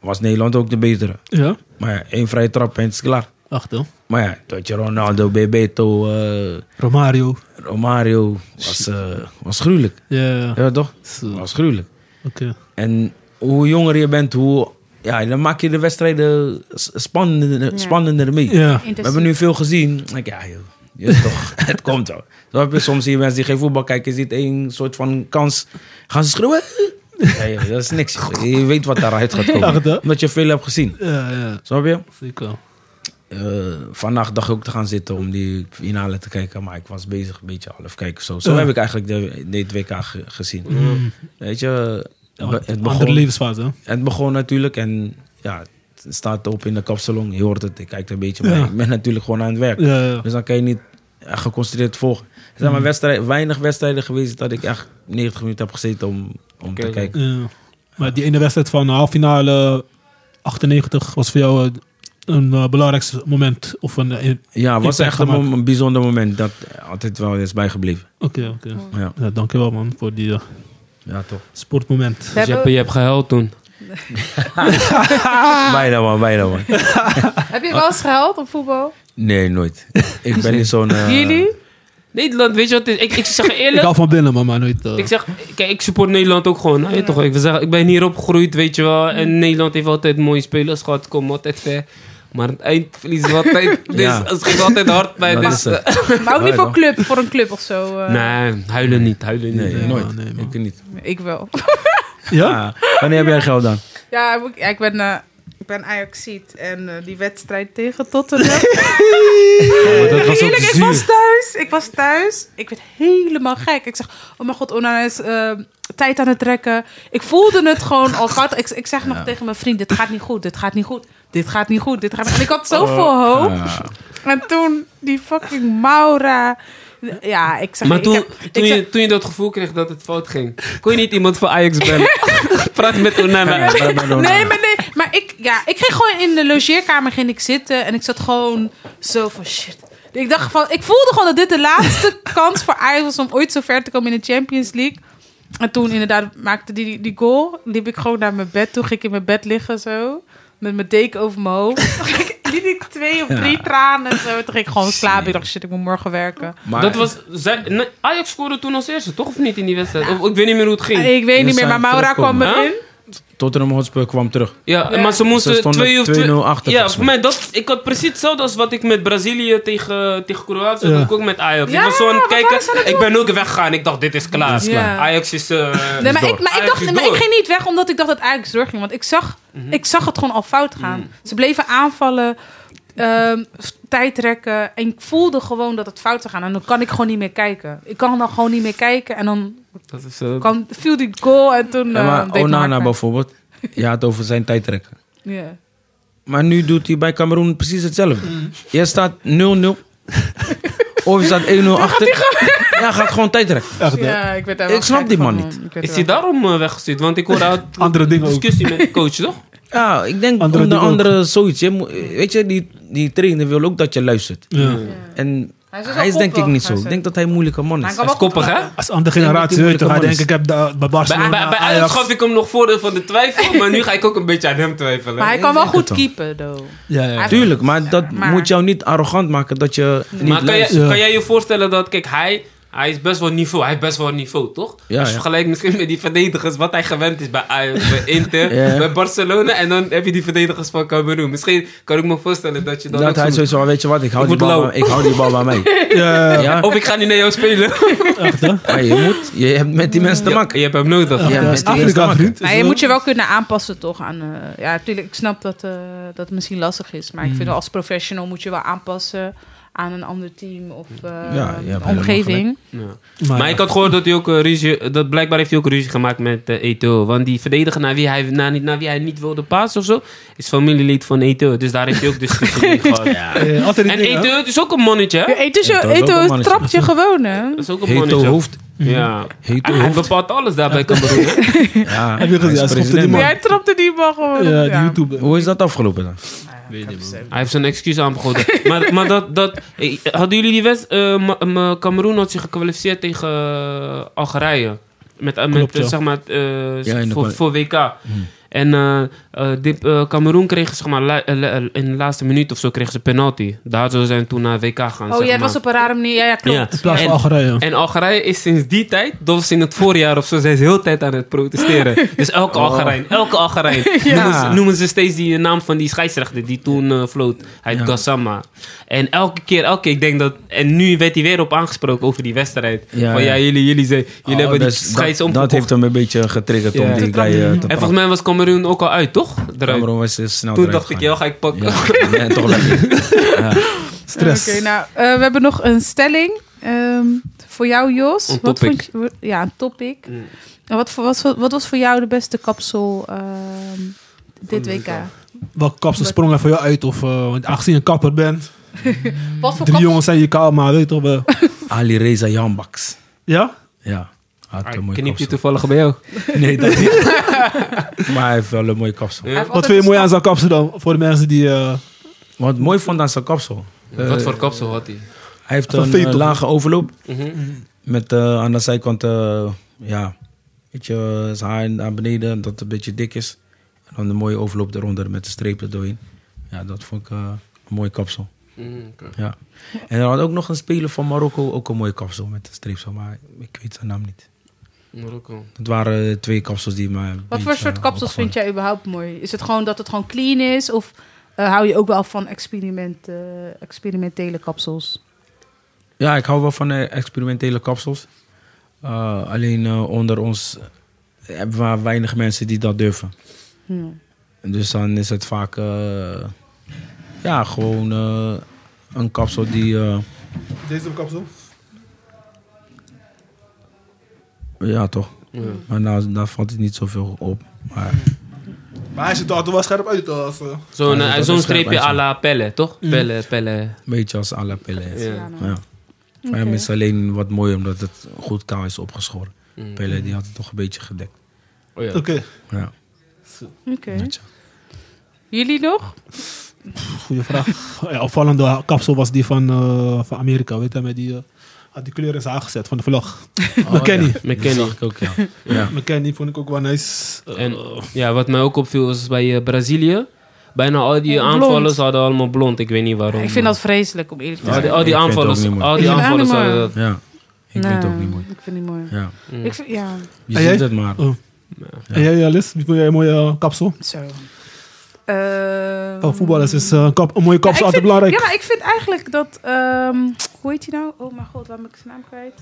Speaker 5: Was Nederland ook de betere.
Speaker 3: Ja.
Speaker 5: Maar ja, één vrije trap en het is klaar.
Speaker 3: Wacht, hoor.
Speaker 5: Maar ja, dat je Ronaldo, Bebeto, eh,
Speaker 3: Romario.
Speaker 5: Romario was, eh, was gruwelijk.
Speaker 3: Ja, ja.
Speaker 5: Ja, toch?
Speaker 3: Zo, Oké.
Speaker 5: Was gruwelijk. En hoe jonger je bent, hoe, ja, dan maak je de wedstrijden s- spannender, spannender mee.
Speaker 3: Ja.
Speaker 5: We hebben nu veel gezien. Ik, ja, joh, je weet toch, <laughs> het komt wel. Zo heb je soms hier mensen die geen voetbal kijken, je ziet één soort van kans. Gaan ze schreeuwen? Ja, joh, dat is niks. joh. Je weet wat daaruit gaat
Speaker 3: Echt, hè?
Speaker 5: komen. Omdat je veel hebt gezien.
Speaker 3: Ja, ja.
Speaker 5: Snap je?
Speaker 3: Zeker.
Speaker 5: Eh, vannacht dacht ik ook te gaan zitten om die finale te kijken. Maar ik was bezig een beetje half kijken. Zo, zo
Speaker 3: Ja. Mm.
Speaker 5: heb ik eigenlijk de, dit WK ge- gezien. Weet je, be- het
Speaker 3: Andere
Speaker 5: begon,
Speaker 3: levensfase, hè?
Speaker 5: het begon natuurlijk. En ja, het staat op in de kapsalon. Je hoort het, ik kijk er een beetje. Maar
Speaker 3: Ja.
Speaker 5: ik ben natuurlijk gewoon aan het werk.
Speaker 3: Ja, Mm. ja.
Speaker 5: Dus dan kan je niet echt geconcentreerd volgen. Er zijn maar wedstrijden, weinig wedstrijden geweest dat ik echt 90 minuten heb gezeten om, om te
Speaker 4: Oké.
Speaker 5: kijken.
Speaker 3: Ja. Maar die ene wedstrijd van de halve finale 98 was voor jou eh, een eh, belangrijk moment. Of een. eh, in-
Speaker 5: Ja, het
Speaker 3: Impact
Speaker 5: was echt een,
Speaker 3: gemaakt.
Speaker 5: mom- een bijzonder moment dat altijd wel is bijgebleven.
Speaker 3: Oké, oké.
Speaker 5: Ja,
Speaker 3: Ja, dankjewel man voor die eh,
Speaker 5: ja toch.
Speaker 3: sportmoment.
Speaker 4: Dus je hebt, je hebt gehuild toen.
Speaker 3: Ah.
Speaker 5: Bijna man, bijna man.
Speaker 2: Heb je wel eens gehuild op voetbal?
Speaker 5: Nee, nooit. Ik ben niet zo'n... eh,
Speaker 2: Jullie?
Speaker 4: Nederland, weet je wat? het is? Ik, ik zeg je
Speaker 3: Ik
Speaker 4: eerlijk,
Speaker 3: hou van binnen, man, maar nooit. eh,
Speaker 4: Ik zeg, kijk, ik support Nederland ook gewoon. Nou, je toch, ik, wil zeggen, ik ben hier opgegroeid, weet je wel. En Nederland heeft altijd mooie spelers gehad, komen altijd ver. Maar aan het eind verliezen we altijd.
Speaker 5: <laughs> Ja.
Speaker 4: Dus het ging altijd hard bij.
Speaker 5: dat
Speaker 4: Dus,
Speaker 5: is
Speaker 3: eh,
Speaker 5: het.
Speaker 2: Maar ook
Speaker 5: Ja,
Speaker 2: niet voor,
Speaker 5: ja.
Speaker 2: club, voor een club of zo. eh.
Speaker 4: nee, huilen niet, huilen
Speaker 5: Nee,
Speaker 4: niet.
Speaker 3: Ja,
Speaker 5: nooit.
Speaker 3: nee, man.
Speaker 5: ik niet.
Speaker 2: Ik wel.
Speaker 3: Ja?
Speaker 5: Ah, wanneer heb jij geld dan?
Speaker 2: Ja, ik- ja, ik ben, eh ik ben Ajaxiet en eh, die wedstrijd tegen
Speaker 4: <laughs>
Speaker 2: Tottenham.
Speaker 5: Oh, dat was ook
Speaker 2: Eerlijk, ik was
Speaker 5: zuur.
Speaker 2: thuis. Ik was thuis. Ik werd helemaal gek. Ik zeg, oh mijn god, Ona is eh, tijd aan het trekken. Ik voelde het gewoon al gehad. Ik, ik zeg nog tegen mijn vriend, dit gaat niet goed, dit gaat niet goed. Dit gaat niet goed, dit gaat niet goed. En ik had
Speaker 5: Oh,
Speaker 2: zoveel hoop. En toen die fucking Maura. Ja, ik zeg...
Speaker 4: Maar
Speaker 2: ik
Speaker 4: toen,
Speaker 2: heb- ik
Speaker 4: toen,
Speaker 2: zeg-
Speaker 4: je, toen je dat gevoel kreeg dat het fout ging, kon je niet iemand voor Ajax
Speaker 5: <laughs>
Speaker 4: bellen. Praat met Onana.
Speaker 5: Ja, maar dan-
Speaker 2: Nee, maar nee. Maar ik, ja, ik ging gewoon in de logeerkamer ging ik zitten. En ik zat gewoon zo van shit. Ik dacht van, ik voelde gewoon dat dit de laatste kans voor Ajax was om ooit zo ver te komen in de Champions League. En toen inderdaad maakte die, die, die goal. Liep ik gewoon naar mijn bed. Toen ging ik in mijn bed liggen zo. Met mijn deken over mijn hoofd. <laughs> Ik liep weet ik, twee of drie tranen. Zo. Toen ging ik gewoon slapen. Ik dacht, shit, ik moet morgen werken.
Speaker 5: Maar,
Speaker 4: Dat was, zij, nee, Ajax scoorde toen als eerste, toch? Of niet in die wedstrijd? Of, ik weet niet meer hoe het ging.
Speaker 2: Ik weet niet meer, maar Maura kwam
Speaker 4: terugkomen,
Speaker 2: erin.
Speaker 5: Tottenham Hotspur kwam terug.
Speaker 4: Ja,
Speaker 2: Ja.
Speaker 4: maar ze
Speaker 5: Ze
Speaker 4: moesten
Speaker 5: stonden
Speaker 4: 2 of
Speaker 5: 2-0
Speaker 4: 2
Speaker 5: achter,
Speaker 4: Ja,
Speaker 5: volgens
Speaker 4: voor
Speaker 5: mij.
Speaker 4: mij dat, ik had precies hetzelfde als wat ik met Brazilië tegen, tegen Kroatië
Speaker 3: Ja.
Speaker 4: had, ook met Ajax.
Speaker 2: Ja,
Speaker 4: ik was zo aan het
Speaker 2: wat
Speaker 4: kijken,
Speaker 2: waren ze aan het
Speaker 4: ik ben ook weggegaan. Ik dacht, dit is klaar.
Speaker 5: Dit is
Speaker 2: klaar. Ja.
Speaker 4: Ajax is. eh,
Speaker 2: Nee, maar,
Speaker 5: door.
Speaker 2: ik, maar, ik
Speaker 4: Ajax is
Speaker 2: dacht, maar ik
Speaker 4: door.
Speaker 2: ging niet weg omdat ik dacht dat Ajax doorging. Want ik zag,
Speaker 5: Mhm.
Speaker 2: ik zag het gewoon al fout gaan. Ze bleven aanvallen, ehm, s- tijdrekken. En ik voelde gewoon dat het fout zou gaan. En dan kan ik gewoon niet meer kijken. Ik kan dan gewoon niet meer kijken. En dan
Speaker 4: Dat is, eh,
Speaker 2: kwam, viel die goal en toen...
Speaker 5: Ja,
Speaker 2: eh,
Speaker 5: maar
Speaker 2: deed mijn hart
Speaker 5: Onana
Speaker 2: pijn.
Speaker 5: bijvoorbeeld, je had over zijn tijdrekken.
Speaker 2: Ja.
Speaker 5: Maar nu doet hij bij Cameroen precies hetzelfde. Jij staat 0-0. of je staat 1-0 achter. Ja, gaat gewoon tijdrekken.
Speaker 3: Echt, eh, hè?
Speaker 2: Ja, ik, werd daar
Speaker 5: Ik
Speaker 2: wel
Speaker 5: snap
Speaker 2: gek
Speaker 5: die man
Speaker 2: van,
Speaker 5: niet.
Speaker 2: ik werd
Speaker 4: is
Speaker 2: er
Speaker 4: hij
Speaker 2: wel-
Speaker 4: daarom eh, weggestuurd? Want ik hoorde uit-
Speaker 5: Ah,
Speaker 3: Andere dingen ook.
Speaker 4: discussie met de coach, toch?
Speaker 5: Ja, ik denk
Speaker 3: Andere
Speaker 5: onder
Speaker 3: dingen ook.
Speaker 5: andere zoiets. Je moet- weet je, die, die trainer wil ook dat je luistert.
Speaker 3: Ja.
Speaker 5: En
Speaker 2: Hij
Speaker 5: hij
Speaker 2: is
Speaker 5: is,
Speaker 2: dus een
Speaker 5: denk ik
Speaker 2: kopper,
Speaker 5: niet zo.
Speaker 2: hij is
Speaker 5: Ik denk dat hij een moeilijke man
Speaker 2: Maar
Speaker 5: is.
Speaker 2: hij kan
Speaker 4: Dat is
Speaker 2: wel goed
Speaker 4: koppig, hè?
Speaker 3: Als andere generatie, weet je, ga je denken, ik heb daar bij
Speaker 4: Bij,
Speaker 3: Barcelona,
Speaker 4: bij, bij Ajax
Speaker 3: Ajax.
Speaker 4: gaf ik hem nog voordeel van de twijfel, maar nu ga ik ook een beetje aan hem twijfelen.
Speaker 2: Maar hij
Speaker 5: Ik
Speaker 2: kan wel
Speaker 5: denk het
Speaker 2: goed
Speaker 5: dan.
Speaker 2: keepen, though.
Speaker 3: Ja, ja, ja.
Speaker 2: Hij-
Speaker 5: Tuurlijk, maar dat
Speaker 2: maar-
Speaker 5: moet jou niet arrogant maken dat je niet
Speaker 4: Maar kan, jij-
Speaker 5: luistert.
Speaker 3: Ja.
Speaker 4: kan jij je voorstellen dat, kijk, hij, hij is best wel niveau. Hij heeft best wel niveau, toch?
Speaker 5: Ja,
Speaker 4: Als je
Speaker 5: ja.
Speaker 4: vergelijkt misschien met die verdedigers, wat hij gewend is bij Ajax,
Speaker 5: <laughs>
Speaker 4: bij Inter,
Speaker 5: Ja, ja.
Speaker 4: bij Barcelona. En dan heb je die verdedigers van Cameroen. Misschien kan ik me voorstellen dat je dan ook
Speaker 5: Dat
Speaker 4: zo
Speaker 5: hij
Speaker 4: doet.
Speaker 5: sowieso, weet je wat, ik hou,
Speaker 4: Ik
Speaker 5: die
Speaker 4: word
Speaker 5: bal,
Speaker 4: lauw.
Speaker 5: bij- ik hou die bal bij mij.
Speaker 3: Ja, ja, ja.
Speaker 5: Ja,
Speaker 4: Of ik ga niet naar jou spelen.
Speaker 5: maar je, moet, je hebt met die mensen te
Speaker 4: Ja,
Speaker 5: maken.
Speaker 4: <laughs> je hebt hem nodig.
Speaker 5: Ja,
Speaker 3: Dat is
Speaker 5: best die eerste
Speaker 3: Afrika,
Speaker 5: makker.
Speaker 3: vriend.
Speaker 2: Maar je moet je wel kunnen aanpassen toch aan... eh, ja, natuurlijk, ik snap dat, eh, dat het misschien lastig is. Maar ik vind wel als professional moet je wel aanpassen aan een ander team of eh,
Speaker 5: je hebt
Speaker 2: een
Speaker 5: helemaal
Speaker 2: omgeving.
Speaker 3: Maar, eh,
Speaker 4: Maar ik had gehoord dat hij ook eh, ruzie, dat blijkbaar heeft hij ook ruzie gemaakt met eh Eto'o. Want die verdediger naar wie hij, naar, niet- naar wie hij niet wilde passen of zo, is familielid van Eto'o. Dus daar heeft hij ook
Speaker 5: <laughs>
Speaker 4: discussie mee gehad.
Speaker 3: Eh, altijd die
Speaker 4: En
Speaker 3: dingen, hè?
Speaker 4: Eto'o is ook een mannetje, hè?
Speaker 2: Ja, Eto'o is-
Speaker 5: Eto'o is ook
Speaker 2: Eto'o
Speaker 5: een mannetje.
Speaker 2: trapt je gewoon, hè?
Speaker 4: Dat is ook een
Speaker 5: Heto
Speaker 4: mannetje.
Speaker 5: hoofd.
Speaker 4: Ja.
Speaker 5: Heto
Speaker 4: Hij
Speaker 5: hoofd.
Speaker 4: bepaalt alles daarbij, Cameroen. hè?
Speaker 5: Ja,
Speaker 3: Heb je gezien, hij schopte die man.
Speaker 2: Jij trapte die bal gewoon.
Speaker 3: Ja,
Speaker 2: op,
Speaker 3: die eh, YouTuber.
Speaker 5: Hoe is dat afgelopen dan?
Speaker 4: Hij heeft zijn excuus aangeboden. maar maar dat, dat, eh, hadden jullie die eh, wedstrijd... Cameroen had zich gekwalificeerd tegen eh, Algerije. Met, eh, met
Speaker 3: Klopt,
Speaker 4: eh,
Speaker 3: ja.
Speaker 4: zeg maar, eh,
Speaker 5: Ja, in de
Speaker 4: voor,
Speaker 5: kwal-
Speaker 4: voor WK. En eh eh, die, eh, Cameroen kreeg zeg maar, la- eh, la- eh, in de laatste minuut of zo kreeg ze penalty. Daardoor zijn ze toen naar WK gaan.
Speaker 2: Oh,
Speaker 4: zeg
Speaker 2: jij
Speaker 4: maar.
Speaker 2: was op een rare manier. Ja, ja
Speaker 4: Ja.
Speaker 2: klopt.
Speaker 3: In plaats van
Speaker 4: En-
Speaker 3: Algerije.
Speaker 4: En Algerije is sinds die tijd, dat was in het voorjaar of zo, zijn ze de hele tijd aan het protesteren. <laughs> Dus elke Algerijn, elke <laughs> Algerijn. noemen, ze, noemen ze steeds die naam van die scheidsrechter die toen eh floot. Hij heet Gassama. En elke keer, elke keer, ik denk dat... En nu werd hij weer op aangesproken over die wedstrijd.
Speaker 5: Ja,
Speaker 4: van ja,
Speaker 5: ja.
Speaker 4: jullie, jullie, zijn, jullie
Speaker 5: Oh,
Speaker 4: hebben die
Speaker 5: dus
Speaker 4: scheids
Speaker 5: dat, dat
Speaker 4: omgekocht.
Speaker 5: heeft hem een beetje getriggerd
Speaker 4: Ja.
Speaker 5: om die guy eh, te
Speaker 4: En
Speaker 5: praten.
Speaker 4: volgens mij was Cameroen ook al uit, toch? Eruit.
Speaker 5: Cameroen was eh, snel
Speaker 4: Toen
Speaker 5: eruit
Speaker 4: dacht ik,
Speaker 5: gegaan.
Speaker 4: ja, ga ik pakken. <laughs>
Speaker 5: Ja, en toch lekker.
Speaker 3: Stress.
Speaker 2: Oké, nou, eh, we hebben nog een stelling. ehm, voor jou, Jos.
Speaker 4: Een
Speaker 2: Wat
Speaker 4: topic.
Speaker 2: vond je, ja, een topic. En Wat, voor- wat, voor- wat was voor jou de beste kapsel ehm, dit WK?
Speaker 3: Welke kapsel sprong er voor jou uit? Of, eh, want aangezien je kapper bent,
Speaker 2: Wat voor
Speaker 3: drie
Speaker 2: kapsel?
Speaker 3: jongens zijn je kaal, maar weet je toch wel.
Speaker 5: Ali Reza Janbaks.
Speaker 3: Ja?
Speaker 5: Ja, hij had een mooie
Speaker 4: Knip je
Speaker 5: kapsel.
Speaker 4: toevallig bij jou.
Speaker 5: Nee, dat niet. <laughs> maar hij heeft wel een mooie kapsel.
Speaker 2: Hij heeft
Speaker 3: Wat
Speaker 2: altijd
Speaker 3: vind je mooi
Speaker 2: een
Speaker 3: aan zijn kapsel dan? Voor de mensen die... eh,
Speaker 5: Wat mooi vond aan zijn kapsel. eh,
Speaker 4: Wat voor kapsel had hij?
Speaker 5: Hij heeft
Speaker 3: Van
Speaker 5: een
Speaker 3: Veto.
Speaker 5: eh, lage overloop.
Speaker 4: Mhm.
Speaker 5: Met eh, aan de zijkant, eh, ja, weet je, eh, zijn haar naar beneden, dat het een beetje dik is. En dan een mooie overloop eronder met de strepen doorheen. Ja, dat vond ik eh, een mooie kapsel.
Speaker 4: Mm, oké.
Speaker 5: Ja. En er had ook nog een speler van Marokko, ook een mooie kapsel met de streep zo, maar ik weet zijn naam niet.
Speaker 4: Marokko.
Speaker 5: Dat waren eh, twee kapsels die mij. eh,
Speaker 2: Wat voor soort kapsels vind jij überhaupt mooi? Is het gewoon dat het gewoon clean is? Of eh, hou je ook wel van experiment, eh, experimentele kapsels?
Speaker 5: Ja, ik hou wel van eh, experimentele kapsels. Eh, alleen eh, onder ons eh, hebben we maar weinig mensen die dat durven.
Speaker 2: Ja.
Speaker 5: Dus dan is het vaak eh, ja, gewoon eh, een kapsel die eh,
Speaker 3: Deze kapsel?
Speaker 5: ja toch. Maar daar, daar valt het niet zoveel op. Maar
Speaker 3: Maar hij ziet er altijd wel scherp uit. eh, Als, eh,
Speaker 4: Zo'n
Speaker 5: Ja,
Speaker 4: eh,
Speaker 5: dat
Speaker 4: zo'n
Speaker 5: is
Speaker 4: streepje
Speaker 5: scherp
Speaker 4: à la Pelle, toch?
Speaker 2: Mm.
Speaker 4: Pelle, Pelle.
Speaker 5: een beetje als à la Pelé. Ja.
Speaker 4: Ja.
Speaker 5: Voor hem is het alleen wat mooi omdat het goed kaal is opgeschoren.
Speaker 4: Mm.
Speaker 5: Pelé die had het toch een beetje gedekt.
Speaker 4: Oh, ja.
Speaker 3: Oké.
Speaker 5: Ja,
Speaker 2: Oké.
Speaker 5: weet je.
Speaker 2: Jullie nog?
Speaker 3: Goeie vraag. <laughs> Ja, opvallende kapsel was die van, eh, van Amerika, weet je, met die... eh, had die kleur in zijn haar gezet van de vlog. McKennie.
Speaker 5: ja. Dat
Speaker 4: McKennie.
Speaker 5: zag ik ook,
Speaker 4: <laughs>
Speaker 5: ja. Oh. ja.
Speaker 3: McKennie vond ik ook wel nice. Eh,
Speaker 4: En ja, wat mij ook opviel was bij eh, Brazilië. Bijna al die
Speaker 2: Oh, Blond.
Speaker 4: aanvallers hadden allemaal blond. Ik weet niet waarom.
Speaker 2: Ik vind dat vreselijk om eerlijk te
Speaker 4: maar- Al
Speaker 2: zijn.
Speaker 4: die, al die
Speaker 5: Ik vind het ook
Speaker 4: aanvallers,
Speaker 5: niet mooi.
Speaker 4: al
Speaker 2: Ik
Speaker 4: die
Speaker 2: vind het
Speaker 4: aanvallers
Speaker 2: ook niet
Speaker 4: hadden
Speaker 2: mooi.
Speaker 4: dat.
Speaker 5: Ja, ik
Speaker 2: Nee,
Speaker 5: vind het ook niet mooi.
Speaker 2: Ik vind het niet mooi.
Speaker 5: Ja.
Speaker 2: Ik vind, ja,
Speaker 5: Je
Speaker 3: En jij?
Speaker 5: ziet het maar.
Speaker 3: Oh. En jij, Alice? Wie vond jij een mooie eh, kapsel?
Speaker 2: zo. Ehm,
Speaker 3: Oh, voetballers is eh, een kap, een mooie kapsel
Speaker 2: Ja, ik
Speaker 3: altijd
Speaker 2: vind-
Speaker 3: belangrijk.
Speaker 2: Ja, maar ik vind eigenlijk dat... ehm, hoe heet hij nou? Oh mijn god, waar ben ik zijn naam kwijt?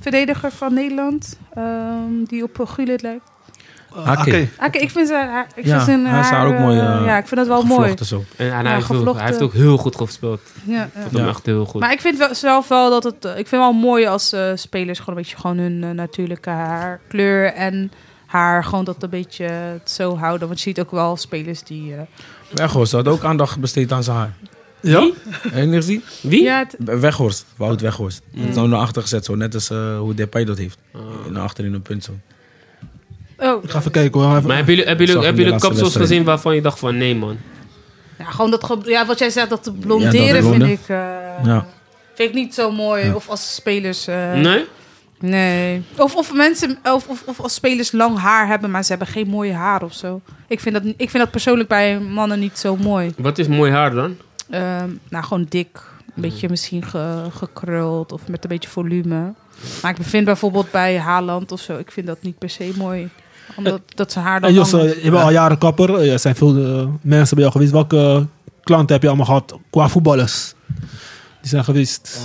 Speaker 2: Verdediger van Nederland, ehm, die op eh, Gullit lijkt.
Speaker 3: Eh,
Speaker 5: Oké.
Speaker 3: oké.
Speaker 2: Oké, Ah, ik vind zijn haar... Ik
Speaker 5: Ja,
Speaker 2: vind zijn
Speaker 5: hij is daar ook
Speaker 2: eh,
Speaker 5: mooi, eh,
Speaker 2: ja, ik vind dat wel mooi.
Speaker 5: Gevlochten zo.
Speaker 4: En, en
Speaker 2: Ja,
Speaker 4: hij, heeft ook,
Speaker 2: gevlochten.
Speaker 4: hij heeft ook heel goed gespeeld. Ik
Speaker 2: Ja, ja.
Speaker 4: vond hem
Speaker 5: Ja.
Speaker 4: echt heel goed.
Speaker 2: Maar ik vind wel, zelf wel dat het... eh, ik vind wel mooi als eh, spelers gewoon een beetje gewoon hun eh, natuurlijke haarkleur en haar gewoon dat een beetje het zo houden. Want je ziet ook wel spelers die... eh,
Speaker 5: Weghorst had ook aandacht besteed aan zijn haar.
Speaker 3: Ja?
Speaker 5: Heb je niet gezien?
Speaker 4: Wie?
Speaker 2: Ja, het-
Speaker 5: Weghorst. Wout Weghorst.
Speaker 3: Mm.
Speaker 5: Het is nou naar achter gezet zo. Net als eh, hoe Depay dat heeft.
Speaker 3: Ah.
Speaker 5: Naar achter in een punt zo.
Speaker 2: oh,
Speaker 3: Ik ga even kijken hoor. Even-
Speaker 4: Maar hebben jullie, hebben
Speaker 5: Ik
Speaker 4: jullie,
Speaker 5: zag
Speaker 4: hebben jullie
Speaker 5: hem de laatste
Speaker 4: kapsels
Speaker 5: wedstrijd.
Speaker 4: gezien waarvan je dacht van nee man.
Speaker 2: ja, gewoon dat... ge- Ja, wat jij zegt, dat te blonderen vind
Speaker 5: blonde.
Speaker 2: ik... eh,
Speaker 5: Ja.
Speaker 2: Vind ik niet zo mooi. Of als spelers. eh,
Speaker 4: Nee?
Speaker 2: nee. Of, of mensen. Of, of, of als spelers lang haar hebben, maar ze hebben geen mooie haar of zo. Ik vind dat, ik vind dat persoonlijk bij mannen niet zo mooi.
Speaker 4: Wat is mooi haar dan?
Speaker 2: Ehm, nou, gewoon dik. Een beetje misschien ge- gekruld of met een beetje volume. Maar ik vind bijvoorbeeld bij Haaland of zo. Ik vind dat niet per se mooi. Omdat <laughs> dat zijn haar dan.
Speaker 3: En Jos, eh,
Speaker 2: lang is.
Speaker 3: je bent al jaren kapper. Eh, Er zijn veel eh, mensen bij jou geweest. Welke eh, klanten heb je allemaal gehad qua voetballers? Die zijn geweest.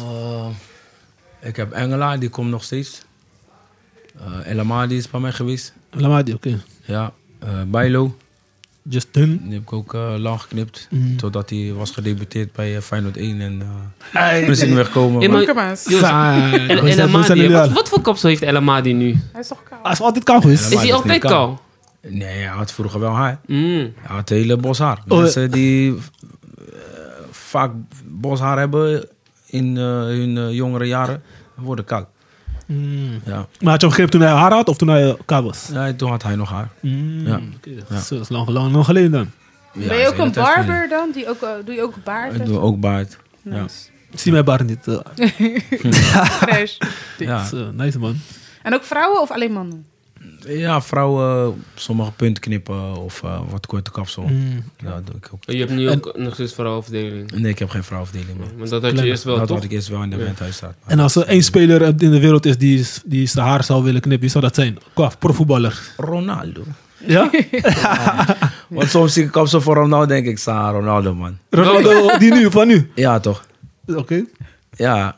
Speaker 5: Eh, ik heb Engelaar, die komt nog steeds. Eh Elama, die is bij mij geweest.
Speaker 3: Lamadi, oké.
Speaker 5: Ja. Eh Bijlo,
Speaker 3: Justin.
Speaker 5: die heb ik ook eh, lang geknipt.
Speaker 3: Mm.
Speaker 5: Totdat hij was gedebuteerd bij eh, Feyenoord 1. En eh
Speaker 3: Hey.
Speaker 5: toen is hij niet meer gekomen.
Speaker 4: Ja,
Speaker 5: maar-
Speaker 4: maar-
Speaker 2: Kom maar eens.
Speaker 4: Jos,
Speaker 3: <laughs> Fijn.
Speaker 4: en
Speaker 3: Hoe
Speaker 4: El
Speaker 3: zijn- hoe zijn
Speaker 4: Amadi.
Speaker 3: jullie
Speaker 4: Wat,
Speaker 3: daar?
Speaker 4: wat voor kapsel heeft El Amadi nu?
Speaker 2: Hij is toch koud?
Speaker 3: Hij is altijd kaal geweest.
Speaker 5: Helemaal.
Speaker 4: Is
Speaker 5: dat
Speaker 4: hij
Speaker 5: is
Speaker 4: altijd
Speaker 5: niet
Speaker 4: kaal?
Speaker 5: Nee, hij had vroeger wel haar.
Speaker 4: Mm.
Speaker 5: Hij had hele bos haar.
Speaker 3: Oh,
Speaker 5: Mensen die eh, vaak bos haar hebben in eh, hun eh, jongere jaren, worden koud.
Speaker 3: Mm.
Speaker 5: Ja.
Speaker 3: Maar had je hem gegeven toen hij haar had of toen hij eh, kaal was?
Speaker 5: Ja, toen had hij nog haar.
Speaker 3: Mm.
Speaker 5: Ja.
Speaker 3: Oké, Zo, dat is lang, lang, lang geleden dan.
Speaker 2: ben je ook een barber dan? Die ook, eh, doe je ook
Speaker 5: Ik
Speaker 2: baarden?
Speaker 5: doe ook baard. Ja.
Speaker 2: Nice.
Speaker 3: Ik zie mijn bar niet. eh.
Speaker 2: Fresh.
Speaker 5: Ja.
Speaker 3: Zo, nice man.
Speaker 2: En ook vrouwen of alleen mannen?
Speaker 5: ja, vrouwen op sommige punten knippen of eh, wat korte kapsel.
Speaker 3: Mm.
Speaker 5: Ja, dat doe ik ook.
Speaker 4: Je hebt nu ook nog steeds vrouwenverdeling.
Speaker 5: Nee, ik heb geen vrouwafdeling meer.
Speaker 4: Want dat had je eerst wel,
Speaker 5: dat
Speaker 4: toch?
Speaker 5: had ik eerst wel in de menthuis staat. maar-
Speaker 3: En als er één speler in de wereld is die, die zijn haar zou willen knippen, wie zou dat zijn? Qua profvoetballer.
Speaker 5: Ronaldo.
Speaker 3: Ja?
Speaker 5: Want soms zie ik kapsel voor Ronaldo, denk ik, sa Ronaldo man.
Speaker 3: <laughs> Ronaldo, die nu, van nu.
Speaker 5: Ja, toch?
Speaker 3: Oké.
Speaker 5: ja,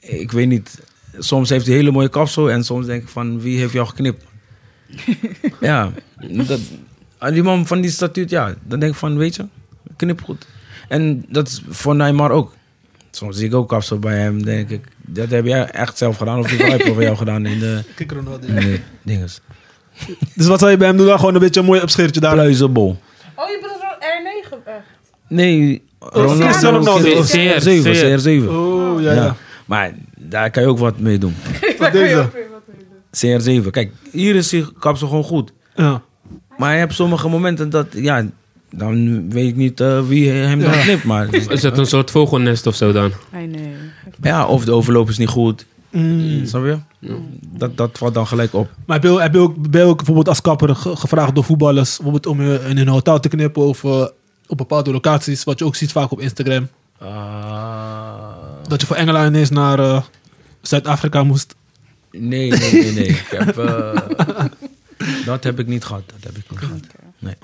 Speaker 5: ik weet niet. Soms heeft hij hele mooie kapsel en soms denk ik van wie heeft jou geknipt? ja, dat, aan die man van die statuut, ja, dan denk ik van weet je, knip goed. En dat is voor Neymar ook. Soms zie ik ook kapsel bij hem, denk ik. Dat heb jij echt zelf gedaan of die vrouw heeft voor jou gedaan in de,
Speaker 3: Kijk Ronaldo.
Speaker 5: in de dinges.
Speaker 3: Dus wat zou je bij hem doen? Dan Gewoon een beetje een mooi opscheertje daar.
Speaker 5: Pluizenbol.
Speaker 2: Oh, je bedoelt R9?
Speaker 5: Nee,
Speaker 3: Oh, Cristiano
Speaker 5: Ronaldo.
Speaker 3: Ronaldo.
Speaker 4: Zeer, zeer.
Speaker 5: CR7, CR7.
Speaker 3: Oh, ja,
Speaker 5: Ja.
Speaker 3: ja.
Speaker 5: Maar daar kan je ook wat mee doen.
Speaker 3: Van deze.
Speaker 5: CR7. Kijk, hier is die kapsel gewoon goed.
Speaker 3: Ja.
Speaker 5: Maar je hebt sommige momenten dat, ja, dan weet ik niet eh, wie hem dan knipt. Maar
Speaker 4: Is dat een soort vogelnest of zo dan?
Speaker 2: Hij nee.
Speaker 5: ja, of de overloop is niet goed.
Speaker 3: Mm.
Speaker 5: Snap je? Dat, dat valt dan gelijk op.
Speaker 3: Maar heb je, ook- heb je ook, ben je ook bijvoorbeeld als kapper ge- gevraagd door voetballers bijvoorbeeld om je in een hotel te knippen of eh, op bepaalde locaties, wat je ook ziet vaak op Instagram?
Speaker 5: Ah,
Speaker 3: Dat je voor Engeland ineens naar eh, Zuid-Afrika moest.
Speaker 5: nee, nee, nee, nee. Ik heb, <laughs> eh, dat heb ik niet gehad. Dat heb ik niet gehad. Nee.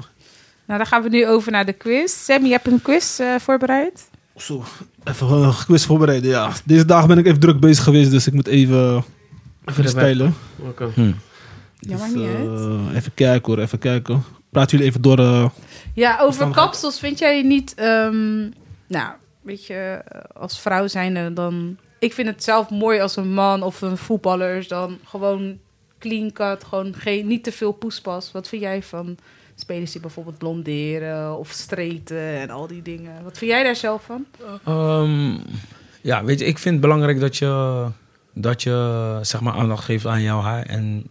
Speaker 2: Nou, dan gaan we nu over naar de quiz. Sammy, je hebt een quiz eh, voorbereid?
Speaker 3: Zo, even een quiz voorbereiden, ja. Deze dag ben ik even druk bezig geweest, dus ik moet even, even stijlen.
Speaker 4: Oké.
Speaker 2: Ja, maar
Speaker 3: Dus,
Speaker 2: niet uit.
Speaker 3: eh, even kijken hoor, even kijken. Praat jullie even door. eh,
Speaker 2: Ja, over kapsels vind jij niet... ehm, nou, weet je, als vrouw zijnde dan... Ik vind het zelf mooi als een man of een voetballer is dan gewoon clean cut. Gewoon geen, niet te veel poespas. Wat vind jij van spelers die bijvoorbeeld blonderen of streten en al die dingen? Wat vind jij daar zelf van?
Speaker 5: Ehm, ja, weet je, ik vind het belangrijk dat je, dat je zeg maar, aandacht geeft aan jouw haar. En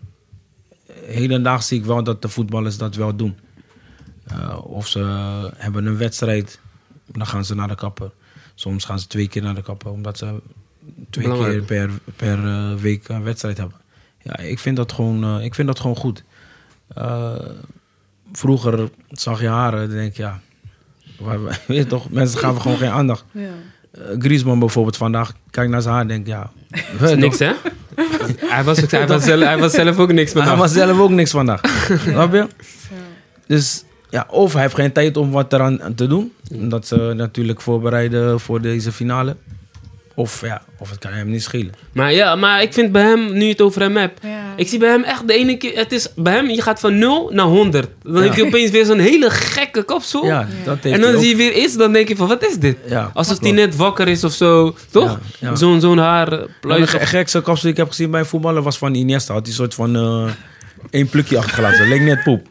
Speaker 5: hedendaag zie ik wel dat de voetballers dat wel doen. Eh, of ze hebben een wedstrijd, dan gaan ze naar de kapper. Soms gaan ze twee keer naar de kapper, omdat ze twee
Speaker 4: Belangrijk.
Speaker 5: keer per, per eh, week een wedstrijd hebben. Ja, ik vind dat gewoon, eh, ik vind dat gewoon goed. Eh, vroeger zag je haren, dan denk ik, ja, Waar <laughs> we- Weet je toch, mensen gaven gewoon geen aandacht.
Speaker 2: Ja.
Speaker 5: Eh, Griezmann bijvoorbeeld vandaag, kijk naar zijn haar, denk ja.
Speaker 4: is <laughs> niks, hè? hij, was, hij, was zelf, hij was zelf ook niks
Speaker 5: Maar hij
Speaker 4: met
Speaker 5: was zelf ook niks vandaag. <laughs> Snap je? Dus ja, of hij heeft geen tijd om wat eraan aan te doen. Omdat ze natuurlijk voorbereiden voor deze finale. Of ja, of het kan hem niet schelen.
Speaker 4: Maar ja, maar ik vind bij hem, nu je het over hem hebt...
Speaker 2: Ja.
Speaker 4: Ik zie bij hem echt de ene keer... Het is bij hem, je gaat van 0 naar 100. Dan
Speaker 5: Ja.
Speaker 4: heeft hij opeens weer zo'n hele gekke kapsel.
Speaker 5: Ja, dat heeft
Speaker 4: Oh. en
Speaker 5: hij
Speaker 4: dan
Speaker 5: ook.
Speaker 4: zie je weer iets, dan denk je van, wat is dit?
Speaker 5: Ja,
Speaker 4: Alsof
Speaker 5: klopt.
Speaker 4: hij net wakker is of zo, toch?
Speaker 5: Ja, ja.
Speaker 4: Zo'n zo'n haar eh,
Speaker 5: De
Speaker 4: pluis.
Speaker 5: ge- gekste kapsel die ik heb gezien bij een voetballer was van Iniesta. Had die soort van eh één plukje achtergelaten. Leek net poep.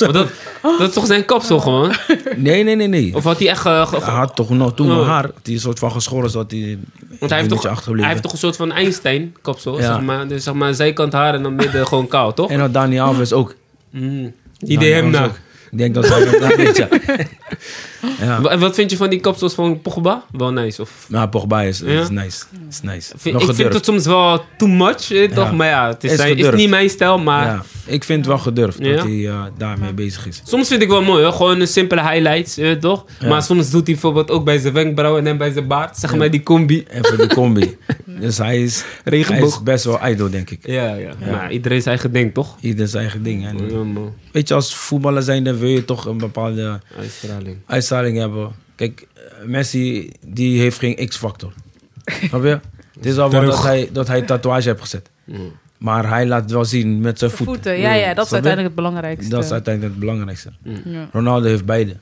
Speaker 4: Maar dat, dat is toch zijn kapsel
Speaker 5: <laughs>
Speaker 4: gewoon?
Speaker 5: Nee, nee, nee, nee.
Speaker 4: Of had hij echt... eh, ge-
Speaker 5: Hij had toch nog toen mijn
Speaker 4: Oh.
Speaker 5: haar, die soort van geschoren zodat hij
Speaker 4: want hij heeft, toch, hij
Speaker 5: achtergebleven.
Speaker 4: heeft toch een soort van Einstein-kapsel,
Speaker 5: Ja.
Speaker 4: zeg maar. Dus zeg maar zijkant haar en dan midden gewoon kaal, toch?
Speaker 5: En had Dani Alves ook.
Speaker 4: Mm. Die deed hem
Speaker 5: Dani
Speaker 4: na.
Speaker 5: Alves ook. Ik denk dat hij dat weet,
Speaker 4: <laughs>
Speaker 5: ja. ja.
Speaker 4: Wa- En wat vind je van die kapsels van Pogba? Wel nice, of...
Speaker 5: Nou, Pogba is, is
Speaker 4: Ja?
Speaker 5: nice. Is nice.
Speaker 4: Vind-
Speaker 5: Wel
Speaker 4: ik vind
Speaker 5: gedurfd.
Speaker 4: het soms wel too much, eh, toch? Maar ja, het is,
Speaker 5: Is
Speaker 4: zijn- is
Speaker 5: gedurfd.
Speaker 4: niet mijn stijl, maar...
Speaker 5: Ja, ik vind het wel gedurfd
Speaker 4: Ja?
Speaker 5: dat hij eh, daarmee bezig is.
Speaker 4: Soms vind ik wel mooi, hoor. gewoon een simpele highlights, eh, toch?
Speaker 5: Ja.
Speaker 4: Maar soms doet hij bijvoorbeeld ook bij zijn wenkbrauwen en bij zijn baard, zeg maar, die combi.
Speaker 5: En voor
Speaker 4: <laughs>
Speaker 5: de combi. dus hij is, hij
Speaker 4: Regenboog.
Speaker 5: is best wel idol, denk ik.
Speaker 4: Ja, ja. Maar iedereen zijn eigen ding, toch?
Speaker 5: Ieder zijn eigen ding. En
Speaker 4: Ja, man.
Speaker 5: weet je, als voetballer zijnde wil je toch een bepaalde
Speaker 4: Uitstraling.
Speaker 5: uitstraling hebben. Kijk, eh, Messi die heeft geen
Speaker 4: <laughs>
Speaker 5: X-factor. Snap je? Het is al wel dat hij, dat hij tatoeage heeft gezet. Maar hij laat het wel zien met zijn voeten.
Speaker 2: Voeten, ja, ja, dat is
Speaker 5: Snap je?
Speaker 2: uiteindelijk het belangrijkste.
Speaker 5: Dat is uiteindelijk het belangrijkste.
Speaker 2: Ja.
Speaker 5: Ronaldo heeft beide.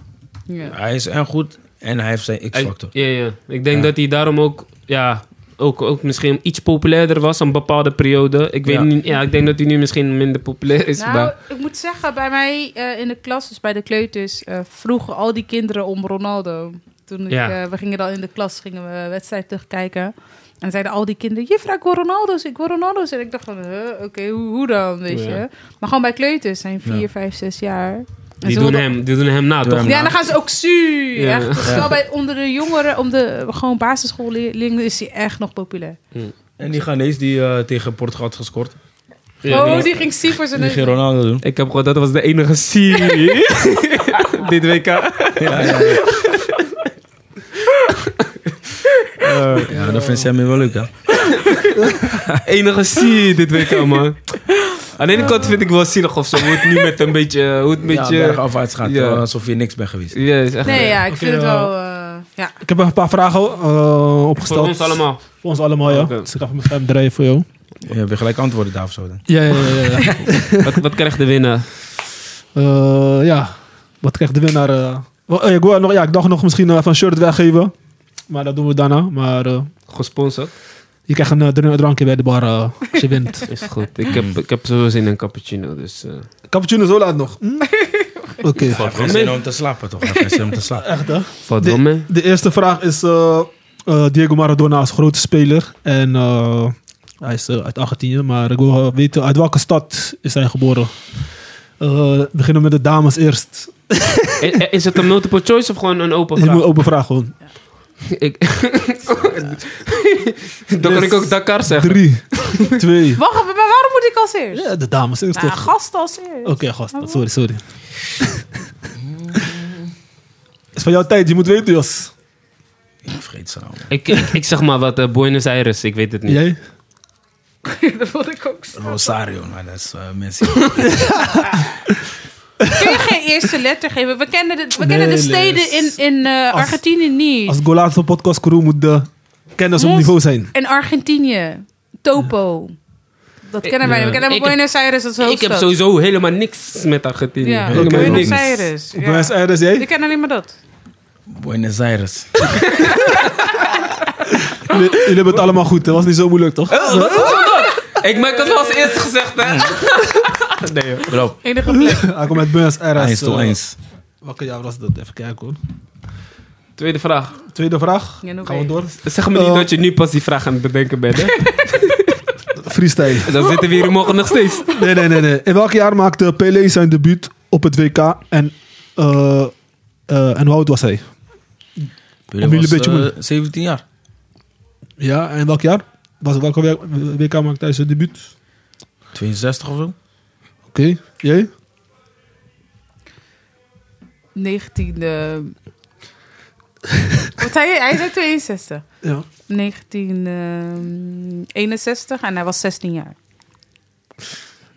Speaker 2: Ja.
Speaker 5: Hij is en goed en hij heeft zijn
Speaker 4: Hij-
Speaker 5: X-factor.
Speaker 4: Ja, ja. Ik denk
Speaker 5: Ja.
Speaker 4: dat hij daarom ook, ja, ook, ook misschien iets populairder was een bepaalde periode. Ik weet
Speaker 5: Ja.
Speaker 4: niet, ja, ik denk dat hij nu misschien minder populair is.
Speaker 2: Nou,
Speaker 4: maar,
Speaker 2: ik moet zeggen, bij mij eh, in de klas, dus bij de kleuters, eh, vroegen al die kinderen om Ronaldo. Toen ik,
Speaker 4: Ja.
Speaker 2: eh, we gingen dan in de klas, gingen we wedstrijd terugkijken. En dan zeiden al die kinderen, juffrouw, ik wil Ronaldo's, ik wil Ronaldo's. En ik dacht van, huh, oké, hoe, hoe dan, weet
Speaker 4: Oh Ja.
Speaker 2: je. Maar gewoon bij kleuters zijn vier,
Speaker 5: Ja.
Speaker 2: vijf, zes jaar. En
Speaker 4: die,
Speaker 2: ze
Speaker 4: doen
Speaker 2: wilden-
Speaker 4: hem, die doen hem na,
Speaker 5: Doen
Speaker 4: toch?
Speaker 5: hem
Speaker 2: Ja, en dan gaan ze ook zuur.
Speaker 4: Ja.
Speaker 2: Echt. Dus
Speaker 5: Ja.
Speaker 2: wel bij, onder de jongeren, om de gewoon basisschoolleerlingen is hij echt nog populair.
Speaker 5: En die Ghanese die eh, tegen Portugal had gescoord.
Speaker 4: Ja,
Speaker 2: oh,
Speaker 4: die-
Speaker 2: die ging zien voor zijn
Speaker 5: Die
Speaker 2: neus.
Speaker 5: ging Ronaldo doen.
Speaker 4: Ik heb gehoord, dat was de enige serie <laughs> dit WK.
Speaker 5: ja, dat vindt Sammy wel leuk, hè?
Speaker 4: enige zie dit WK, man. Aan de ene kant vind ik wel zielig of zo. Hoe het nu met een beetje... Hoe het een beetje
Speaker 5: Ja, bergafwaarts gaat.
Speaker 4: Ja.
Speaker 5: eh, alsof je niks bent geweest.
Speaker 4: Ja, is echt...
Speaker 2: Nee, ja, ik
Speaker 3: Oké,
Speaker 2: vind het
Speaker 3: eh,
Speaker 2: wel... eh, ja.
Speaker 3: Ik heb een paar vragen eh,
Speaker 4: Voor
Speaker 3: opgesteld.
Speaker 4: ons allemaal.
Speaker 3: Voor ons allemaal, ja.
Speaker 4: Oké.
Speaker 3: Dus ik ga even mijn stem draaien voor jou.
Speaker 5: Je hebt weer gelijk antwoorden daarop zo. Dan.
Speaker 3: Ja, ja, ja. <laughs> Ja,
Speaker 4: Wat, wat krijgt de winnaar?
Speaker 3: Eh, ja. wat krijgt de winnaar? eh? Wel, eh, ik, wil nog, ja, ik dacht nog misschien eh, even een shirt weggeven. Maar dat doen we daarna. Maar eh,
Speaker 4: Gesponsord?
Speaker 3: je krijgt een eh, dr- drankje bij de bar eh, als je <laughs> wint.
Speaker 4: Is goed. Ik heb, ik heb sowieso zin in cappuccino, dus... eh,
Speaker 3: Cappuccino zo laat nog. Hm? Oké.
Speaker 5: Heb geen zin om te slapen, toch? Heb geen zin om te slapen.
Speaker 3: Echt, hè?
Speaker 4: valt wel
Speaker 3: De,
Speaker 4: mee.
Speaker 3: de eerste vraag is eh, eh, Diego Maradona als grote speler. En eh, hij is eh, uit Argentinië, maar ik wil eh, weten uit welke stad is hij geboren? Eh, beginnen we met de dames eerst.
Speaker 4: Is, Eh, is het een multiple choice of gewoon een open
Speaker 3: Je
Speaker 4: vraag?
Speaker 3: moet open vraag gewoon.
Speaker 4: <laughs> Ik... <laughs> Dan kan ik ook Dakar zeggen.
Speaker 3: Drie, <laughs> twee.
Speaker 2: Wacht even, maar waarom moet ik als eerst?
Speaker 3: Ja, Oh. de dames eerst
Speaker 2: Nou,
Speaker 3: toch?
Speaker 2: gast als eerst.
Speaker 3: Oké, gast. Sorry, sorry. <laughs> is van jouw tijd, je moet weten, Jos.
Speaker 5: Ik vergeet ze nou.
Speaker 4: Ik, ik, ik zeg maar wat, eh, Buenos Aires, ik weet het niet.
Speaker 3: Jij?
Speaker 2: <laughs> dat vond ik ook zo.
Speaker 5: Rosario, maar dat is eh, mensen.
Speaker 2: Kun je geen eerste letter geven? We kennen de, we
Speaker 3: Nee,
Speaker 2: kennen de
Speaker 3: nee,
Speaker 2: steden in,
Speaker 3: is-
Speaker 2: in eh,
Speaker 3: als-
Speaker 2: Argentinië niet.
Speaker 3: Als Golazo podcast crew moet de kennis op
Speaker 2: Mos-
Speaker 3: niveau zijn.
Speaker 2: En Argentinië. Topo. Dat kennen wij.
Speaker 4: Ja.
Speaker 2: We kennen
Speaker 4: Ik heb-
Speaker 2: Buenos Aires als
Speaker 4: Ik
Speaker 2: hoofdstad.
Speaker 4: heb sowieso helemaal niks met Argentinië.
Speaker 2: Ja,
Speaker 4: Helemaal
Speaker 3: Oké.
Speaker 2: Buenos
Speaker 4: niks.
Speaker 2: Aires. ja.
Speaker 3: Buenos Aires, jij?
Speaker 2: Ik ken alleen maar dat.
Speaker 5: Buenos Aires.
Speaker 3: Jullie, jullie hebben het allemaal goed, dat was niet zo moeilijk, toch?
Speaker 4: Oh, Ik maak het wel als eerste gezegd, hè? <laughs> Nee, hoor.
Speaker 5: Bro,
Speaker 2: Enige plek.
Speaker 3: <laughs> Hij komt uit Buenos Aires.
Speaker 5: eens tot
Speaker 3: eh,
Speaker 5: eens.
Speaker 3: Welke jaar was dat? Even kijken hoor.
Speaker 4: Tweede vraag.
Speaker 3: Tweede vraag.
Speaker 2: Ja, nog
Speaker 3: Gaan we
Speaker 2: één.
Speaker 3: door.
Speaker 4: Zeg me niet
Speaker 3: Eh,
Speaker 4: dat je nu pas die vraag aan het bedenken bent, hè?
Speaker 3: Freestyle.
Speaker 4: Dan zitten we hier morgen nog steeds.
Speaker 3: Nee, nee, nee, nee. In welk jaar maakte Pelé zijn debuut op het WK en, eh, eh, en hoe oud was hij?
Speaker 5: Jullie
Speaker 3: jullie
Speaker 5: was,
Speaker 3: een beetje
Speaker 5: eh,
Speaker 3: moeilijk.
Speaker 5: 17 jaar.
Speaker 3: Ja, en welk jaar? Was welke wer- WK maakte hij zijn debuut?
Speaker 5: 62 of zo.
Speaker 3: Oké, jij?
Speaker 2: 19... eh, wat zei je? Hij zei 62.
Speaker 3: Ja.
Speaker 2: 1961 ehm, en hij was 16 jaar.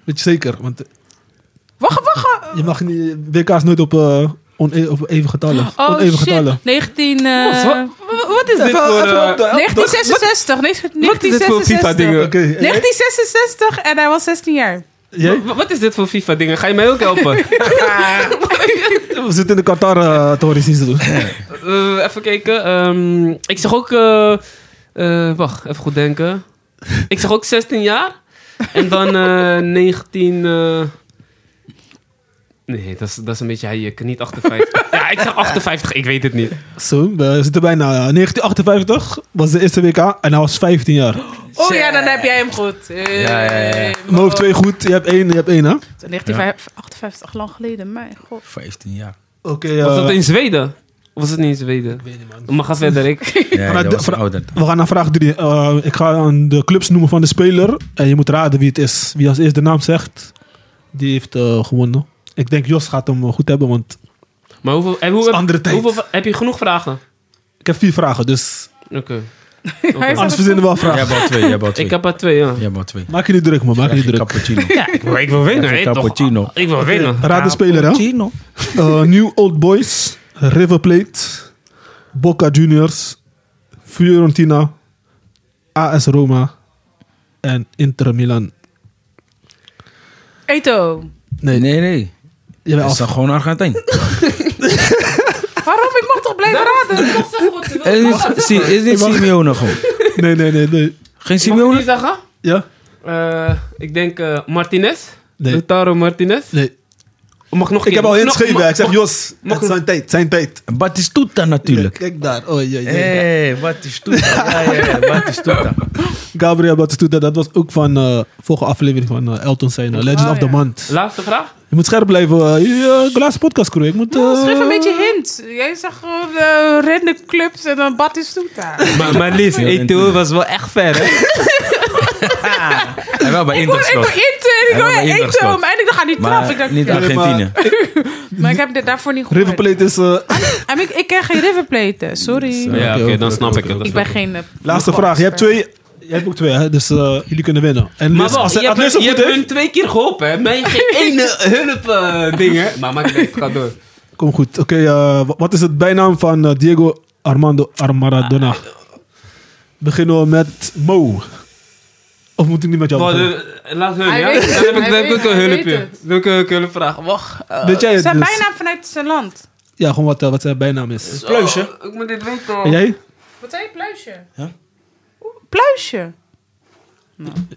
Speaker 3: Weet je zeker, want
Speaker 2: Wacht, wacht.
Speaker 3: je mag niet, WK is nooit op, eh one- op even getallen.
Speaker 2: Oh
Speaker 3: Oneven
Speaker 2: shit.
Speaker 3: getallen.
Speaker 2: 19... eh,
Speaker 4: Wat- wat-
Speaker 2: wa- wat is
Speaker 1: Oh,
Speaker 2: dit?
Speaker 1: Even-
Speaker 3: Voor,
Speaker 1: even
Speaker 3: eh,
Speaker 1: op de-
Speaker 2: 1966.
Speaker 1: Wat is dit voor FIFA-dingen?
Speaker 3: Oké, eh,
Speaker 2: 1966 en hij was 16 jaar.
Speaker 3: jij?
Speaker 4: Wa- Wat is dit voor FIFA-dingen? Ga je mij ook helpen?
Speaker 3: We zitten in de Qatar eh te horen iets te doen.
Speaker 4: Eh, even kijken. ehm, ik zeg ook... eh, eh, wacht, even goed denken. Ik zeg ook 16 jaar. En dan <laughs> eh, 19... eh, Nee, dat is, dat is een beetje haaiek. Niet <laughs> 58. ja, ik zeg 58. Ik weet het niet.
Speaker 3: Zo, we zitten bijna. eh, 1958 was de eerste WK en hij was 15 jaar.
Speaker 2: Oh ja, dan heb jij hem goed. Eh,
Speaker 5: Ja, ja, ja.
Speaker 3: Mijn hoofd twee goed, je hebt één, je hebt één hè? Oké,
Speaker 2: 1958, lang geleden. Mijn god.
Speaker 5: 15 jaar.
Speaker 3: eh,
Speaker 4: Was dat in Zweden? Of was het niet in Zweden? Maar ga verder, ik.
Speaker 5: Ja,
Speaker 3: Maar
Speaker 5: dat
Speaker 3: de-
Speaker 5: was
Speaker 3: vra-
Speaker 5: ouder.
Speaker 3: we gaan naar vraag 3. ik ga aan de clubs noemen van de speler en je moet raden wie het is. Wie als eerste de naam zegt, die heeft eh, gewonnen. Ik denk Jos gaat hem eh, goed hebben, want
Speaker 4: Maar hoeveel, en hoe,
Speaker 3: is andere tijd.
Speaker 4: hoeveel, heb je genoeg vragen?
Speaker 3: ik heb vier vragen, dus
Speaker 4: Oké.
Speaker 2: Hij is
Speaker 3: anders
Speaker 2: echt-
Speaker 3: verzinnen we wel vragen.
Speaker 5: Jij hebt al twee, jij hebt al twee.
Speaker 4: Ik heb er twee, ja.
Speaker 5: Jij hebt al twee.
Speaker 3: Maak je niet druk, man. Maak je
Speaker 5: Krijg
Speaker 3: niet
Speaker 5: je
Speaker 3: druk.
Speaker 5: cappuccino.
Speaker 4: Ik wil, ik wil winnen,
Speaker 5: Even
Speaker 4: hè, toch?
Speaker 5: cappuccino.
Speaker 4: Ik wil winnen.
Speaker 3: Raad de speler, hè?
Speaker 5: Cappuccino.
Speaker 3: Eh, New Old Boys, River Plate, Boca Juniors, Fiorentina, AS Roma en Inter Milan.
Speaker 2: Eto.
Speaker 3: Nee, nee.
Speaker 5: Nee, nee.
Speaker 3: Je bent
Speaker 5: Dat is
Speaker 3: af.
Speaker 5: dan gewoon Argentijn.
Speaker 2: Waarom? Ik mag toch blijven raden?
Speaker 5: Eh, is- zie, Is dit Simeone gewoon?
Speaker 3: Nee, nee, nee, nee.
Speaker 5: Geen
Speaker 4: Mag ik die
Speaker 5: Simeone?
Speaker 4: zeggen?
Speaker 3: Ja?
Speaker 4: Eh, ik denk eh, Martinez.
Speaker 3: Nee.
Speaker 4: Lautaro Martinez.
Speaker 3: Nee.
Speaker 4: Mag nog een
Speaker 3: Ik
Speaker 4: keer-
Speaker 3: heb al hints
Speaker 4: nog-
Speaker 3: gegeven.
Speaker 4: mag-
Speaker 3: Ik zeg, Jos,
Speaker 4: mag-
Speaker 3: het is zijn tijd, zijn tijd.
Speaker 5: Batistuta natuurlijk.
Speaker 3: Kijk daar. Oh, jee, jee.
Speaker 4: Eh.
Speaker 5: Hé, hey, Batistuta. <laughs> Ja, ja, ja, Batistuta.
Speaker 3: Gabriel Batistuta, dat was ook van eh vorige aflevering van eh, Elton zijn eh, Legends
Speaker 2: Oh,
Speaker 3: of the
Speaker 2: ja.
Speaker 3: Month.
Speaker 4: Laatste vraag?
Speaker 3: Je moet scherp blijven. eh, je, eh, de laatste podcast crew. Ik moet... eh,
Speaker 2: Nou, schrijf een beetje hint. Jij zag gewoon eh, rende clubs en dan Batistuta.
Speaker 4: <laughs> Maar, maar lief,
Speaker 5: Heel Eto'o
Speaker 4: was wel echt ver, hè?
Speaker 5: En wel bij Inter
Speaker 2: Ik wil
Speaker 5: gespeeld.
Speaker 2: eten en ik
Speaker 5: Hij wil bij
Speaker 2: wil
Speaker 5: Inter
Speaker 2: eten.
Speaker 5: gespeeld.
Speaker 2: Maar en ik dacht, ga niet trap. Ik
Speaker 5: Maar
Speaker 2: dacht,
Speaker 5: niet
Speaker 2: ja.
Speaker 5: Argentinië.
Speaker 2: Maar ik heb dit daarvoor niet gehoord.
Speaker 3: River Plate is...
Speaker 2: Ah,
Speaker 3: eh,
Speaker 2: En ik, ik ken geen River Plate, eh, sorry.
Speaker 4: Ja, oké, dan snap ik het.
Speaker 2: Ik ben geen... eh,
Speaker 3: Laatste
Speaker 2: voetbal-
Speaker 3: vraag. Je hebt twee. Je hebt ook twee, hè? dus eh, jullie kunnen winnen. En
Speaker 4: Maar
Speaker 3: Liz,
Speaker 4: wel,
Speaker 3: als
Speaker 4: je
Speaker 3: hij
Speaker 4: hebt,
Speaker 3: als Liz
Speaker 4: hun,
Speaker 3: het
Speaker 4: je
Speaker 3: goed
Speaker 4: hebt hun
Speaker 3: heeft,
Speaker 4: twee keer geholpen, hè? Mijn geen
Speaker 3: <laughs>
Speaker 4: ene hulp eh, dingen. Maar maak het ga door.
Speaker 3: kom goed. Oké, eh, wa- wat is het bijnaam van eh, Diego Armando Armaradona?
Speaker 4: Ah, eh.
Speaker 3: Beginnen we met Mo. Of moet ik niet met jou
Speaker 4: Wacht,
Speaker 3: beginnen?
Speaker 4: eh, Laat hun,
Speaker 2: Hij
Speaker 4: ja?
Speaker 2: weet het,
Speaker 4: Dan heb ik-
Speaker 2: hij
Speaker 4: dan heb
Speaker 2: weet
Speaker 4: ik een
Speaker 2: het, hij
Speaker 4: hulpje.
Speaker 2: weet het.
Speaker 4: Dan heb ik een hulpvraag. Wacht.
Speaker 3: Weet jij het?
Speaker 2: Zijn
Speaker 3: dus?
Speaker 2: bijnaam vanuit zijn land.
Speaker 3: Ja, gewoon wat, eh, wat zijn bijnaam is.
Speaker 4: Pluisje. Oh, Ik moet dit
Speaker 3: En
Speaker 4: weten.
Speaker 3: jij?
Speaker 2: Wat zei je? Pluisje?
Speaker 3: Ja.
Speaker 2: Pluisje?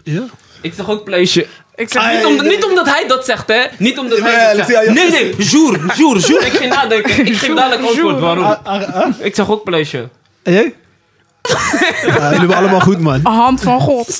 Speaker 3: Ja.
Speaker 4: Ik zeg ook pluisje.
Speaker 2: Ik zeg
Speaker 3: Ah,
Speaker 2: niet
Speaker 4: Niet,
Speaker 2: om...
Speaker 4: om- niet omdat hij dat zegt, hè? Niet omdat
Speaker 3: Ja,
Speaker 4: hij
Speaker 3: ja,
Speaker 4: dat
Speaker 3: ja,
Speaker 4: zegt.
Speaker 3: ja.
Speaker 4: Nee, nee, jour, jour, jour. Ik ging nadenken. Ik geef dadelijk antwoord waarom.
Speaker 3: Ah,
Speaker 4: Ik zeg ook pluisje. <laughs>
Speaker 3: En jij? Ja, jullie hebben allemaal goed, man.
Speaker 2: Een hand van
Speaker 3: <laughs>
Speaker 2: God.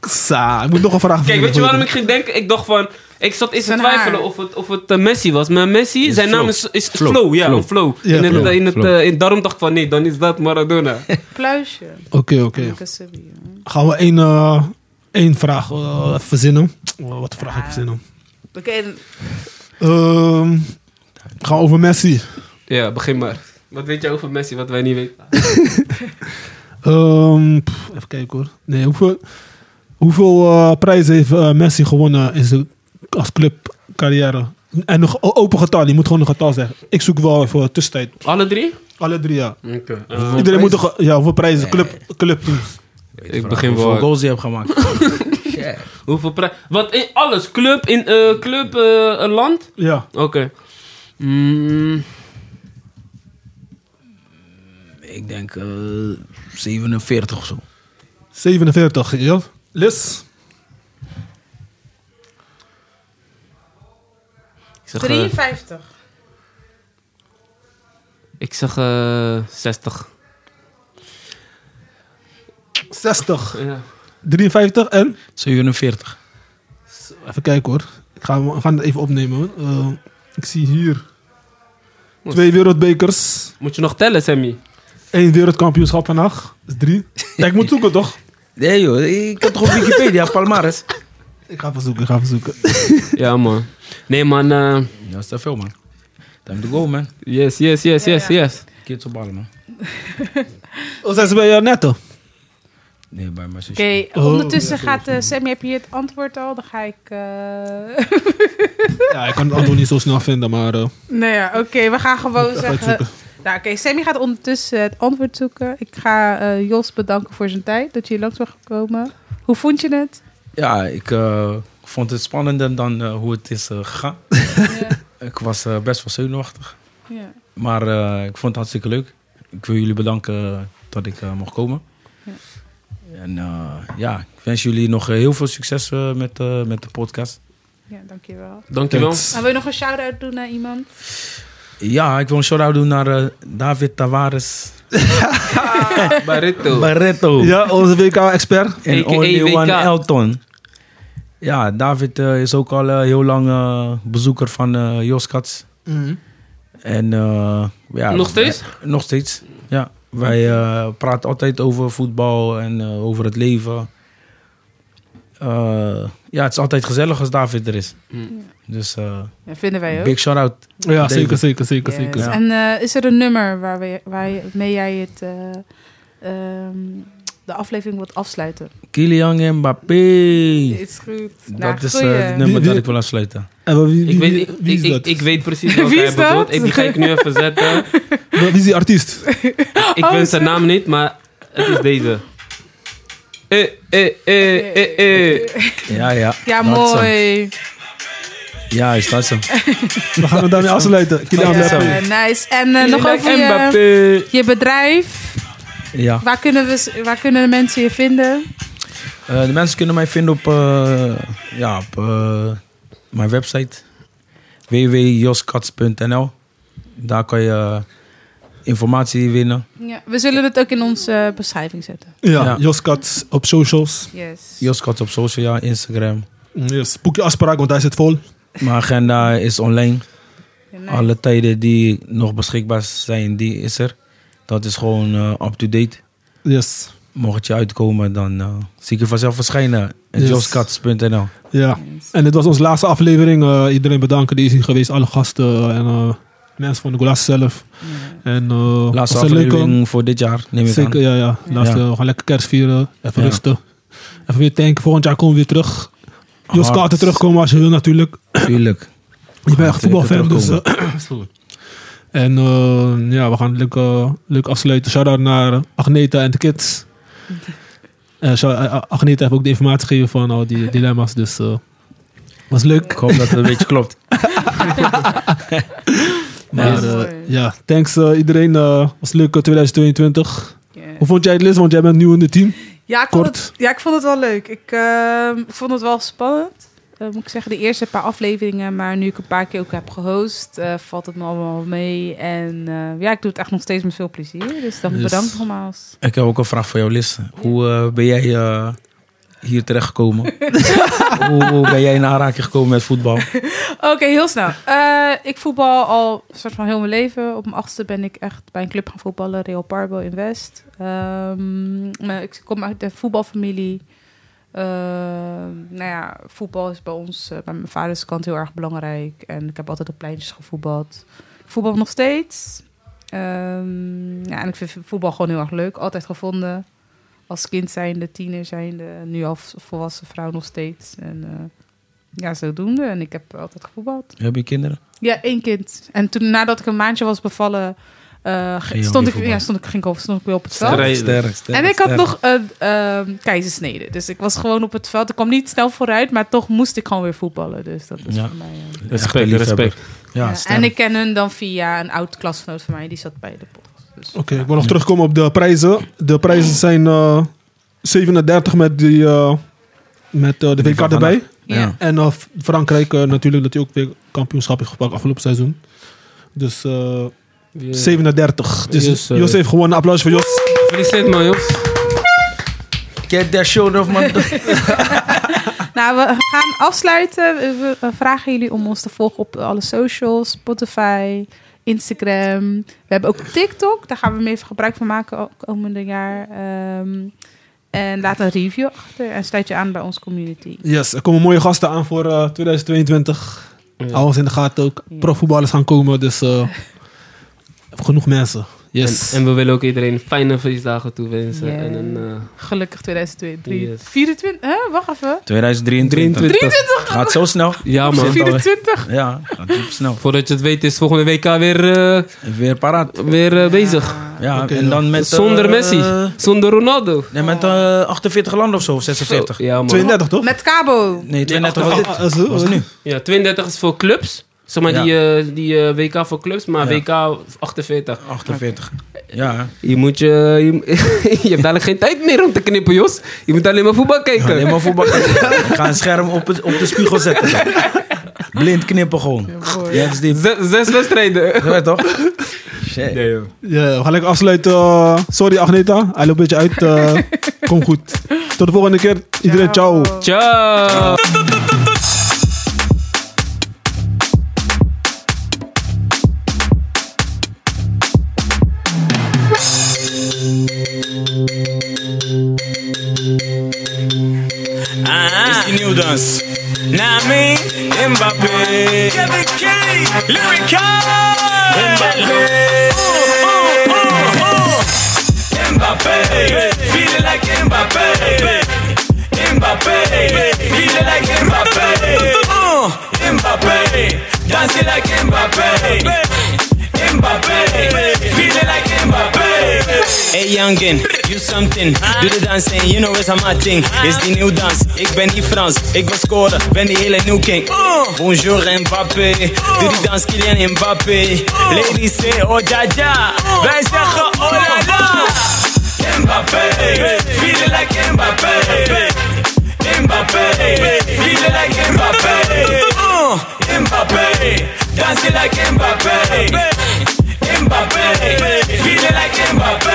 Speaker 3: Sa, ik moet nog een vraag
Speaker 4: Kijk,
Speaker 3: verzinnen
Speaker 4: weet je
Speaker 3: voor
Speaker 4: waarom ik ging denken? Ik dacht van... Ik zat eens te
Speaker 2: Zijn
Speaker 4: twijfelen
Speaker 2: haar.
Speaker 4: of het, of het eh, Messi was. Maar Messi, zijn
Speaker 5: Flo.
Speaker 4: naam is, is Flow.
Speaker 5: Flo.
Speaker 4: ja,
Speaker 5: Flo.
Speaker 4: Flow. Flo.
Speaker 3: Ja,
Speaker 4: in het,
Speaker 3: Flo.
Speaker 4: In het,
Speaker 5: Flo.
Speaker 4: eh, in, daarom dacht ik van nee, dan is dat Maradona. <laughs>
Speaker 2: Pluisje.
Speaker 3: Oké, oké.
Speaker 2: Een kassebi, hè.
Speaker 3: Gaan we één, eh, één vraag eh, verzinnen? Oh, wat voor vraag ga ik verzinnen?
Speaker 2: Oké,
Speaker 3: Ehm gaan we over Messi.
Speaker 4: ja, begin maar. Wat weet jij over Messi, wat wij niet weten?
Speaker 3: Ehm, pff, even kijken hoor. Nee, hoeveel hoeveel eh, prijzen heeft eh, Messi gewonnen in zijn als clubcarrière? En nog o- open getal, je moet gewoon een getal zeggen. Ik zoek wel even tussentijd.
Speaker 4: Alle drie? Eh,
Speaker 3: Alle drie, ja.
Speaker 4: Oké.
Speaker 3: Iedereen moet toch... Ja, hoeveel prijzen? Club, club
Speaker 4: ik begin
Speaker 5: Hoeveel
Speaker 4: wel.
Speaker 5: goals je hebt gemaakt.
Speaker 4: Hoeveel prijs? Wat in alles? Club, in, eh, club eh, een land?
Speaker 3: Ja.
Speaker 4: Oké. Mm,
Speaker 5: Ik denk eh, 47 of zo.
Speaker 3: 47, ja. Lis?
Speaker 4: ik zeg, eh,
Speaker 2: 53.
Speaker 4: ik zeg eh, 60.
Speaker 3: 60.
Speaker 4: Ja.
Speaker 3: 53 en...
Speaker 5: 47.
Speaker 3: Even kijken hoor. Ik ga, we gaan het even opnemen. hoor. Eh, ik zie hier... Twee wereldbekers.
Speaker 4: Moet je nog tellen, Sammy?
Speaker 3: Eén wereldkampioenschap vandaag. Dat is drie. Ja, ik moet zoeken, toch?
Speaker 5: Nee joh, ik had toch op Wikipedia, Palmares.
Speaker 3: Ik ga even zoeken, ik ga even zoeken.
Speaker 4: ja, man. Nee, man. eh,
Speaker 5: Ja, is te veel man. Time to go, man.
Speaker 4: Yes, yes, yes,
Speaker 2: Ja,
Speaker 4: yes,
Speaker 2: ja.
Speaker 4: yes.
Speaker 5: Kids op ballen, man.
Speaker 3: Oh, zijn ze bij jou netto?
Speaker 5: Nee, bij mijn zusje.
Speaker 2: Oké, Oh, ondertussen gaat eh, Sammy, heb je het antwoord al? Dan ga ik... eh, <laughs>
Speaker 3: Ja, ik kan het antwoord niet zo snel vinden, maar... eh,
Speaker 2: Nou ja, oké, we gaan gewoon
Speaker 3: ga het
Speaker 2: zeggen.
Speaker 3: zoeken.
Speaker 2: Nou, oké, Sammy gaat ondertussen het antwoord zoeken. Ik ga eh, Jos bedanken voor zijn tijd, dat je hier langs bent gekomen. Hoe vond je
Speaker 3: <laughs>
Speaker 2: het?
Speaker 5: Ja, ik eh, vond het spannender dan eh, hoe het is eh, gegaan. Ik was eh, best wel zenuwachtig.
Speaker 2: Ja.
Speaker 5: Maar eh, ik vond het hartstikke leuk. Ik wil jullie bedanken dat ik eh, mocht komen.
Speaker 2: Ja.
Speaker 5: En eh, ja, ik wens jullie nog eh, heel veel succes eh, met, eh, met de podcast.
Speaker 2: ja, dankjewel.
Speaker 4: Dankjewel.
Speaker 3: Thanks.
Speaker 2: Maar wil je nog een shout-out doen naar iemand?
Speaker 5: Ja, ik wil een shout-out doen naar eh, David Tavares
Speaker 4: Barretto.
Speaker 5: Barreto
Speaker 3: Ja, onze WK-expert.
Speaker 5: en
Speaker 4: AKA
Speaker 5: only
Speaker 4: WK.
Speaker 5: one Elton. Ja, David eh, is ook al eh, heel lang eh, bezoeker van eh Jos Katz.
Speaker 2: Mhm.
Speaker 5: En, eh, ja,
Speaker 4: Nog steeds?
Speaker 5: eh, nog steeds, ja. Wij eh, praten altijd over voetbal en eh, over het leven. Eh, ja, het is altijd gezellig als David er is.
Speaker 4: Mm.
Speaker 5: Dus eh,
Speaker 2: Ja, vinden wij ook.
Speaker 5: big shout-out.
Speaker 3: Ja, zeker,
Speaker 5: David.
Speaker 3: zeker, zeker,
Speaker 2: Yes.
Speaker 3: zeker.
Speaker 5: Ja.
Speaker 2: En eh, is er een nummer waar we, waarmee jij het, eh, ehm, de aflevering wilt afsluiten?
Speaker 5: Kylian Mbappé.
Speaker 2: Is goed.
Speaker 5: dat
Speaker 2: Nou,
Speaker 5: is eh,
Speaker 2: goeie.
Speaker 5: het
Speaker 3: Wie-
Speaker 5: nummer dat
Speaker 3: wie-
Speaker 5: ik wil afsluiten.
Speaker 3: En wat- wie,
Speaker 4: Ik
Speaker 3: wie,
Speaker 4: weet,
Speaker 3: wie,
Speaker 4: ik,
Speaker 3: wie is
Speaker 4: ik, ik,
Speaker 3: dat?
Speaker 4: ik weet precies wat
Speaker 2: <laughs> Wie
Speaker 4: hij
Speaker 2: is dat?
Speaker 4: bedoelt. Ik, die ga ik nu even zetten.
Speaker 3: Wie is die artiest?
Speaker 4: Ik
Speaker 2: Oh,
Speaker 4: ken zijn naam niet, maar het is deze. Eh, eh, eh, eh, eh.
Speaker 5: Ja, ja.
Speaker 2: Ja,
Speaker 5: dat is hem.
Speaker 2: mooi.
Speaker 5: Ja, is dat zo.
Speaker 2: <laughs>
Speaker 3: We gaan het daarmee afsluiten. Kylian
Speaker 2: Ja,
Speaker 3: Mbappé.
Speaker 2: nice. En eh, nog over je,
Speaker 4: Mbappé.
Speaker 2: je bedrijf.
Speaker 5: Ja.
Speaker 2: Waar kunnen, we, waar kunnen de mensen je vinden?
Speaker 5: Eh, de mensen kunnen mij vinden op, eh, ja, op eh, mijn website www.joskats.nl. Daar kan je eh, informatie winnen.
Speaker 2: Ja, we zullen het ook in onze eh, beschrijving zetten.
Speaker 3: Ja,
Speaker 5: Ja.
Speaker 3: Jos Katz op socials.
Speaker 2: Yes.
Speaker 5: Joskats op social, ja, Instagram.
Speaker 3: Yes. Boek je afspraak, want hij zit vol.
Speaker 5: Mijn agenda is online.
Speaker 2: Ja, nee.
Speaker 5: Alle tijden die nog beschikbaar zijn, die is er. Dat is gewoon eh, up-to-date.
Speaker 3: Yes.
Speaker 5: Mocht het je uitkomen, dan eh, zie ik je vanzelf verschijnen.
Speaker 3: Yes.
Speaker 2: Dus-
Speaker 5: Joskats.nl.
Speaker 3: Ja. En dit was onze laatste aflevering. Eh, iedereen bedanken die is hier geweest. Alle gasten en eh, mensen van de Golas zelf. En, eh,
Speaker 5: Laatste
Speaker 3: was een leuke-
Speaker 5: aflevering voor dit jaar, neem ik
Speaker 3: Zeker, ja,
Speaker 5: aan.
Speaker 3: ja. Laatste,
Speaker 5: Ja.
Speaker 3: We gaan lekker kerst vieren. Even
Speaker 5: Ja.
Speaker 3: rusten. Even weer tanken. Volgend jaar komen we weer terug. Jos
Speaker 5: Hard.
Speaker 3: kan altijd terugkomen als je wil natuurlijk.
Speaker 5: Tuurlijk.
Speaker 3: Ik ben echt
Speaker 5: Zeker
Speaker 3: voetbalfan, dus... eh, sorry. En eh, ja, we gaan leuk, eh, leuk afsluiten. Shout-out naar eh, Agneta en de kids. En shout- eh, Agneta heeft ook de informatie gegeven van al die dilemma's, dus... eh, was leuk.
Speaker 5: Ik hoop dat het een
Speaker 2: <laughs>
Speaker 5: beetje klopt.
Speaker 3: Maar
Speaker 2: Yes.
Speaker 3: eh, ja, thanks eh, iedereen. eh was leuk eh, 2022.
Speaker 2: Yes.
Speaker 3: Hoe vond jij het, Liz? Want jij bent nieuw in het team.
Speaker 2: Ja, ik vond
Speaker 3: Kort.
Speaker 2: het, ja, ik vond het wel leuk. Ik, ehm, ik vond het wel spannend. Eh, moet ik zeggen, de eerste paar afleveringen. Maar nu ik een paar keer ook heb gehost, eh, valt het me allemaal mee. En eh, ja, ik doe het echt nog steeds met veel plezier. Dus dan
Speaker 3: Yes.
Speaker 2: bedankt nogmaals.
Speaker 5: Ik heb ook een vraag voor jou, Liz. Hoe eh, ben jij eh,
Speaker 2: <laughs>
Speaker 5: hier terechtgekomen? hoe, hoe ben jij in aanraking gekomen met voetbal?
Speaker 2: <laughs> Oké, heel snel. Eh, ik voetbal al een soort van heel mijn leven. Op mijn achtste ben ik echt bij een club gaan voetballen, Real Parbo in West. Ehm, maar ik kom uit de voetbalfamilie. Ehm, nou ja, voetbal is bij ons, eh, bij mijn vaders kant heel erg belangrijk. En ik heb altijd op pleintjes gevoetbald. Ik voetbal nog steeds. Ehm, ja, en ik vind voetbal gewoon heel erg leuk. Altijd gevonden. Als kind zijnde, tiener zijnde, nu al volwassen vrouw nog steeds. En eh, ja, zodoende. En ik heb altijd gevoetbald.
Speaker 5: Heb je kinderen?
Speaker 2: Ja, één kind. En toen, nadat ik een maandje was bevallen, eh,
Speaker 5: Ging je ook
Speaker 2: stond, ik,
Speaker 5: weer
Speaker 2: ja,
Speaker 5: voetballen?
Speaker 2: stond, ik, ging, ik- stond ik weer op het veld.
Speaker 4: Sterk. Strijden.
Speaker 5: Sterren, sterren,
Speaker 2: En ik had
Speaker 5: sterren.
Speaker 2: nog een ehm, keizersnede. Dus ik was gewoon op het veld. Ik kwam niet snel vooruit, maar toch moest ik gewoon weer voetballen. Dus dat is
Speaker 5: Ja.
Speaker 2: voor mij... eh,
Speaker 5: Echte
Speaker 4: Respect,
Speaker 5: liefhebber.
Speaker 4: respect.
Speaker 5: Ja,
Speaker 2: ja.
Speaker 5: sterren.
Speaker 2: En ik ken hun dan via een oud klasgenoot van mij. Die zat bij de podcast. Dus,
Speaker 3: Oké, ik wil nog terugkomen op de prijzen. De prijzen zijn eh, 37 met, die, eh, met eh, de
Speaker 5: Die
Speaker 3: WK
Speaker 5: van
Speaker 3: erbij.
Speaker 2: ja.
Speaker 5: Ja.
Speaker 3: En eh, Frankrijk eh, natuurlijk, dat hij ook weer kampioenschap heeft gepakt afgelopen seizoen. Dus eh, 37. Dus
Speaker 4: Yes, eh.
Speaker 3: Jos heeft gewoon een applaus voor Jos.
Speaker 4: Gefeliciteerd, man, Jos.
Speaker 5: Get that shoulder off my...
Speaker 2: Nou, we gaan afsluiten. We we vragen jullie om ons te volgen op alle socials, Spotify, Instagram. We hebben ook TikTok, daar gaan we meer gebruik van maken ook komende jaar. Ehm, en laat een review achter en sluit je aan bij onze community.
Speaker 3: Yes, er komen mooie gasten aan voor eh, 2022. Hou ons in de gaten ook. Profvoetballers gaan komen, dus eh, <laughs> genoeg mensen. Yes.
Speaker 4: En, en we willen ook iedereen fijne feestdagen toewensen.
Speaker 2: Ja.
Speaker 4: En een, eh,
Speaker 2: Gelukkig 2023.
Speaker 4: Yes.
Speaker 2: 24? Hè? Wacht even.
Speaker 5: 2023.
Speaker 4: 23.
Speaker 5: Gaat zo snel.
Speaker 4: ja,
Speaker 5: man.
Speaker 4: man.
Speaker 2: 24.
Speaker 5: Ja, gaat super snel.
Speaker 4: Voordat je het weet is volgende WK weer, eh,
Speaker 5: Weer paraat.
Speaker 4: weer eh, bezig.
Speaker 5: Ja,
Speaker 3: Oké,
Speaker 5: en dan met... eh,
Speaker 4: Zonder Messi. Zonder Ronaldo.
Speaker 5: Nee, met eh, 48 landen of zo, of 46.
Speaker 4: Zo, Ja, man.
Speaker 3: 32 toch?
Speaker 2: Met Cabo.
Speaker 5: Nee, 32 was dit.
Speaker 3: Ah, ah, zo,
Speaker 5: Was het nu?
Speaker 4: Ja, 32 is voor clubs. Zeg maar
Speaker 5: Ja.
Speaker 4: die, eh, die eh, WK voor clubs, maar WK 48.
Speaker 5: 48. Ja,
Speaker 4: Je, moet je, je, <laughs> je hebt dadelijk geen tijd meer om te knippen, Jos. Je moet alleen maar voetbal kijken.
Speaker 5: alleen maar voetbal. Ik ga een scherm op, het, op de spiegel zetten. dan. Blind knippen gewoon. Ja, dat is die...
Speaker 4: Zes- zes wedstrijden.
Speaker 5: Zo, toch? Shit.
Speaker 3: Ja, we gaan lekker afsluiten. Eh, sorry Agneta, hij loopt een beetje uit. eh, kom goed. Tot de volgende keer. Iedereen ciao.
Speaker 4: Ciao.
Speaker 6: It's the new dance. Now me, Mbappé. Kevin King, Lyrical. Mbappé. Ooh, ooh, ooh, ooh. Mbappé. oh, Feeling like Mbappé. Mbappé. Feeling like Mbappé. Ooh, Mbappé. Dancing like Mbappé. Mbappé. Feeling like Mbappé. Hey youngin, you something. Doe de dans en you know it's a my thing. Is die nieuw dans? Ik ben niet Frans. Ik wil scoren, ben die hele nieuw king. Bonjour Mbappé. Doe die dans Kylian Mbappé. Ladies say oh ja ja. Wij zeggen oh la la. Mbappé, feeling like Mbappé. Mbappé, feeling like Mbappé. Mbappé, dancing like Mbappé. Mbappé, feeling like Mbappé.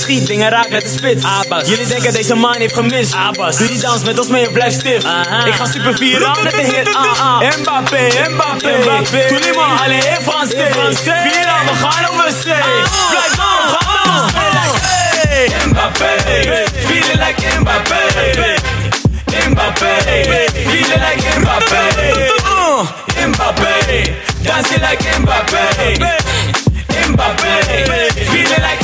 Speaker 6: Schiet dingen raak met de spits. Jullie denken deze man heeft gemist. Doe die dans met ons mee en blijf stif. Ik ga super viraal met de hit. Ah, ah. Mbappé, Mbappé, Mbappé. Toen iemand alleen in Frans Viraal, we gaan over zee. Blijf dan, we gaan over zee. Mbappé, feeling like Mbappé. Mbappé, feeling like Mbappé. Mbappé, dancing like Mbappé. Mbappé, feeling like